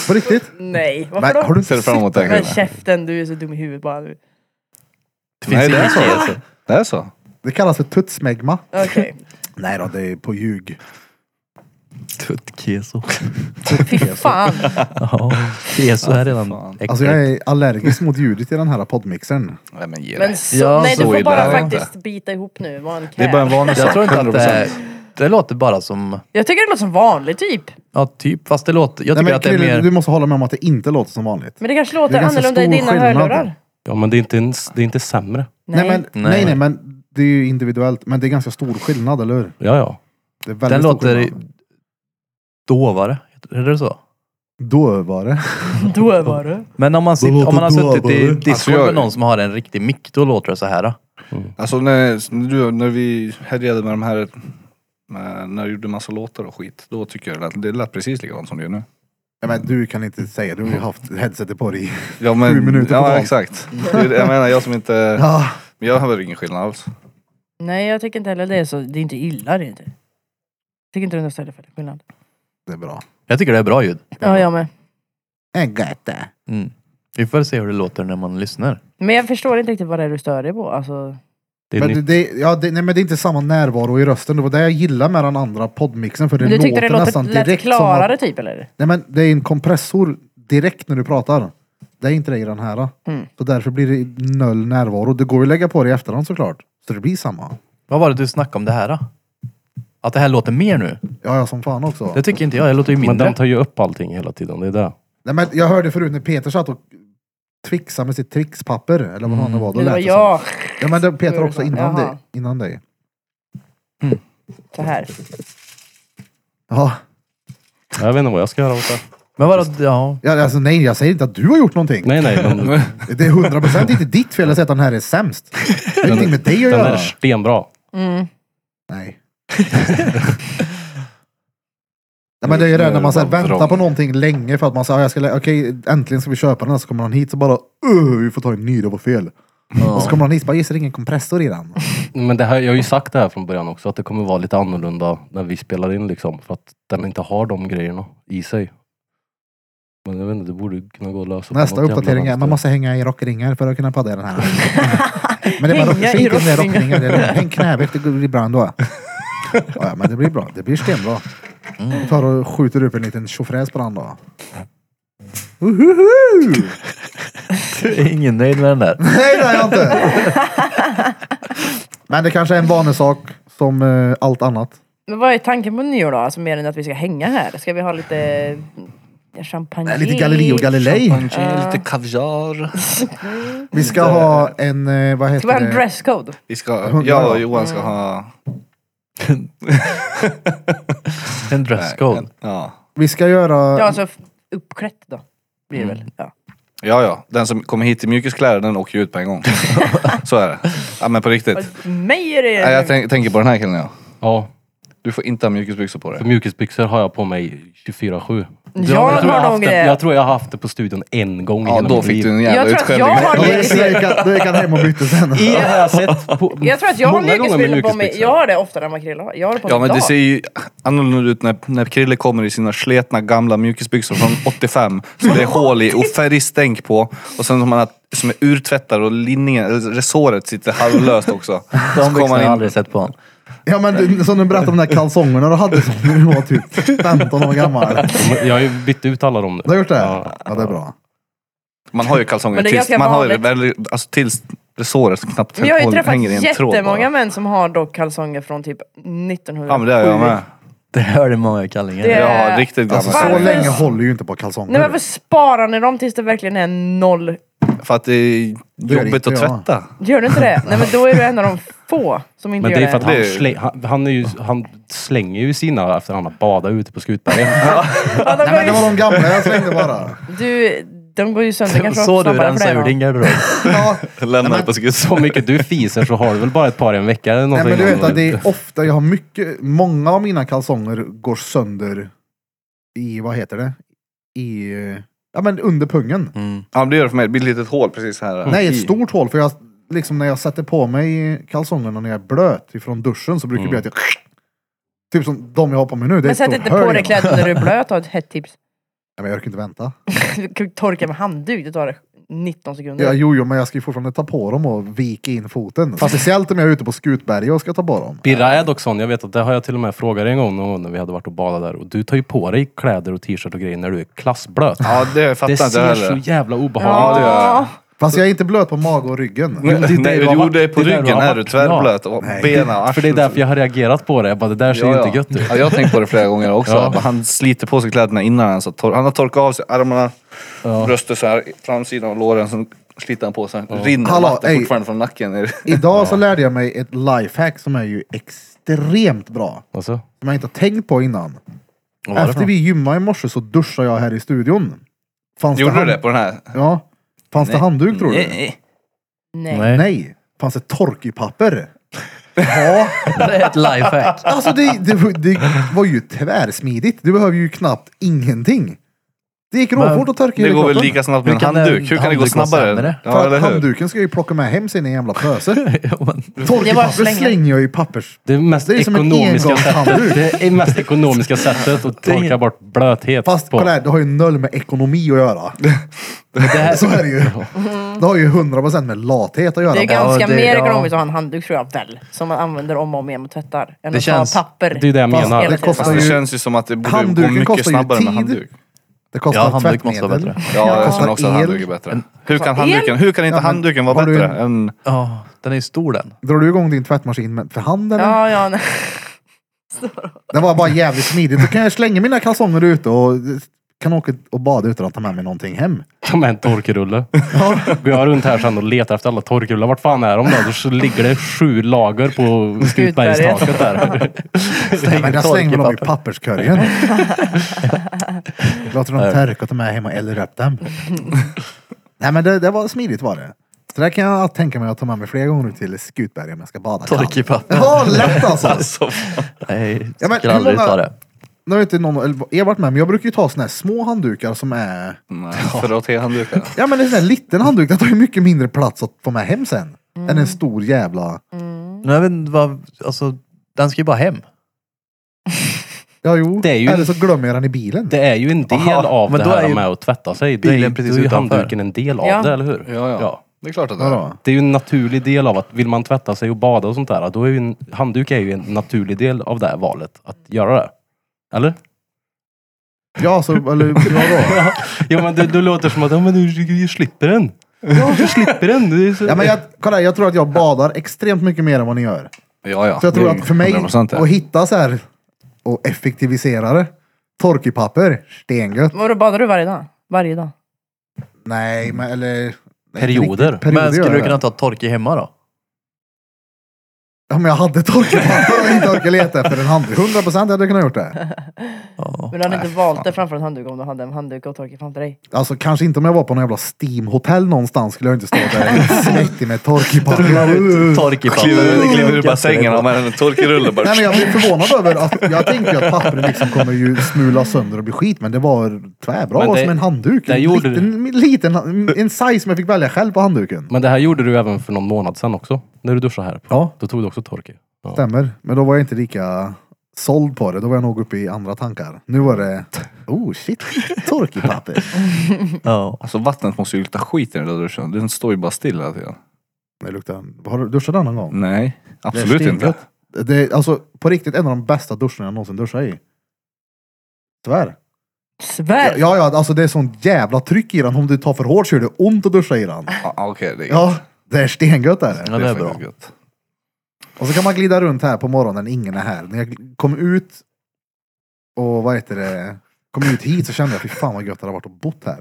[SPEAKER 1] på riktigt.
[SPEAKER 5] Nej, varför
[SPEAKER 1] Men,
[SPEAKER 5] då?
[SPEAKER 1] har du inte
[SPEAKER 3] Ser du
[SPEAKER 1] sett
[SPEAKER 3] fram emot det?
[SPEAKER 5] Men
[SPEAKER 3] Gunnar?
[SPEAKER 5] käften, du är så dum i huvudet bara. du.
[SPEAKER 6] Det finns
[SPEAKER 3] Nej, det är
[SPEAKER 6] inget
[SPEAKER 3] så.
[SPEAKER 6] fel, så.
[SPEAKER 3] Det är så?
[SPEAKER 1] Det kallas för tuttsmegma. <laughs>
[SPEAKER 5] Okej.
[SPEAKER 1] Nej då, det är på ljug.
[SPEAKER 6] Tuttkeso.
[SPEAKER 5] Fy fan.
[SPEAKER 6] Ja, keso är redan
[SPEAKER 3] fan.
[SPEAKER 6] äckligt.
[SPEAKER 1] Alltså jag är allergisk mot ljudet i den här poddmixern.
[SPEAKER 3] Nej men ge dig.
[SPEAKER 5] Men så,
[SPEAKER 6] Ja,
[SPEAKER 5] nej, du
[SPEAKER 6] så
[SPEAKER 5] får
[SPEAKER 3] illa
[SPEAKER 5] bara
[SPEAKER 3] är det inte.
[SPEAKER 5] faktiskt bita ihop nu. Var en
[SPEAKER 3] Det är bara en
[SPEAKER 5] kär.
[SPEAKER 3] vanlig
[SPEAKER 6] Jag
[SPEAKER 3] sak.
[SPEAKER 6] tror inte att det är...
[SPEAKER 3] 100%.
[SPEAKER 6] Det låter bara som...
[SPEAKER 5] Jag tycker det låter som vanligt typ.
[SPEAKER 6] Ja, typ. Fast det låter... Jag
[SPEAKER 1] Nej,
[SPEAKER 6] tycker
[SPEAKER 1] men,
[SPEAKER 6] att det är
[SPEAKER 1] Krille,
[SPEAKER 6] mer...
[SPEAKER 1] Du måste hålla med om att det inte låter som vanligt.
[SPEAKER 5] Men det kanske
[SPEAKER 1] Det
[SPEAKER 5] låter
[SPEAKER 1] är ganska
[SPEAKER 5] annorlunda i
[SPEAKER 1] stor
[SPEAKER 5] dina
[SPEAKER 1] skillnad.
[SPEAKER 5] hörlurar.
[SPEAKER 2] Ja men det är inte, ens, det är inte sämre.
[SPEAKER 1] Nej,
[SPEAKER 5] Nej.
[SPEAKER 1] men, nej.
[SPEAKER 6] Nej.
[SPEAKER 1] nej, men det är ju individuellt. Men det är ganska stor skillnad, eller hur?
[SPEAKER 2] Ja ja.
[SPEAKER 1] Det är väldigt
[SPEAKER 6] Den
[SPEAKER 1] stor
[SPEAKER 6] låter
[SPEAKER 1] skillnad.
[SPEAKER 6] dovare. Är det så?
[SPEAKER 1] Då var det.
[SPEAKER 5] <laughs> Då var
[SPEAKER 1] Mm.
[SPEAKER 5] det.
[SPEAKER 6] Men om man, sitter, om man har
[SPEAKER 1] låter
[SPEAKER 6] suttit i
[SPEAKER 1] dovare.
[SPEAKER 6] Discord
[SPEAKER 3] Alltså, jag-
[SPEAKER 6] med någon som har en riktig mick, då låter det så här. Då.
[SPEAKER 3] Alltså när, när du, när vi härjade med de här, med, när du gjorde massa låtar och skit, då tycker jag det lät, det lät precis likadant som det gör nu.
[SPEAKER 1] Nej, men du kan inte säga, du har ju haft headsetet på dig.
[SPEAKER 3] Ja, men,
[SPEAKER 1] Sju minuter
[SPEAKER 3] Ja
[SPEAKER 1] totalt.
[SPEAKER 3] exakt. Det är det Jag menar jag som inte,
[SPEAKER 1] Ja.
[SPEAKER 3] men jag hör ingen skillnad alls.
[SPEAKER 5] Nej, jag tycker inte heller det. är Så det är inte illa det är inte. Jag tycker inte det är någon större skillnad.
[SPEAKER 1] Det är bra.
[SPEAKER 6] Jag tycker det är bra ljud.
[SPEAKER 5] Ja, jag med.
[SPEAKER 1] Jag got det.
[SPEAKER 6] Mm. Vi får se hur det låter när man lyssnar.
[SPEAKER 5] Men jag förstår inte riktigt vad det är du stör dig på. Alltså,
[SPEAKER 2] Det är
[SPEAKER 1] Men
[SPEAKER 2] nytt.
[SPEAKER 1] det, det, ja, det, nej, men det är inte samma närvaro i rösten. Det var det jag gillade med den andra poddmixen. För det
[SPEAKER 5] men du tyckte
[SPEAKER 1] låter
[SPEAKER 5] det
[SPEAKER 1] nästan
[SPEAKER 5] låter, lät
[SPEAKER 1] direkt
[SPEAKER 5] klarare
[SPEAKER 1] som att,
[SPEAKER 5] typ eller?
[SPEAKER 1] Nej men det är en kompressor direkt när du pratar. Det är inte det i den här.
[SPEAKER 5] Mm.
[SPEAKER 1] Så därför blir det noll närvaro. Det går ju att lägga på det i efterhand såklart. Så det blir samma.
[SPEAKER 6] Vad var det du snackade om det här? Då? Att det här låter mer nu?
[SPEAKER 1] Ja, ja som fan också.
[SPEAKER 6] Det tycker inte jag. Det låter ju
[SPEAKER 2] Men
[SPEAKER 6] mindre.
[SPEAKER 2] den tar ju upp allting hela tiden. Det är det.
[SPEAKER 1] Nej, men jag hörde förut när Peter satt och trixade med sitt trixpapper. Eller vad fan det var. Då
[SPEAKER 5] Det
[SPEAKER 1] lät
[SPEAKER 5] var
[SPEAKER 1] det som.
[SPEAKER 5] jag.
[SPEAKER 1] Ja men det Peter
[SPEAKER 5] Gjorde
[SPEAKER 1] också
[SPEAKER 5] så.
[SPEAKER 1] innan
[SPEAKER 5] Jaha.
[SPEAKER 1] dig. Innan dig.
[SPEAKER 5] Så här.
[SPEAKER 1] Ja.
[SPEAKER 2] Jag vet inte vad jag ska göra åt det.
[SPEAKER 6] Men vadå? Ja.
[SPEAKER 1] ja, alltså nej jag säger inte att du har gjort någonting.
[SPEAKER 2] Nej nej men
[SPEAKER 1] Det är 100 procent inte ditt fel att säga att den här är sämst. Det har ingenting med dig att
[SPEAKER 2] den
[SPEAKER 1] göra.
[SPEAKER 2] är stenbra.
[SPEAKER 5] Mm.
[SPEAKER 1] Nej. <laughs> Nej, men det är ju det när man så här, väntar på någonting länge för att man säger "Ah, jag ska lä- okej äntligen ska vi köpa den här så kommer han hit så bara "Öh, vi får ta en ny, det var fel. Och så kommer han hit så bara "Just det, det är ingen kompressor i den.
[SPEAKER 2] Men det här, jag har ju sagt det här från början också, att det kommer vara lite annorlunda när vi spelar in liksom. För att den inte har de grejerna i sig. Men jag vet inte, det borde ju kunna gå att lösa. på
[SPEAKER 1] Nästa
[SPEAKER 2] något jävla
[SPEAKER 1] uppdatering är
[SPEAKER 2] vänster.
[SPEAKER 1] man måste hänga i rockringar för att kunna podda i den här. men det är bara
[SPEAKER 5] Hänga i
[SPEAKER 1] rockringar, det är
[SPEAKER 5] rockringar.
[SPEAKER 1] rockringar. det är lugnt. Häng knäveck, det blir bra ändå. Ja, ja, men det blir bra. Det blir stenbra. Vi tar och skjuter upp en liten tjofräs på den då. Wohoho!
[SPEAKER 6] Jag är <laughs> ingen nöjd med den där.
[SPEAKER 1] Nej, det är jag inte. Men det kanske är en vanesak som eh, allt annat.
[SPEAKER 5] Men vad är tanken på nyår då? Alltså mer än att vi ska hänga här? Ska vi ha lite eh, champagne?
[SPEAKER 1] Lite Galileo Galilei.
[SPEAKER 3] Lite kaviar.
[SPEAKER 1] <laughs> Vi ska ha en, eh, vad
[SPEAKER 5] Ska vi ha
[SPEAKER 1] heter
[SPEAKER 5] en
[SPEAKER 1] det?
[SPEAKER 5] dresscode?
[SPEAKER 3] Vi ska,
[SPEAKER 1] Hundra,
[SPEAKER 3] jag
[SPEAKER 1] va?
[SPEAKER 3] och Johan ska ha...
[SPEAKER 6] En
[SPEAKER 3] Nej,
[SPEAKER 6] dresscode.
[SPEAKER 3] en- Ja.
[SPEAKER 1] Vi ska göra...
[SPEAKER 5] Ja, alltså f- uppklätt då. Blir det väl? Ja.
[SPEAKER 3] ja, ja. Den som kommer hit i mjukiskläder den åker ju ut
[SPEAKER 2] <laughs>
[SPEAKER 3] på en gång. så är det. Ja men på riktigt.
[SPEAKER 5] Mig är det...
[SPEAKER 3] Nej, jag tänk, tänker på den här killen ja.
[SPEAKER 2] Ja,
[SPEAKER 3] Du får inte ha mjukisbyxor på
[SPEAKER 2] för
[SPEAKER 3] dig.
[SPEAKER 2] mjukisbyxor har jag på mig 24-7.
[SPEAKER 5] Jag
[SPEAKER 2] jag, tror jag, har
[SPEAKER 5] har nog
[SPEAKER 2] haft
[SPEAKER 5] det.
[SPEAKER 2] det, jag tror jag har haft det på studion en gång i
[SPEAKER 3] Ja,
[SPEAKER 2] hela
[SPEAKER 3] då
[SPEAKER 2] mitt
[SPEAKER 3] fick
[SPEAKER 2] liv.
[SPEAKER 3] du en
[SPEAKER 5] Jag
[SPEAKER 3] jävla
[SPEAKER 5] tror att
[SPEAKER 3] utskällning.
[SPEAKER 5] jag har-
[SPEAKER 1] Då gick han- då gick han hem och bytte sen.
[SPEAKER 2] I har jag sett på,
[SPEAKER 5] Jag tror att jag har
[SPEAKER 2] många gånger med
[SPEAKER 5] mjukisbilder på mig.
[SPEAKER 2] mjukisbyxor.
[SPEAKER 5] Jag har det oftare än vad Krille har. Jag har det på mig
[SPEAKER 3] Ja men det
[SPEAKER 5] idag.
[SPEAKER 3] ser ju annorlunda ut när, när Krille kommer i sina sletna gamla
[SPEAKER 5] <laughs>
[SPEAKER 3] mjukisbyxor från 85. Så det är hål i och färgstänk på. Och sen som, man har, som är urtvättade och linningen, eller resåret sitter
[SPEAKER 5] <laughs>
[SPEAKER 3] halvlöst också. Så
[SPEAKER 6] De
[SPEAKER 3] kommer
[SPEAKER 6] byxorna har jag
[SPEAKER 3] han in.
[SPEAKER 6] aldrig sett på honom.
[SPEAKER 1] Ja men du- som du berättade om de där kalsongerna du hade som när du var typ 15 år gammal.
[SPEAKER 2] Jag har ju bytt ut alla dem nu.
[SPEAKER 1] Du har gjort det?
[SPEAKER 2] Ja.
[SPEAKER 1] Ja, det är bra.
[SPEAKER 3] Man har ju kalsonger
[SPEAKER 5] Men det är
[SPEAKER 3] tills,
[SPEAKER 5] ganska
[SPEAKER 3] man har ju det
[SPEAKER 5] vanligt.
[SPEAKER 3] väldigt, alltså, tills resåret knappt
[SPEAKER 5] Men jag har ju
[SPEAKER 3] håller-
[SPEAKER 5] träffat
[SPEAKER 3] hänger i en tråd.
[SPEAKER 5] jättemånga
[SPEAKER 3] bara.
[SPEAKER 5] män som har dock kalsonger från typ 1900.
[SPEAKER 3] Ja men det har jag med.
[SPEAKER 6] Det hörde många i Kallinge.
[SPEAKER 5] Det-
[SPEAKER 3] Jag har riktigt gamla.
[SPEAKER 1] Alltså, så
[SPEAKER 5] Varför-
[SPEAKER 1] länge håller ju inte på kalsonger.
[SPEAKER 5] Nej men varför sparar ni dem tills det verkligen är noll?
[SPEAKER 3] För att det är jobbigt
[SPEAKER 1] inte
[SPEAKER 3] att
[SPEAKER 1] jag.
[SPEAKER 3] tvätta.
[SPEAKER 5] Gör du inte det? Nej men då är du en av de få som inte
[SPEAKER 2] Men
[SPEAKER 5] gör
[SPEAKER 2] det är för att han,
[SPEAKER 3] Det är-
[SPEAKER 2] slä, han, han, är ju, han slänger ju sina efter han har badat ute på Skutberget. <laughs>
[SPEAKER 5] Ja, de
[SPEAKER 1] Nej men det
[SPEAKER 5] går
[SPEAKER 1] var de gamla, jag slängde bara.
[SPEAKER 5] ju, du, de går ju sönder kanske
[SPEAKER 6] <laughs> Så du
[SPEAKER 5] snabbare för
[SPEAKER 6] rensar
[SPEAKER 5] dig,
[SPEAKER 6] ur
[SPEAKER 5] va?
[SPEAKER 6] din garderob.
[SPEAKER 1] Ja,
[SPEAKER 3] Lämna på skutt.
[SPEAKER 2] Så mycket du fiser så har du väl bara ett par i en vecka eller
[SPEAKER 1] nej,
[SPEAKER 2] någonting.
[SPEAKER 1] men du vet att det är ofta, jag har mycket, många av mina kalsonger går sönder i, vad heter det? I, eh, ja men under pungen.
[SPEAKER 6] Mm.
[SPEAKER 3] Ja men det gör det för mig. Det blir ett litet hål precis här.
[SPEAKER 1] Nej, ett
[SPEAKER 3] I.
[SPEAKER 1] stort hål för jag, liksom när jag sätter på mig kalsongerna när jag är blöt ifrån duschen så brukar det bli att jag Typ som de jag har på mig nu. Det är
[SPEAKER 5] Men
[SPEAKER 1] ett
[SPEAKER 5] sätt
[SPEAKER 1] stort
[SPEAKER 5] inte
[SPEAKER 1] hål
[SPEAKER 5] på dig
[SPEAKER 1] igenom.
[SPEAKER 5] kläderna när du är blöt, ha ett hett tips.
[SPEAKER 1] Nej, men jag orkar inte vänta.
[SPEAKER 5] Du kan ju <laughs> torka med handduk, det tar 19 sekunder.
[SPEAKER 1] Ja, jo, jo, men jag ska ju fortfarande ta på dem och vika in foten. Speciellt om jag är ute på Skutberget och ska ta på dem.
[SPEAKER 2] Birra är dock sån, jag vet att det har jag till och med frågat dig en gång någon gång när vi hade varit och badat där. Och du tar ju på dig kläder och t-shirt och grejer när du är klassblöt.
[SPEAKER 3] Ja det fattar
[SPEAKER 2] det
[SPEAKER 3] inte
[SPEAKER 2] ser
[SPEAKER 3] jag
[SPEAKER 2] så
[SPEAKER 3] heller.
[SPEAKER 2] jävla obehagligt
[SPEAKER 3] Ja, det gör jag.
[SPEAKER 1] Fast jag är inte blöt på mage och ryggen. <laughs>
[SPEAKER 2] men det är
[SPEAKER 3] Nej,
[SPEAKER 2] det du har
[SPEAKER 3] jo,
[SPEAKER 2] varit-
[SPEAKER 3] det är på
[SPEAKER 2] det är där du
[SPEAKER 3] ryggen
[SPEAKER 2] har
[SPEAKER 3] är du
[SPEAKER 2] varit.
[SPEAKER 3] tvärbblöt. Och benen
[SPEAKER 2] För det
[SPEAKER 3] och
[SPEAKER 2] är
[SPEAKER 3] arslet.
[SPEAKER 2] därför jag har reagerat på det. Jag bara, det där ser ju inte gött ut.
[SPEAKER 3] Ja, jag har tänkt på det
[SPEAKER 2] <laughs>
[SPEAKER 3] flera gånger också.
[SPEAKER 2] Ja.
[SPEAKER 3] Att Han sliter på sig kläderna innan han, så tor- han har torkat av sig armarna, bröstet så här, framsidan av låren, sen sliter han på sig. Rinner
[SPEAKER 1] Hallå,
[SPEAKER 3] vatten
[SPEAKER 1] ey.
[SPEAKER 3] fortfarande från nacken. Är det- <laughs>
[SPEAKER 1] Idag så lärde jag mig ett lifehack som är ju extremt bra.
[SPEAKER 2] Alltså,
[SPEAKER 1] Som jag inte har tänkt på innan.
[SPEAKER 6] Vad var det för
[SPEAKER 1] Efter vi gymmade i morse så duschade jag här i studion. Fanns
[SPEAKER 3] Gjorde du
[SPEAKER 1] hand-
[SPEAKER 3] det på den här?
[SPEAKER 1] Ja. Fanns det handduk tror du?
[SPEAKER 6] Nej.
[SPEAKER 5] Nej.
[SPEAKER 6] Nej.
[SPEAKER 1] Nej. Fanns det torkpapper? Ja.
[SPEAKER 6] Det är
[SPEAKER 1] <laughs>
[SPEAKER 6] ett lifehack. <laughs>
[SPEAKER 1] Alltså det, det, var- det var ju tvärsmidigt. Du behöver ju knappt ingenting. Det gick råfort att torka
[SPEAKER 3] Det
[SPEAKER 1] hela
[SPEAKER 3] går väl
[SPEAKER 1] kroppen.
[SPEAKER 3] lika snabbt med en
[SPEAKER 6] Hur kan det-
[SPEAKER 3] handduk? Hur kan det gå
[SPEAKER 6] handduk vara
[SPEAKER 3] snabbare?
[SPEAKER 6] sämre?
[SPEAKER 3] Ja,
[SPEAKER 1] För
[SPEAKER 3] eller
[SPEAKER 1] att
[SPEAKER 3] hur?
[SPEAKER 1] handduken ska jag ju plocka med hem sen i en jävla pöse.
[SPEAKER 6] Ja, men-
[SPEAKER 1] Torkpapper
[SPEAKER 5] slänga.
[SPEAKER 1] slänger jag i pappers...
[SPEAKER 2] det är mest
[SPEAKER 1] Det är som en
[SPEAKER 2] ekonomiska
[SPEAKER 1] engångshandduk.
[SPEAKER 2] sättet. Det är mest ekonomiska sättet att torka bort
[SPEAKER 1] <laughs>
[SPEAKER 2] blöthet
[SPEAKER 1] Fast
[SPEAKER 2] på.
[SPEAKER 1] kolla här, det har ju noll med ekonomi att göra.
[SPEAKER 6] det här-
[SPEAKER 1] Så är det ju. Det har ju 100% med lathet att göra.
[SPEAKER 5] Det är ganska
[SPEAKER 6] det-
[SPEAKER 5] mer
[SPEAKER 6] ja.
[SPEAKER 5] ekonomiskt att ha en handduk tror jag väl. Som man använder om och om igen och tvättar. Än
[SPEAKER 6] Det
[SPEAKER 5] att
[SPEAKER 6] känns-
[SPEAKER 5] ha papper.
[SPEAKER 2] det är det jag
[SPEAKER 5] Fast
[SPEAKER 2] menar.
[SPEAKER 5] hela
[SPEAKER 1] Det
[SPEAKER 5] tiden.
[SPEAKER 1] kostar
[SPEAKER 3] Fast det
[SPEAKER 1] ju-
[SPEAKER 3] känns ju som att det borde gå
[SPEAKER 1] Handduken
[SPEAKER 3] mycket
[SPEAKER 1] kostar ju
[SPEAKER 3] snabbare med
[SPEAKER 1] tid.
[SPEAKER 3] handduk.
[SPEAKER 1] Det kostar
[SPEAKER 6] Ja, handduk måste vara
[SPEAKER 1] tvättmedel.
[SPEAKER 6] bättre.
[SPEAKER 3] Ja, jag
[SPEAKER 1] Kostar
[SPEAKER 3] känner också att
[SPEAKER 1] el.
[SPEAKER 3] handduk är bättre. Hur kan
[SPEAKER 5] Kostar
[SPEAKER 3] handduken,
[SPEAKER 5] el.
[SPEAKER 3] hur kan inte handduken vara
[SPEAKER 1] har du
[SPEAKER 3] bättre än...
[SPEAKER 6] Ja, den är ju stor den.
[SPEAKER 1] Drar du igång din tvättmaskin med, för hand eller?
[SPEAKER 5] Ja, ja. nej. <laughs>
[SPEAKER 1] Det var bara jävligt smidigt. Då kan jag slänga mina kalsonger ute och kan åka och bada utan att ta med mig någonting hem.
[SPEAKER 2] Ta med en torkrulle. Går jag runt här sen och letar efter alla torkrullar. Vart fan är de då? Då så ligger det sju lager på Skutbergstaket där.
[SPEAKER 1] Nej, men jag
[SPEAKER 6] tork
[SPEAKER 1] slänger
[SPEAKER 6] i
[SPEAKER 1] dem i
[SPEAKER 6] papper.
[SPEAKER 1] papperskorgen. Låter dem torka och ta med hem och eldar upp dem. Nej men det, det var smidigt var det. Så där kan jag tänka mig att ta med mig flera gånger ut till Skutberg om jag ska bada kallt.
[SPEAKER 6] Tork i papper.
[SPEAKER 1] Ja, lätt alltså!
[SPEAKER 6] Nej,
[SPEAKER 1] Ja, men
[SPEAKER 6] skulle
[SPEAKER 1] hur
[SPEAKER 6] aldrig
[SPEAKER 1] många-
[SPEAKER 6] ta det.
[SPEAKER 1] Nu har inte någon, eller jag varit med, men jag brukar ju ta såna här små handdukar som är...
[SPEAKER 3] Nej, för att handdukar.
[SPEAKER 1] Ja men en sån här liten handduk, den tar ju mycket mindre plats att få med hem sen. Än en stor jävla...
[SPEAKER 6] Men jag vet inte vad, alltså, den ska ju bara hem.
[SPEAKER 1] Ja jo,
[SPEAKER 2] Det är ju-
[SPEAKER 1] eller så glömmer jag den i bilen.
[SPEAKER 2] Det är ju en del
[SPEAKER 6] Aha,
[SPEAKER 2] av
[SPEAKER 6] men
[SPEAKER 2] det
[SPEAKER 6] då
[SPEAKER 2] här
[SPEAKER 6] är ju
[SPEAKER 2] med att tvätta sig. Det är, ju-
[SPEAKER 6] bilen
[SPEAKER 2] då
[SPEAKER 6] precis
[SPEAKER 2] är ju
[SPEAKER 6] utanför.
[SPEAKER 2] handduken en del av
[SPEAKER 5] Ja.
[SPEAKER 2] det, eller hur?
[SPEAKER 3] Ja, ja. Det är klart att det är.
[SPEAKER 1] Vadå?
[SPEAKER 2] Det är ju en naturlig del av att vill man tvätta sig och bada och sånt där, då är ju en, handduk är ju en naturlig del av det här valet att göra det. Eller?
[SPEAKER 1] Ja, så, eller ja, då.
[SPEAKER 2] Ja men du, du låter som att ja, men du, du slipper den. Ja, du slipper den. Det är så...
[SPEAKER 1] Ja, men jag, kolla, jag tror att jag badar extremt mycket mer än vad ni gör.
[SPEAKER 3] Ja, ja.
[SPEAKER 1] Så jag tror
[SPEAKER 3] Det är
[SPEAKER 1] att för mig
[SPEAKER 3] 100% det.
[SPEAKER 1] att hitta så här och effektivisera det. Torkepapper, stengött.
[SPEAKER 5] Vadå, badar du varje dag? Varje dag?
[SPEAKER 1] Nej, men eller... nej, inte
[SPEAKER 2] Perioder.
[SPEAKER 1] riktigt. Perioder
[SPEAKER 6] men skulle
[SPEAKER 1] gör
[SPEAKER 6] du
[SPEAKER 1] jag
[SPEAKER 6] kunna
[SPEAKER 1] det.
[SPEAKER 6] ta tork i hemma då?
[SPEAKER 1] Ja, men jag hade torktumlare och inte orkat leta efter en handduk. 100 procent hade jag kunnat gjort det.
[SPEAKER 5] Men du hade inte valt det framför en handduk om du hade en handduk och torkar framför dig.
[SPEAKER 1] Alltså kanske inte om jag var på någon jävla Steam-hotell någonstans skulle jag inte stå där smäktig med torkpapper.
[SPEAKER 6] Tork i
[SPEAKER 3] Kliver, kliver ur bassängen och med en torkrulle bara.
[SPEAKER 1] Nej men jag blev förvånad över att jag tänkte ju att pappret liksom kommer ju smula sönder och bli skit men det var tvärbra
[SPEAKER 2] Men det-
[SPEAKER 1] som en handduk.
[SPEAKER 2] det
[SPEAKER 1] En
[SPEAKER 2] gjorde
[SPEAKER 1] liten, liten, en size som jag fick välja själv på handduken.
[SPEAKER 2] Men det här gjorde du även för någon månad sedan också. När du duschade här.
[SPEAKER 1] Ja.
[SPEAKER 2] Då tog du också tork i. Ja.
[SPEAKER 1] Stämmer. Men då var jag inte lika såld på det. Då var jag nog uppe i andra tankar. Nu var det, oh shit, torkpapper.
[SPEAKER 6] Ja.
[SPEAKER 3] Alltså vattnet måste ju lukta skit i den där duschen. Den står ju bara still hela tiden.
[SPEAKER 1] Det luktar, har du duschat den någon gång?
[SPEAKER 3] Nej,
[SPEAKER 1] Det är
[SPEAKER 3] absolut inte.
[SPEAKER 1] stengött. Det är alltså på riktigt en av de bästa duscharna jag någonsin duschat i. Tyvärr. Ja,
[SPEAKER 5] Svär!
[SPEAKER 1] ja, alltså det är sånt jävla tryck i den. Om du tar för hårt så gör det ont att duscha i den.
[SPEAKER 3] Ah, Okej, det är
[SPEAKER 1] Ja, det är stengött är
[SPEAKER 6] Ja,
[SPEAKER 1] det.
[SPEAKER 6] det är
[SPEAKER 3] faktiskt
[SPEAKER 6] bra.
[SPEAKER 3] gött.
[SPEAKER 1] Och så kan man glida runt här på morgonen, ingen är här. När jag kom ut och vad heter det, kom ut hit så kände jag fy fan vad gött det hade varit att bott här.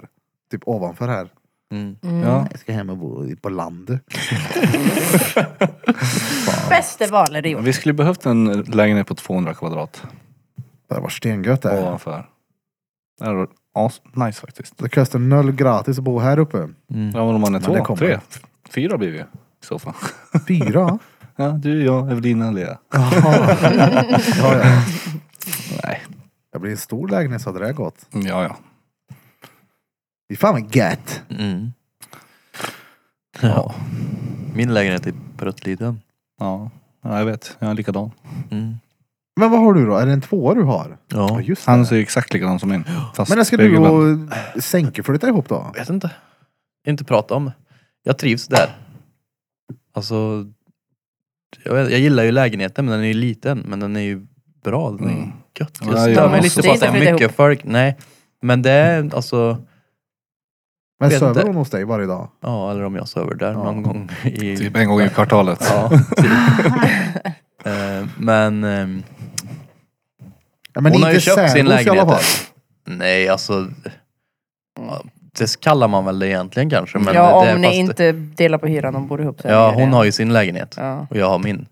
[SPEAKER 1] Typ ovanför här.
[SPEAKER 6] Mm.
[SPEAKER 1] Ja. Jag ska hem och bo på land.
[SPEAKER 5] Bäste valet
[SPEAKER 1] Mm.
[SPEAKER 5] du gjort.
[SPEAKER 3] Vi skulle behövt en lägenhet på 200 kvadrat
[SPEAKER 1] Det hade varit stengött det. här.
[SPEAKER 3] ovanför. Det hade varit as- nice faktiskt.
[SPEAKER 1] Det kostar noll gratis att bo här uppe.
[SPEAKER 6] mm,
[SPEAKER 3] Ja, men om man är
[SPEAKER 1] det
[SPEAKER 3] två,
[SPEAKER 1] kommer.
[SPEAKER 3] tre, fyra blir vi i så fall. <laughs>
[SPEAKER 1] Fyra.
[SPEAKER 3] Ja, du, jag, Evelina, Lea.
[SPEAKER 1] Jaha. ja, ja.
[SPEAKER 3] <laughs> Nej.
[SPEAKER 1] Det blir en stor lägenhet så hade det gått.
[SPEAKER 3] Ja, ja.
[SPEAKER 1] Fy fan vad gött.
[SPEAKER 6] Mm. Ja. Min lägenhet är pruttliten.
[SPEAKER 3] Ja, ja jag vet. Jag är likadan.
[SPEAKER 6] Mm.
[SPEAKER 1] Men vad har du då? Är det en tvåa du har?
[SPEAKER 6] Ja.
[SPEAKER 1] just det.
[SPEAKER 3] Han ser ju exakt likadan som min. Fast
[SPEAKER 1] Men det ska du
[SPEAKER 3] spegelvänd.
[SPEAKER 1] och Sänke flytta ihop då?
[SPEAKER 6] vet inte. Inte prata om. Jag trivs där. Alltså, jag, vet, jag gillar ju lägenheten men den är ju liten. Men den är ju bra. Den är ju
[SPEAKER 3] Mm.
[SPEAKER 6] gött.
[SPEAKER 3] Ja,
[SPEAKER 6] Jag
[SPEAKER 3] jag
[SPEAKER 6] stör mig
[SPEAKER 5] måste-
[SPEAKER 6] lite på att det
[SPEAKER 5] Det är
[SPEAKER 6] är
[SPEAKER 5] inte
[SPEAKER 6] mycket
[SPEAKER 5] ihop.
[SPEAKER 6] folk. Nej. Men det är alltså,
[SPEAKER 1] Men
[SPEAKER 6] Vet
[SPEAKER 1] sover
[SPEAKER 6] inte.
[SPEAKER 1] hon hos dig varje dag?
[SPEAKER 6] ja eller om jag sover där
[SPEAKER 1] Ja.
[SPEAKER 6] någon gång i...
[SPEAKER 3] Typ en gång i kvartalet.
[SPEAKER 6] <laughs> Ja, typ. Eh, men ehm,
[SPEAKER 1] Ja, men
[SPEAKER 6] Hon
[SPEAKER 1] det är
[SPEAKER 6] har ju
[SPEAKER 1] inte
[SPEAKER 6] köpt sin
[SPEAKER 1] särboende i alla
[SPEAKER 6] lägenhet
[SPEAKER 1] fall.
[SPEAKER 6] nej alltså, ja, det kallar man väl det
[SPEAKER 5] <laughs>
[SPEAKER 6] egentligen kanske. Men
[SPEAKER 5] Ja,
[SPEAKER 6] det, det är
[SPEAKER 5] om ni
[SPEAKER 6] fast-
[SPEAKER 5] inte delar på hyran, de bor ihop. så är
[SPEAKER 6] Ja,
[SPEAKER 5] det
[SPEAKER 6] hon
[SPEAKER 5] det.
[SPEAKER 6] har ju sin lägenhet
[SPEAKER 5] Ja, <laughs>
[SPEAKER 6] och jag har min.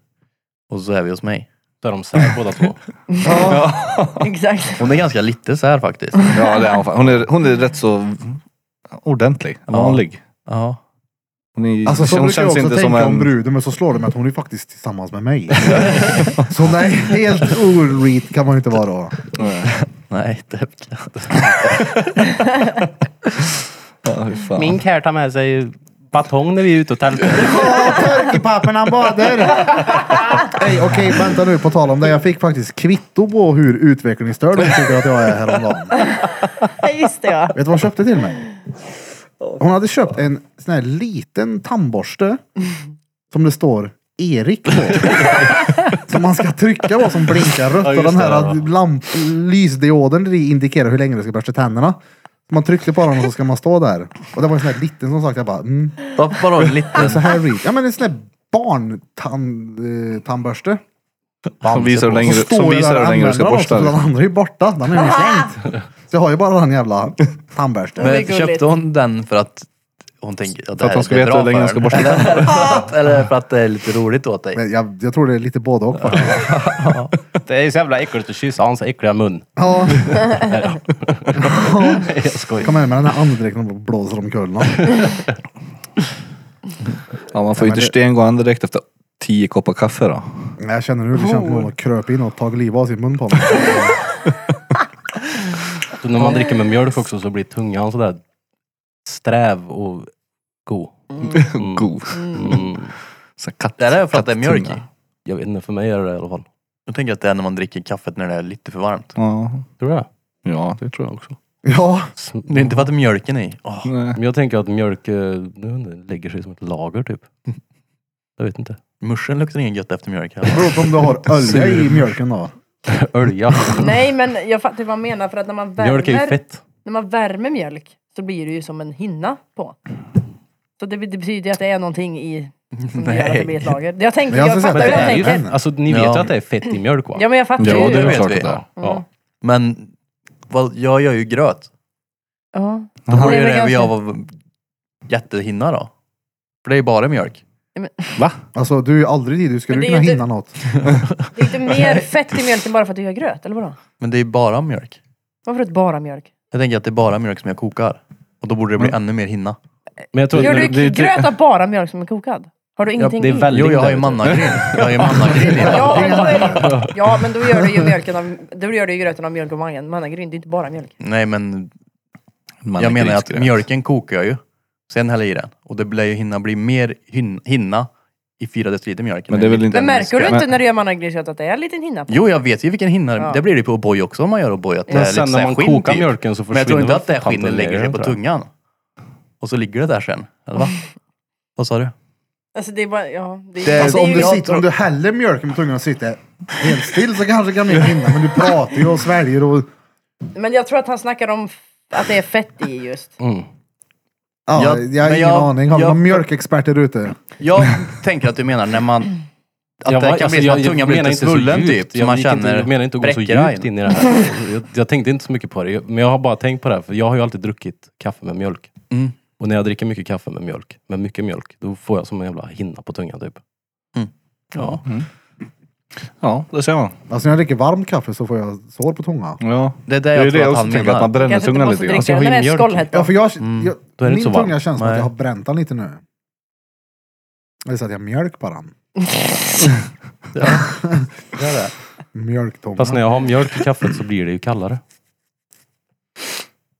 [SPEAKER 6] Och så är vi hos mig.
[SPEAKER 2] Där de sär båda två.
[SPEAKER 3] <laughs>
[SPEAKER 5] exakt.
[SPEAKER 6] Hon är ganska lite så här faktiskt.
[SPEAKER 3] Ja, det är hon. fan. Hon är, hon är rätt så ordentlig.
[SPEAKER 6] Ja.
[SPEAKER 3] Vanlig.
[SPEAKER 6] Ja.
[SPEAKER 3] Hon, är,
[SPEAKER 1] Alltså så
[SPEAKER 3] hon
[SPEAKER 1] brukar jag
[SPEAKER 3] känns
[SPEAKER 1] också
[SPEAKER 3] inte
[SPEAKER 1] tänka
[SPEAKER 3] som
[SPEAKER 1] om
[SPEAKER 3] en...
[SPEAKER 1] bruden men så slår det mig att hon är faktiskt tillsammans med mig. så nej, helt orit kan man ju inte vara då.
[SPEAKER 6] Nej, det kan jag inte.
[SPEAKER 3] Ja, hur fan.
[SPEAKER 2] Min kär tar med sig batong när vi är ute och tältar.
[SPEAKER 1] Turkipapperna han badar! Nej okej, vänta nu på tal om det. Jag fick faktiskt kvitto på hur utvecklingsstörd hon tycker att jag är häromdagen.
[SPEAKER 5] Ja, Just det ja.
[SPEAKER 1] Vet du vad hon köpte till mig? Hon hade köpt en sån här liten tandborste som det står Erik på. som man ska trycka på som blinkar rött och den här lamp, lysdioden där i indikerar hur länge du ska borsta tänderna. Man tryckte på den och så ska man stå där. Och det var en sån här liten som sagt, jag bara mm.
[SPEAKER 6] Vad- Vadå liten?
[SPEAKER 5] Alltså,
[SPEAKER 1] Så här reach. Ja men en sån här barntandborste. Eh,
[SPEAKER 3] Som visar hur länge
[SPEAKER 1] så
[SPEAKER 3] du,
[SPEAKER 1] står
[SPEAKER 3] som
[SPEAKER 1] jag
[SPEAKER 3] visar
[SPEAKER 1] där och
[SPEAKER 3] hur länge du
[SPEAKER 1] använder
[SPEAKER 3] ska
[SPEAKER 1] den också,
[SPEAKER 3] borsta
[SPEAKER 1] för Den
[SPEAKER 3] dig.
[SPEAKER 1] andra är ju borta. Den är ju slängt. Så jag har ju bara den jävla tandborsten.
[SPEAKER 5] Det är
[SPEAKER 6] Men
[SPEAKER 5] gulligt.
[SPEAKER 6] köpte hon den för att hon tänker att
[SPEAKER 3] För
[SPEAKER 6] det
[SPEAKER 3] att
[SPEAKER 6] här
[SPEAKER 3] hon ska
[SPEAKER 6] är
[SPEAKER 3] veta
[SPEAKER 6] bra
[SPEAKER 3] hur länge hon ska
[SPEAKER 6] för
[SPEAKER 3] borsta
[SPEAKER 6] henne?
[SPEAKER 3] tänderna.
[SPEAKER 6] Eller för att- <laughs> Eller för att det är lite roligt åt dig?
[SPEAKER 1] Men jag, jag tror det är lite både och faktiskt.
[SPEAKER 2] Det är så jävla äckligt att kyssa hans äckliga mun.
[SPEAKER 1] Ja,
[SPEAKER 3] <laughs>
[SPEAKER 2] Jag skojar.
[SPEAKER 1] kom hem med den här andedräkten och blåser omkull någon.
[SPEAKER 3] Ja, man får ju
[SPEAKER 1] men
[SPEAKER 3] inte
[SPEAKER 1] det-
[SPEAKER 3] stengå andedräkt direkt efter tio koppar kaffe då.
[SPEAKER 1] Nej, Jag känner hur det känns som om någon kröp in och tagit livet av sin mun på mig.
[SPEAKER 2] Så när man dricker med mjölk också så blir tungan sådär sträv och god. Mm.
[SPEAKER 3] <laughs> God.
[SPEAKER 2] Mm.
[SPEAKER 3] Så katt,
[SPEAKER 6] Det där är för att det är
[SPEAKER 3] kattunga.
[SPEAKER 6] mjölk i.
[SPEAKER 2] Jag vet inte, för mig är det det i alla fall.
[SPEAKER 6] Jag tänker att det är när man dricker kaffet när det är lite för varmt.
[SPEAKER 3] Ja.
[SPEAKER 2] Tror du det?
[SPEAKER 3] ja, det tror jag också.
[SPEAKER 1] Ja,
[SPEAKER 2] Sm-
[SPEAKER 6] Det är inte för att mjölken är i. Åh,
[SPEAKER 3] Nej.
[SPEAKER 2] Men jag tänker att mjölk eh, jag vet inte, lägger sig som ett lager typ. Jag vet inte.
[SPEAKER 6] muschen luktar ingen gött efter mjölk heller.
[SPEAKER 1] beror på om du har olja i mjölken då.
[SPEAKER 2] Ölja.
[SPEAKER 5] Nej men jag fattar vad man menar för att när man
[SPEAKER 2] Mjölk är ju
[SPEAKER 5] värmer,
[SPEAKER 2] fett.
[SPEAKER 5] när man värmer mjölk så blir det ju som en hinna på. Så det, det betyder ju att det är någonting i som gör att det
[SPEAKER 6] <laughs> Nej.
[SPEAKER 5] blir ett lager. Jag, tänker,
[SPEAKER 1] Men jag
[SPEAKER 5] jag,
[SPEAKER 1] har sett
[SPEAKER 5] fattar
[SPEAKER 2] Men
[SPEAKER 5] hur
[SPEAKER 2] det
[SPEAKER 1] att
[SPEAKER 5] de
[SPEAKER 2] är ju,
[SPEAKER 5] tänker.
[SPEAKER 1] fett.
[SPEAKER 2] alltså, ni vet
[SPEAKER 6] Ja.
[SPEAKER 2] ju att det är fett i mjölk va?
[SPEAKER 5] Ja men jag fattar
[SPEAKER 3] Ja,
[SPEAKER 5] ju. Mm.
[SPEAKER 3] det
[SPEAKER 6] det
[SPEAKER 3] är
[SPEAKER 6] vet
[SPEAKER 3] klart
[SPEAKER 6] vi.
[SPEAKER 3] att det är.
[SPEAKER 2] Ja.
[SPEAKER 6] Men vad, jag gör ju gröt.
[SPEAKER 5] Ja.
[SPEAKER 6] Då
[SPEAKER 5] Det
[SPEAKER 6] borde
[SPEAKER 5] är
[SPEAKER 6] ju
[SPEAKER 5] väl
[SPEAKER 6] det
[SPEAKER 5] ganska-
[SPEAKER 6] jag var jättehinna då. För det är ju bara mjölk.
[SPEAKER 2] Va?
[SPEAKER 1] Alltså du är ju aldrig dit, du skulle
[SPEAKER 5] Men det är
[SPEAKER 1] kunna
[SPEAKER 5] ju
[SPEAKER 1] hinna något.
[SPEAKER 5] Det är inte mer fett i mjölken bara för att du gör gröt, eller vadå?
[SPEAKER 6] Men det är bara mjölk.
[SPEAKER 5] Varför inte bara mjölk?
[SPEAKER 6] Jag tänker att det är bara mjölk som jag kokar. Och då borde det bli ännu mer hinna.
[SPEAKER 2] Men jag tror
[SPEAKER 5] Gör
[SPEAKER 2] det- typ-
[SPEAKER 5] du
[SPEAKER 2] det-
[SPEAKER 5] gröt av bara mjölk som är kokad? Har du ingenting
[SPEAKER 2] det är
[SPEAKER 5] i?
[SPEAKER 2] väldigt-
[SPEAKER 6] Jo, jag har ju
[SPEAKER 2] där,
[SPEAKER 6] mannagryn. Jag har ju mannagryn i den.
[SPEAKER 5] Ja, men då är det, ja, men då gör du ju mjölken av, då gör du ju gröten av mjölk och mangen. Mannagryn, det är inte bara mjölk.
[SPEAKER 6] Nej men
[SPEAKER 3] Man är
[SPEAKER 6] jag menar att
[SPEAKER 3] grisgröt.
[SPEAKER 6] mjölken kokar jag ju. Sen häller jag i den. Och det blir ju hinna bli mer hin- hinna i fyra deciliter mjölk.
[SPEAKER 3] Men det är väl inte...
[SPEAKER 5] Men märker du
[SPEAKER 3] Men-
[SPEAKER 5] inte när du gör mannagrynsgröt att det är en liten hinna på?
[SPEAKER 6] Jo, jag vet ju vilken hinna.
[SPEAKER 5] Ja.
[SPEAKER 6] Det blir det på O'boy också om man gör O'boy. Att det
[SPEAKER 2] Men
[SPEAKER 6] är
[SPEAKER 2] sen
[SPEAKER 6] lite så
[SPEAKER 2] när
[SPEAKER 6] här
[SPEAKER 2] man
[SPEAKER 6] skinn
[SPEAKER 2] kokar
[SPEAKER 6] typ.
[SPEAKER 2] mjölken så
[SPEAKER 6] Men jag tror
[SPEAKER 2] försvinner
[SPEAKER 6] inte att det här
[SPEAKER 2] kanten
[SPEAKER 6] skinnet lägger sig
[SPEAKER 2] ner,
[SPEAKER 6] på
[SPEAKER 2] tror jag.
[SPEAKER 6] tungan. Och så ligger det där sen.
[SPEAKER 1] <laughs>
[SPEAKER 6] Eller va? Vad sa du?
[SPEAKER 5] Alltså det är bara, ja. Det,
[SPEAKER 6] Det-
[SPEAKER 5] det,
[SPEAKER 1] Alltså
[SPEAKER 5] är
[SPEAKER 1] om
[SPEAKER 5] ju-
[SPEAKER 1] du, sitter, om du häller mjölken på tungan och sitter helt still så kanske kan du hinna. Men du pratar ju och sväljer och...
[SPEAKER 5] Men jag tror att han snackar om f- att det är fett i just.
[SPEAKER 2] Mm.
[SPEAKER 1] Ja,
[SPEAKER 6] Ja,
[SPEAKER 1] jag har
[SPEAKER 6] men
[SPEAKER 1] ingen
[SPEAKER 6] jag-
[SPEAKER 1] aning. Har vi
[SPEAKER 6] jag-
[SPEAKER 1] några mjölkexperter ute?
[SPEAKER 6] Jag tänker att du menar när man... Att
[SPEAKER 2] Jag
[SPEAKER 6] det
[SPEAKER 2] var-
[SPEAKER 6] kan
[SPEAKER 2] alltså,
[SPEAKER 6] bli
[SPEAKER 2] jag-
[SPEAKER 6] som att
[SPEAKER 2] jag
[SPEAKER 6] tungan blir
[SPEAKER 2] menar
[SPEAKER 6] lite
[SPEAKER 2] inte så
[SPEAKER 6] svullen
[SPEAKER 2] djupt.
[SPEAKER 6] typ. Så man
[SPEAKER 2] gick inte-
[SPEAKER 6] känner
[SPEAKER 2] Jag menar inte att gå så
[SPEAKER 6] bräcker
[SPEAKER 2] djupt in i det här. Jag, jag tänkte inte så mycket på det. Jag- Men jag har bara tänkt på det här. För jag har ju alltid druckit kaffe med mjölk.
[SPEAKER 6] Mm.
[SPEAKER 2] Och när jag dricker mycket kaffe med mjölk, med mycket mjölk, då får jag som en jävla hinna på tungan typ.
[SPEAKER 6] Ja.
[SPEAKER 3] Mm. Ja, det ser man.
[SPEAKER 1] Alltså när jag dricker varmt kaffe så får jag sår på tungan.
[SPEAKER 3] Ja.
[SPEAKER 6] Det
[SPEAKER 3] Det
[SPEAKER 6] är det
[SPEAKER 3] är
[SPEAKER 6] jag
[SPEAKER 3] det
[SPEAKER 6] tror
[SPEAKER 3] jag
[SPEAKER 6] att
[SPEAKER 3] också
[SPEAKER 6] han
[SPEAKER 3] tänker,
[SPEAKER 6] menar.
[SPEAKER 3] att man bränner
[SPEAKER 5] Kanske inte
[SPEAKER 3] tungan
[SPEAKER 5] måste
[SPEAKER 3] lite
[SPEAKER 5] dricka
[SPEAKER 3] grann.
[SPEAKER 2] Alltså, jag har ju
[SPEAKER 5] den, den är
[SPEAKER 2] mjölk.
[SPEAKER 5] skållhett
[SPEAKER 1] Ja för jag, jag,
[SPEAKER 2] Mm, Då är det
[SPEAKER 1] min
[SPEAKER 2] inte så
[SPEAKER 1] tunga
[SPEAKER 2] varmt.
[SPEAKER 1] känns som att
[SPEAKER 6] Nej.
[SPEAKER 1] jag har bränt den lite nu. Eller så att jag har mjölk på den.
[SPEAKER 6] Det är det.
[SPEAKER 1] Mjölktunga.
[SPEAKER 2] Fast när jag har mjölk i kaffet så blir det ju kallare.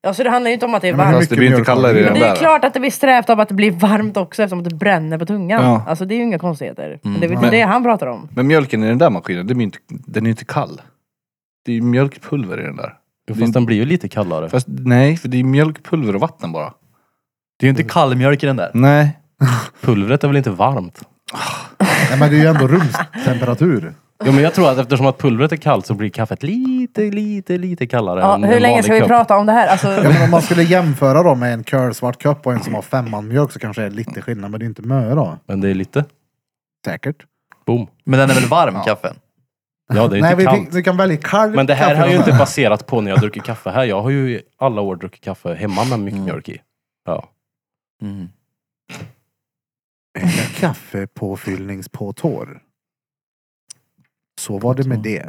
[SPEAKER 5] Ja, så det handlar ju inte om att det är
[SPEAKER 1] Ja, men
[SPEAKER 5] varmt.
[SPEAKER 3] Fast det blir inte
[SPEAKER 1] Mycket mjölk.
[SPEAKER 3] kallare i
[SPEAKER 1] Men
[SPEAKER 3] den
[SPEAKER 5] Men det är
[SPEAKER 3] där.
[SPEAKER 5] ju klart att det blir strävt av att det blir varmt också eftersom att det bränner på tungan.
[SPEAKER 3] Ja.
[SPEAKER 5] Alltså det är ju inga konstigheter. Men
[SPEAKER 6] Mm.
[SPEAKER 5] det är väl inte
[SPEAKER 3] Men-
[SPEAKER 5] det han pratar om.
[SPEAKER 3] Men mjölken i den där maskinen, den är ju inte, den är ju inte kall. Det är ju mjölkpulver i den där.
[SPEAKER 2] Jo, Fast den blir ju lite kallare.
[SPEAKER 3] Fast nej, för det är mjölkpulver och vatten bara.
[SPEAKER 6] Det är ju inte kallmjölk i den där.
[SPEAKER 3] Nej.
[SPEAKER 2] Pulvret är väl inte varmt?
[SPEAKER 1] Nej men det är ju ändå
[SPEAKER 2] <laughs>
[SPEAKER 1] rumstemperatur.
[SPEAKER 2] Jo men jag tror att eftersom att pulvret är kallt så blir kaffet lite, lite, lite kallare
[SPEAKER 5] Ja,
[SPEAKER 2] än
[SPEAKER 5] hur
[SPEAKER 2] en
[SPEAKER 5] länge
[SPEAKER 2] vanlig
[SPEAKER 5] ska vi
[SPEAKER 2] kopp.
[SPEAKER 5] prata om det här? Alltså,
[SPEAKER 1] Ja, men om man skulle jämföra då med en curlsvart kopp och en som har femman mjölk så kanske det är lite skillnad. Men det är inte mö då.
[SPEAKER 2] Men det är lite.
[SPEAKER 1] Säkert.
[SPEAKER 2] Boom.
[SPEAKER 6] Men den är väl varm, kaffen?
[SPEAKER 2] Ja, det är
[SPEAKER 1] Nej
[SPEAKER 2] inte
[SPEAKER 1] vi,
[SPEAKER 2] kallt.
[SPEAKER 1] vi, vi kan välja kallt
[SPEAKER 2] Men det här
[SPEAKER 1] kaffe
[SPEAKER 2] har ju
[SPEAKER 1] då.
[SPEAKER 2] inte baserat på när jag druckit kaffe här. Jag har ju i alla år druckit kaffe hemma med
[SPEAKER 1] Mm.
[SPEAKER 2] mycket mjölk i. Ja.
[SPEAKER 6] Mm.
[SPEAKER 1] Kaffepåfyllningspåtår. Så var det med det.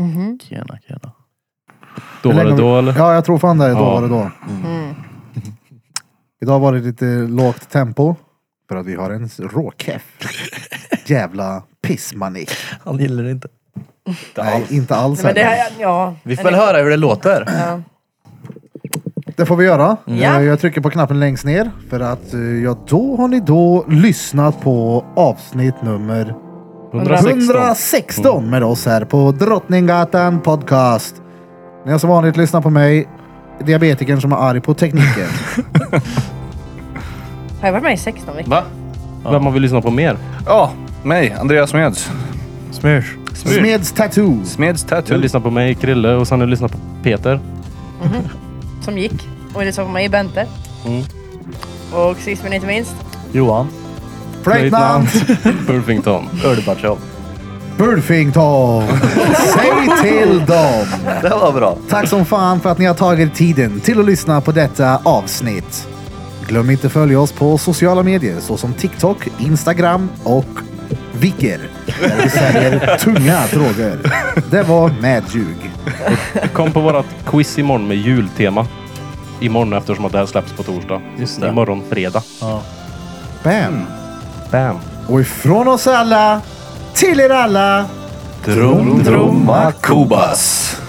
[SPEAKER 5] mhm.
[SPEAKER 6] Tjena, tjena.
[SPEAKER 2] Då
[SPEAKER 1] Hur
[SPEAKER 2] var
[SPEAKER 1] länge har
[SPEAKER 2] det
[SPEAKER 1] vi-
[SPEAKER 2] då eller?
[SPEAKER 1] Ja, jag tror fan det. Då
[SPEAKER 2] Ja.
[SPEAKER 1] var det då.
[SPEAKER 5] Mm.
[SPEAKER 1] Idag var det lite lågt tempo. För att vi har en
[SPEAKER 6] <laughs>
[SPEAKER 1] råkeff. Jävla pissmanik.
[SPEAKER 6] Han gillar det inte.
[SPEAKER 1] Nej, inte alls.
[SPEAKER 5] Men det,
[SPEAKER 1] heller.
[SPEAKER 5] här, ja.
[SPEAKER 6] Vi får väl höra hur det låter.
[SPEAKER 5] Ja.
[SPEAKER 1] Det får vi göra.
[SPEAKER 5] Ja.
[SPEAKER 1] Eh, Jag trycker på knappen längst ner för att eh, ja, då har ni då lyssnat på avsnitt nummer
[SPEAKER 2] 116.
[SPEAKER 1] 116 med oss här på Drottninggatan Podcast. Ni har som vanligt lyssnat på mig, diabetikern som är arg på tekniken.
[SPEAKER 6] <laughs>
[SPEAKER 5] Har jag varit med i 16 veckor?
[SPEAKER 3] Va?
[SPEAKER 2] Vem har vi lyssnat på mer?
[SPEAKER 3] Ja, mig. Andreas Smeds.
[SPEAKER 6] Smörs.
[SPEAKER 1] Smeds Tattoo.
[SPEAKER 3] Smeds
[SPEAKER 2] Du har
[SPEAKER 3] Tattoo.
[SPEAKER 2] lyssnat på mig, Krille, och sen har du lyssnat på Peter.
[SPEAKER 5] Som gick. Och det såg mig i Bente.
[SPEAKER 2] Mm.
[SPEAKER 5] Och sist men inte minst.
[SPEAKER 6] Johan.
[SPEAKER 1] Flöjtnant.
[SPEAKER 2] <laughs> Burfington.
[SPEAKER 6] Ölbatjov.
[SPEAKER 1] Burfington. Säg till dem.
[SPEAKER 6] Det var bra.
[SPEAKER 1] Tack som fan för att ni har tagit tiden till att lyssna på detta avsnitt. Glöm inte följa oss på sociala medier såsom TikTok, Instagram och Vicker. Där vi säljer tunga droger. Det var med ljug.
[SPEAKER 2] Kom på vårat quiz imorgon med jultema. Imorgon eftersom att det här släpps på torsdag.
[SPEAKER 6] Just det.
[SPEAKER 2] Imorgon fredag.
[SPEAKER 1] Bam.
[SPEAKER 2] Bam.
[SPEAKER 1] Och ifrån oss alla, till er alla.
[SPEAKER 6] Drum,
[SPEAKER 1] drumma,
[SPEAKER 6] kubas.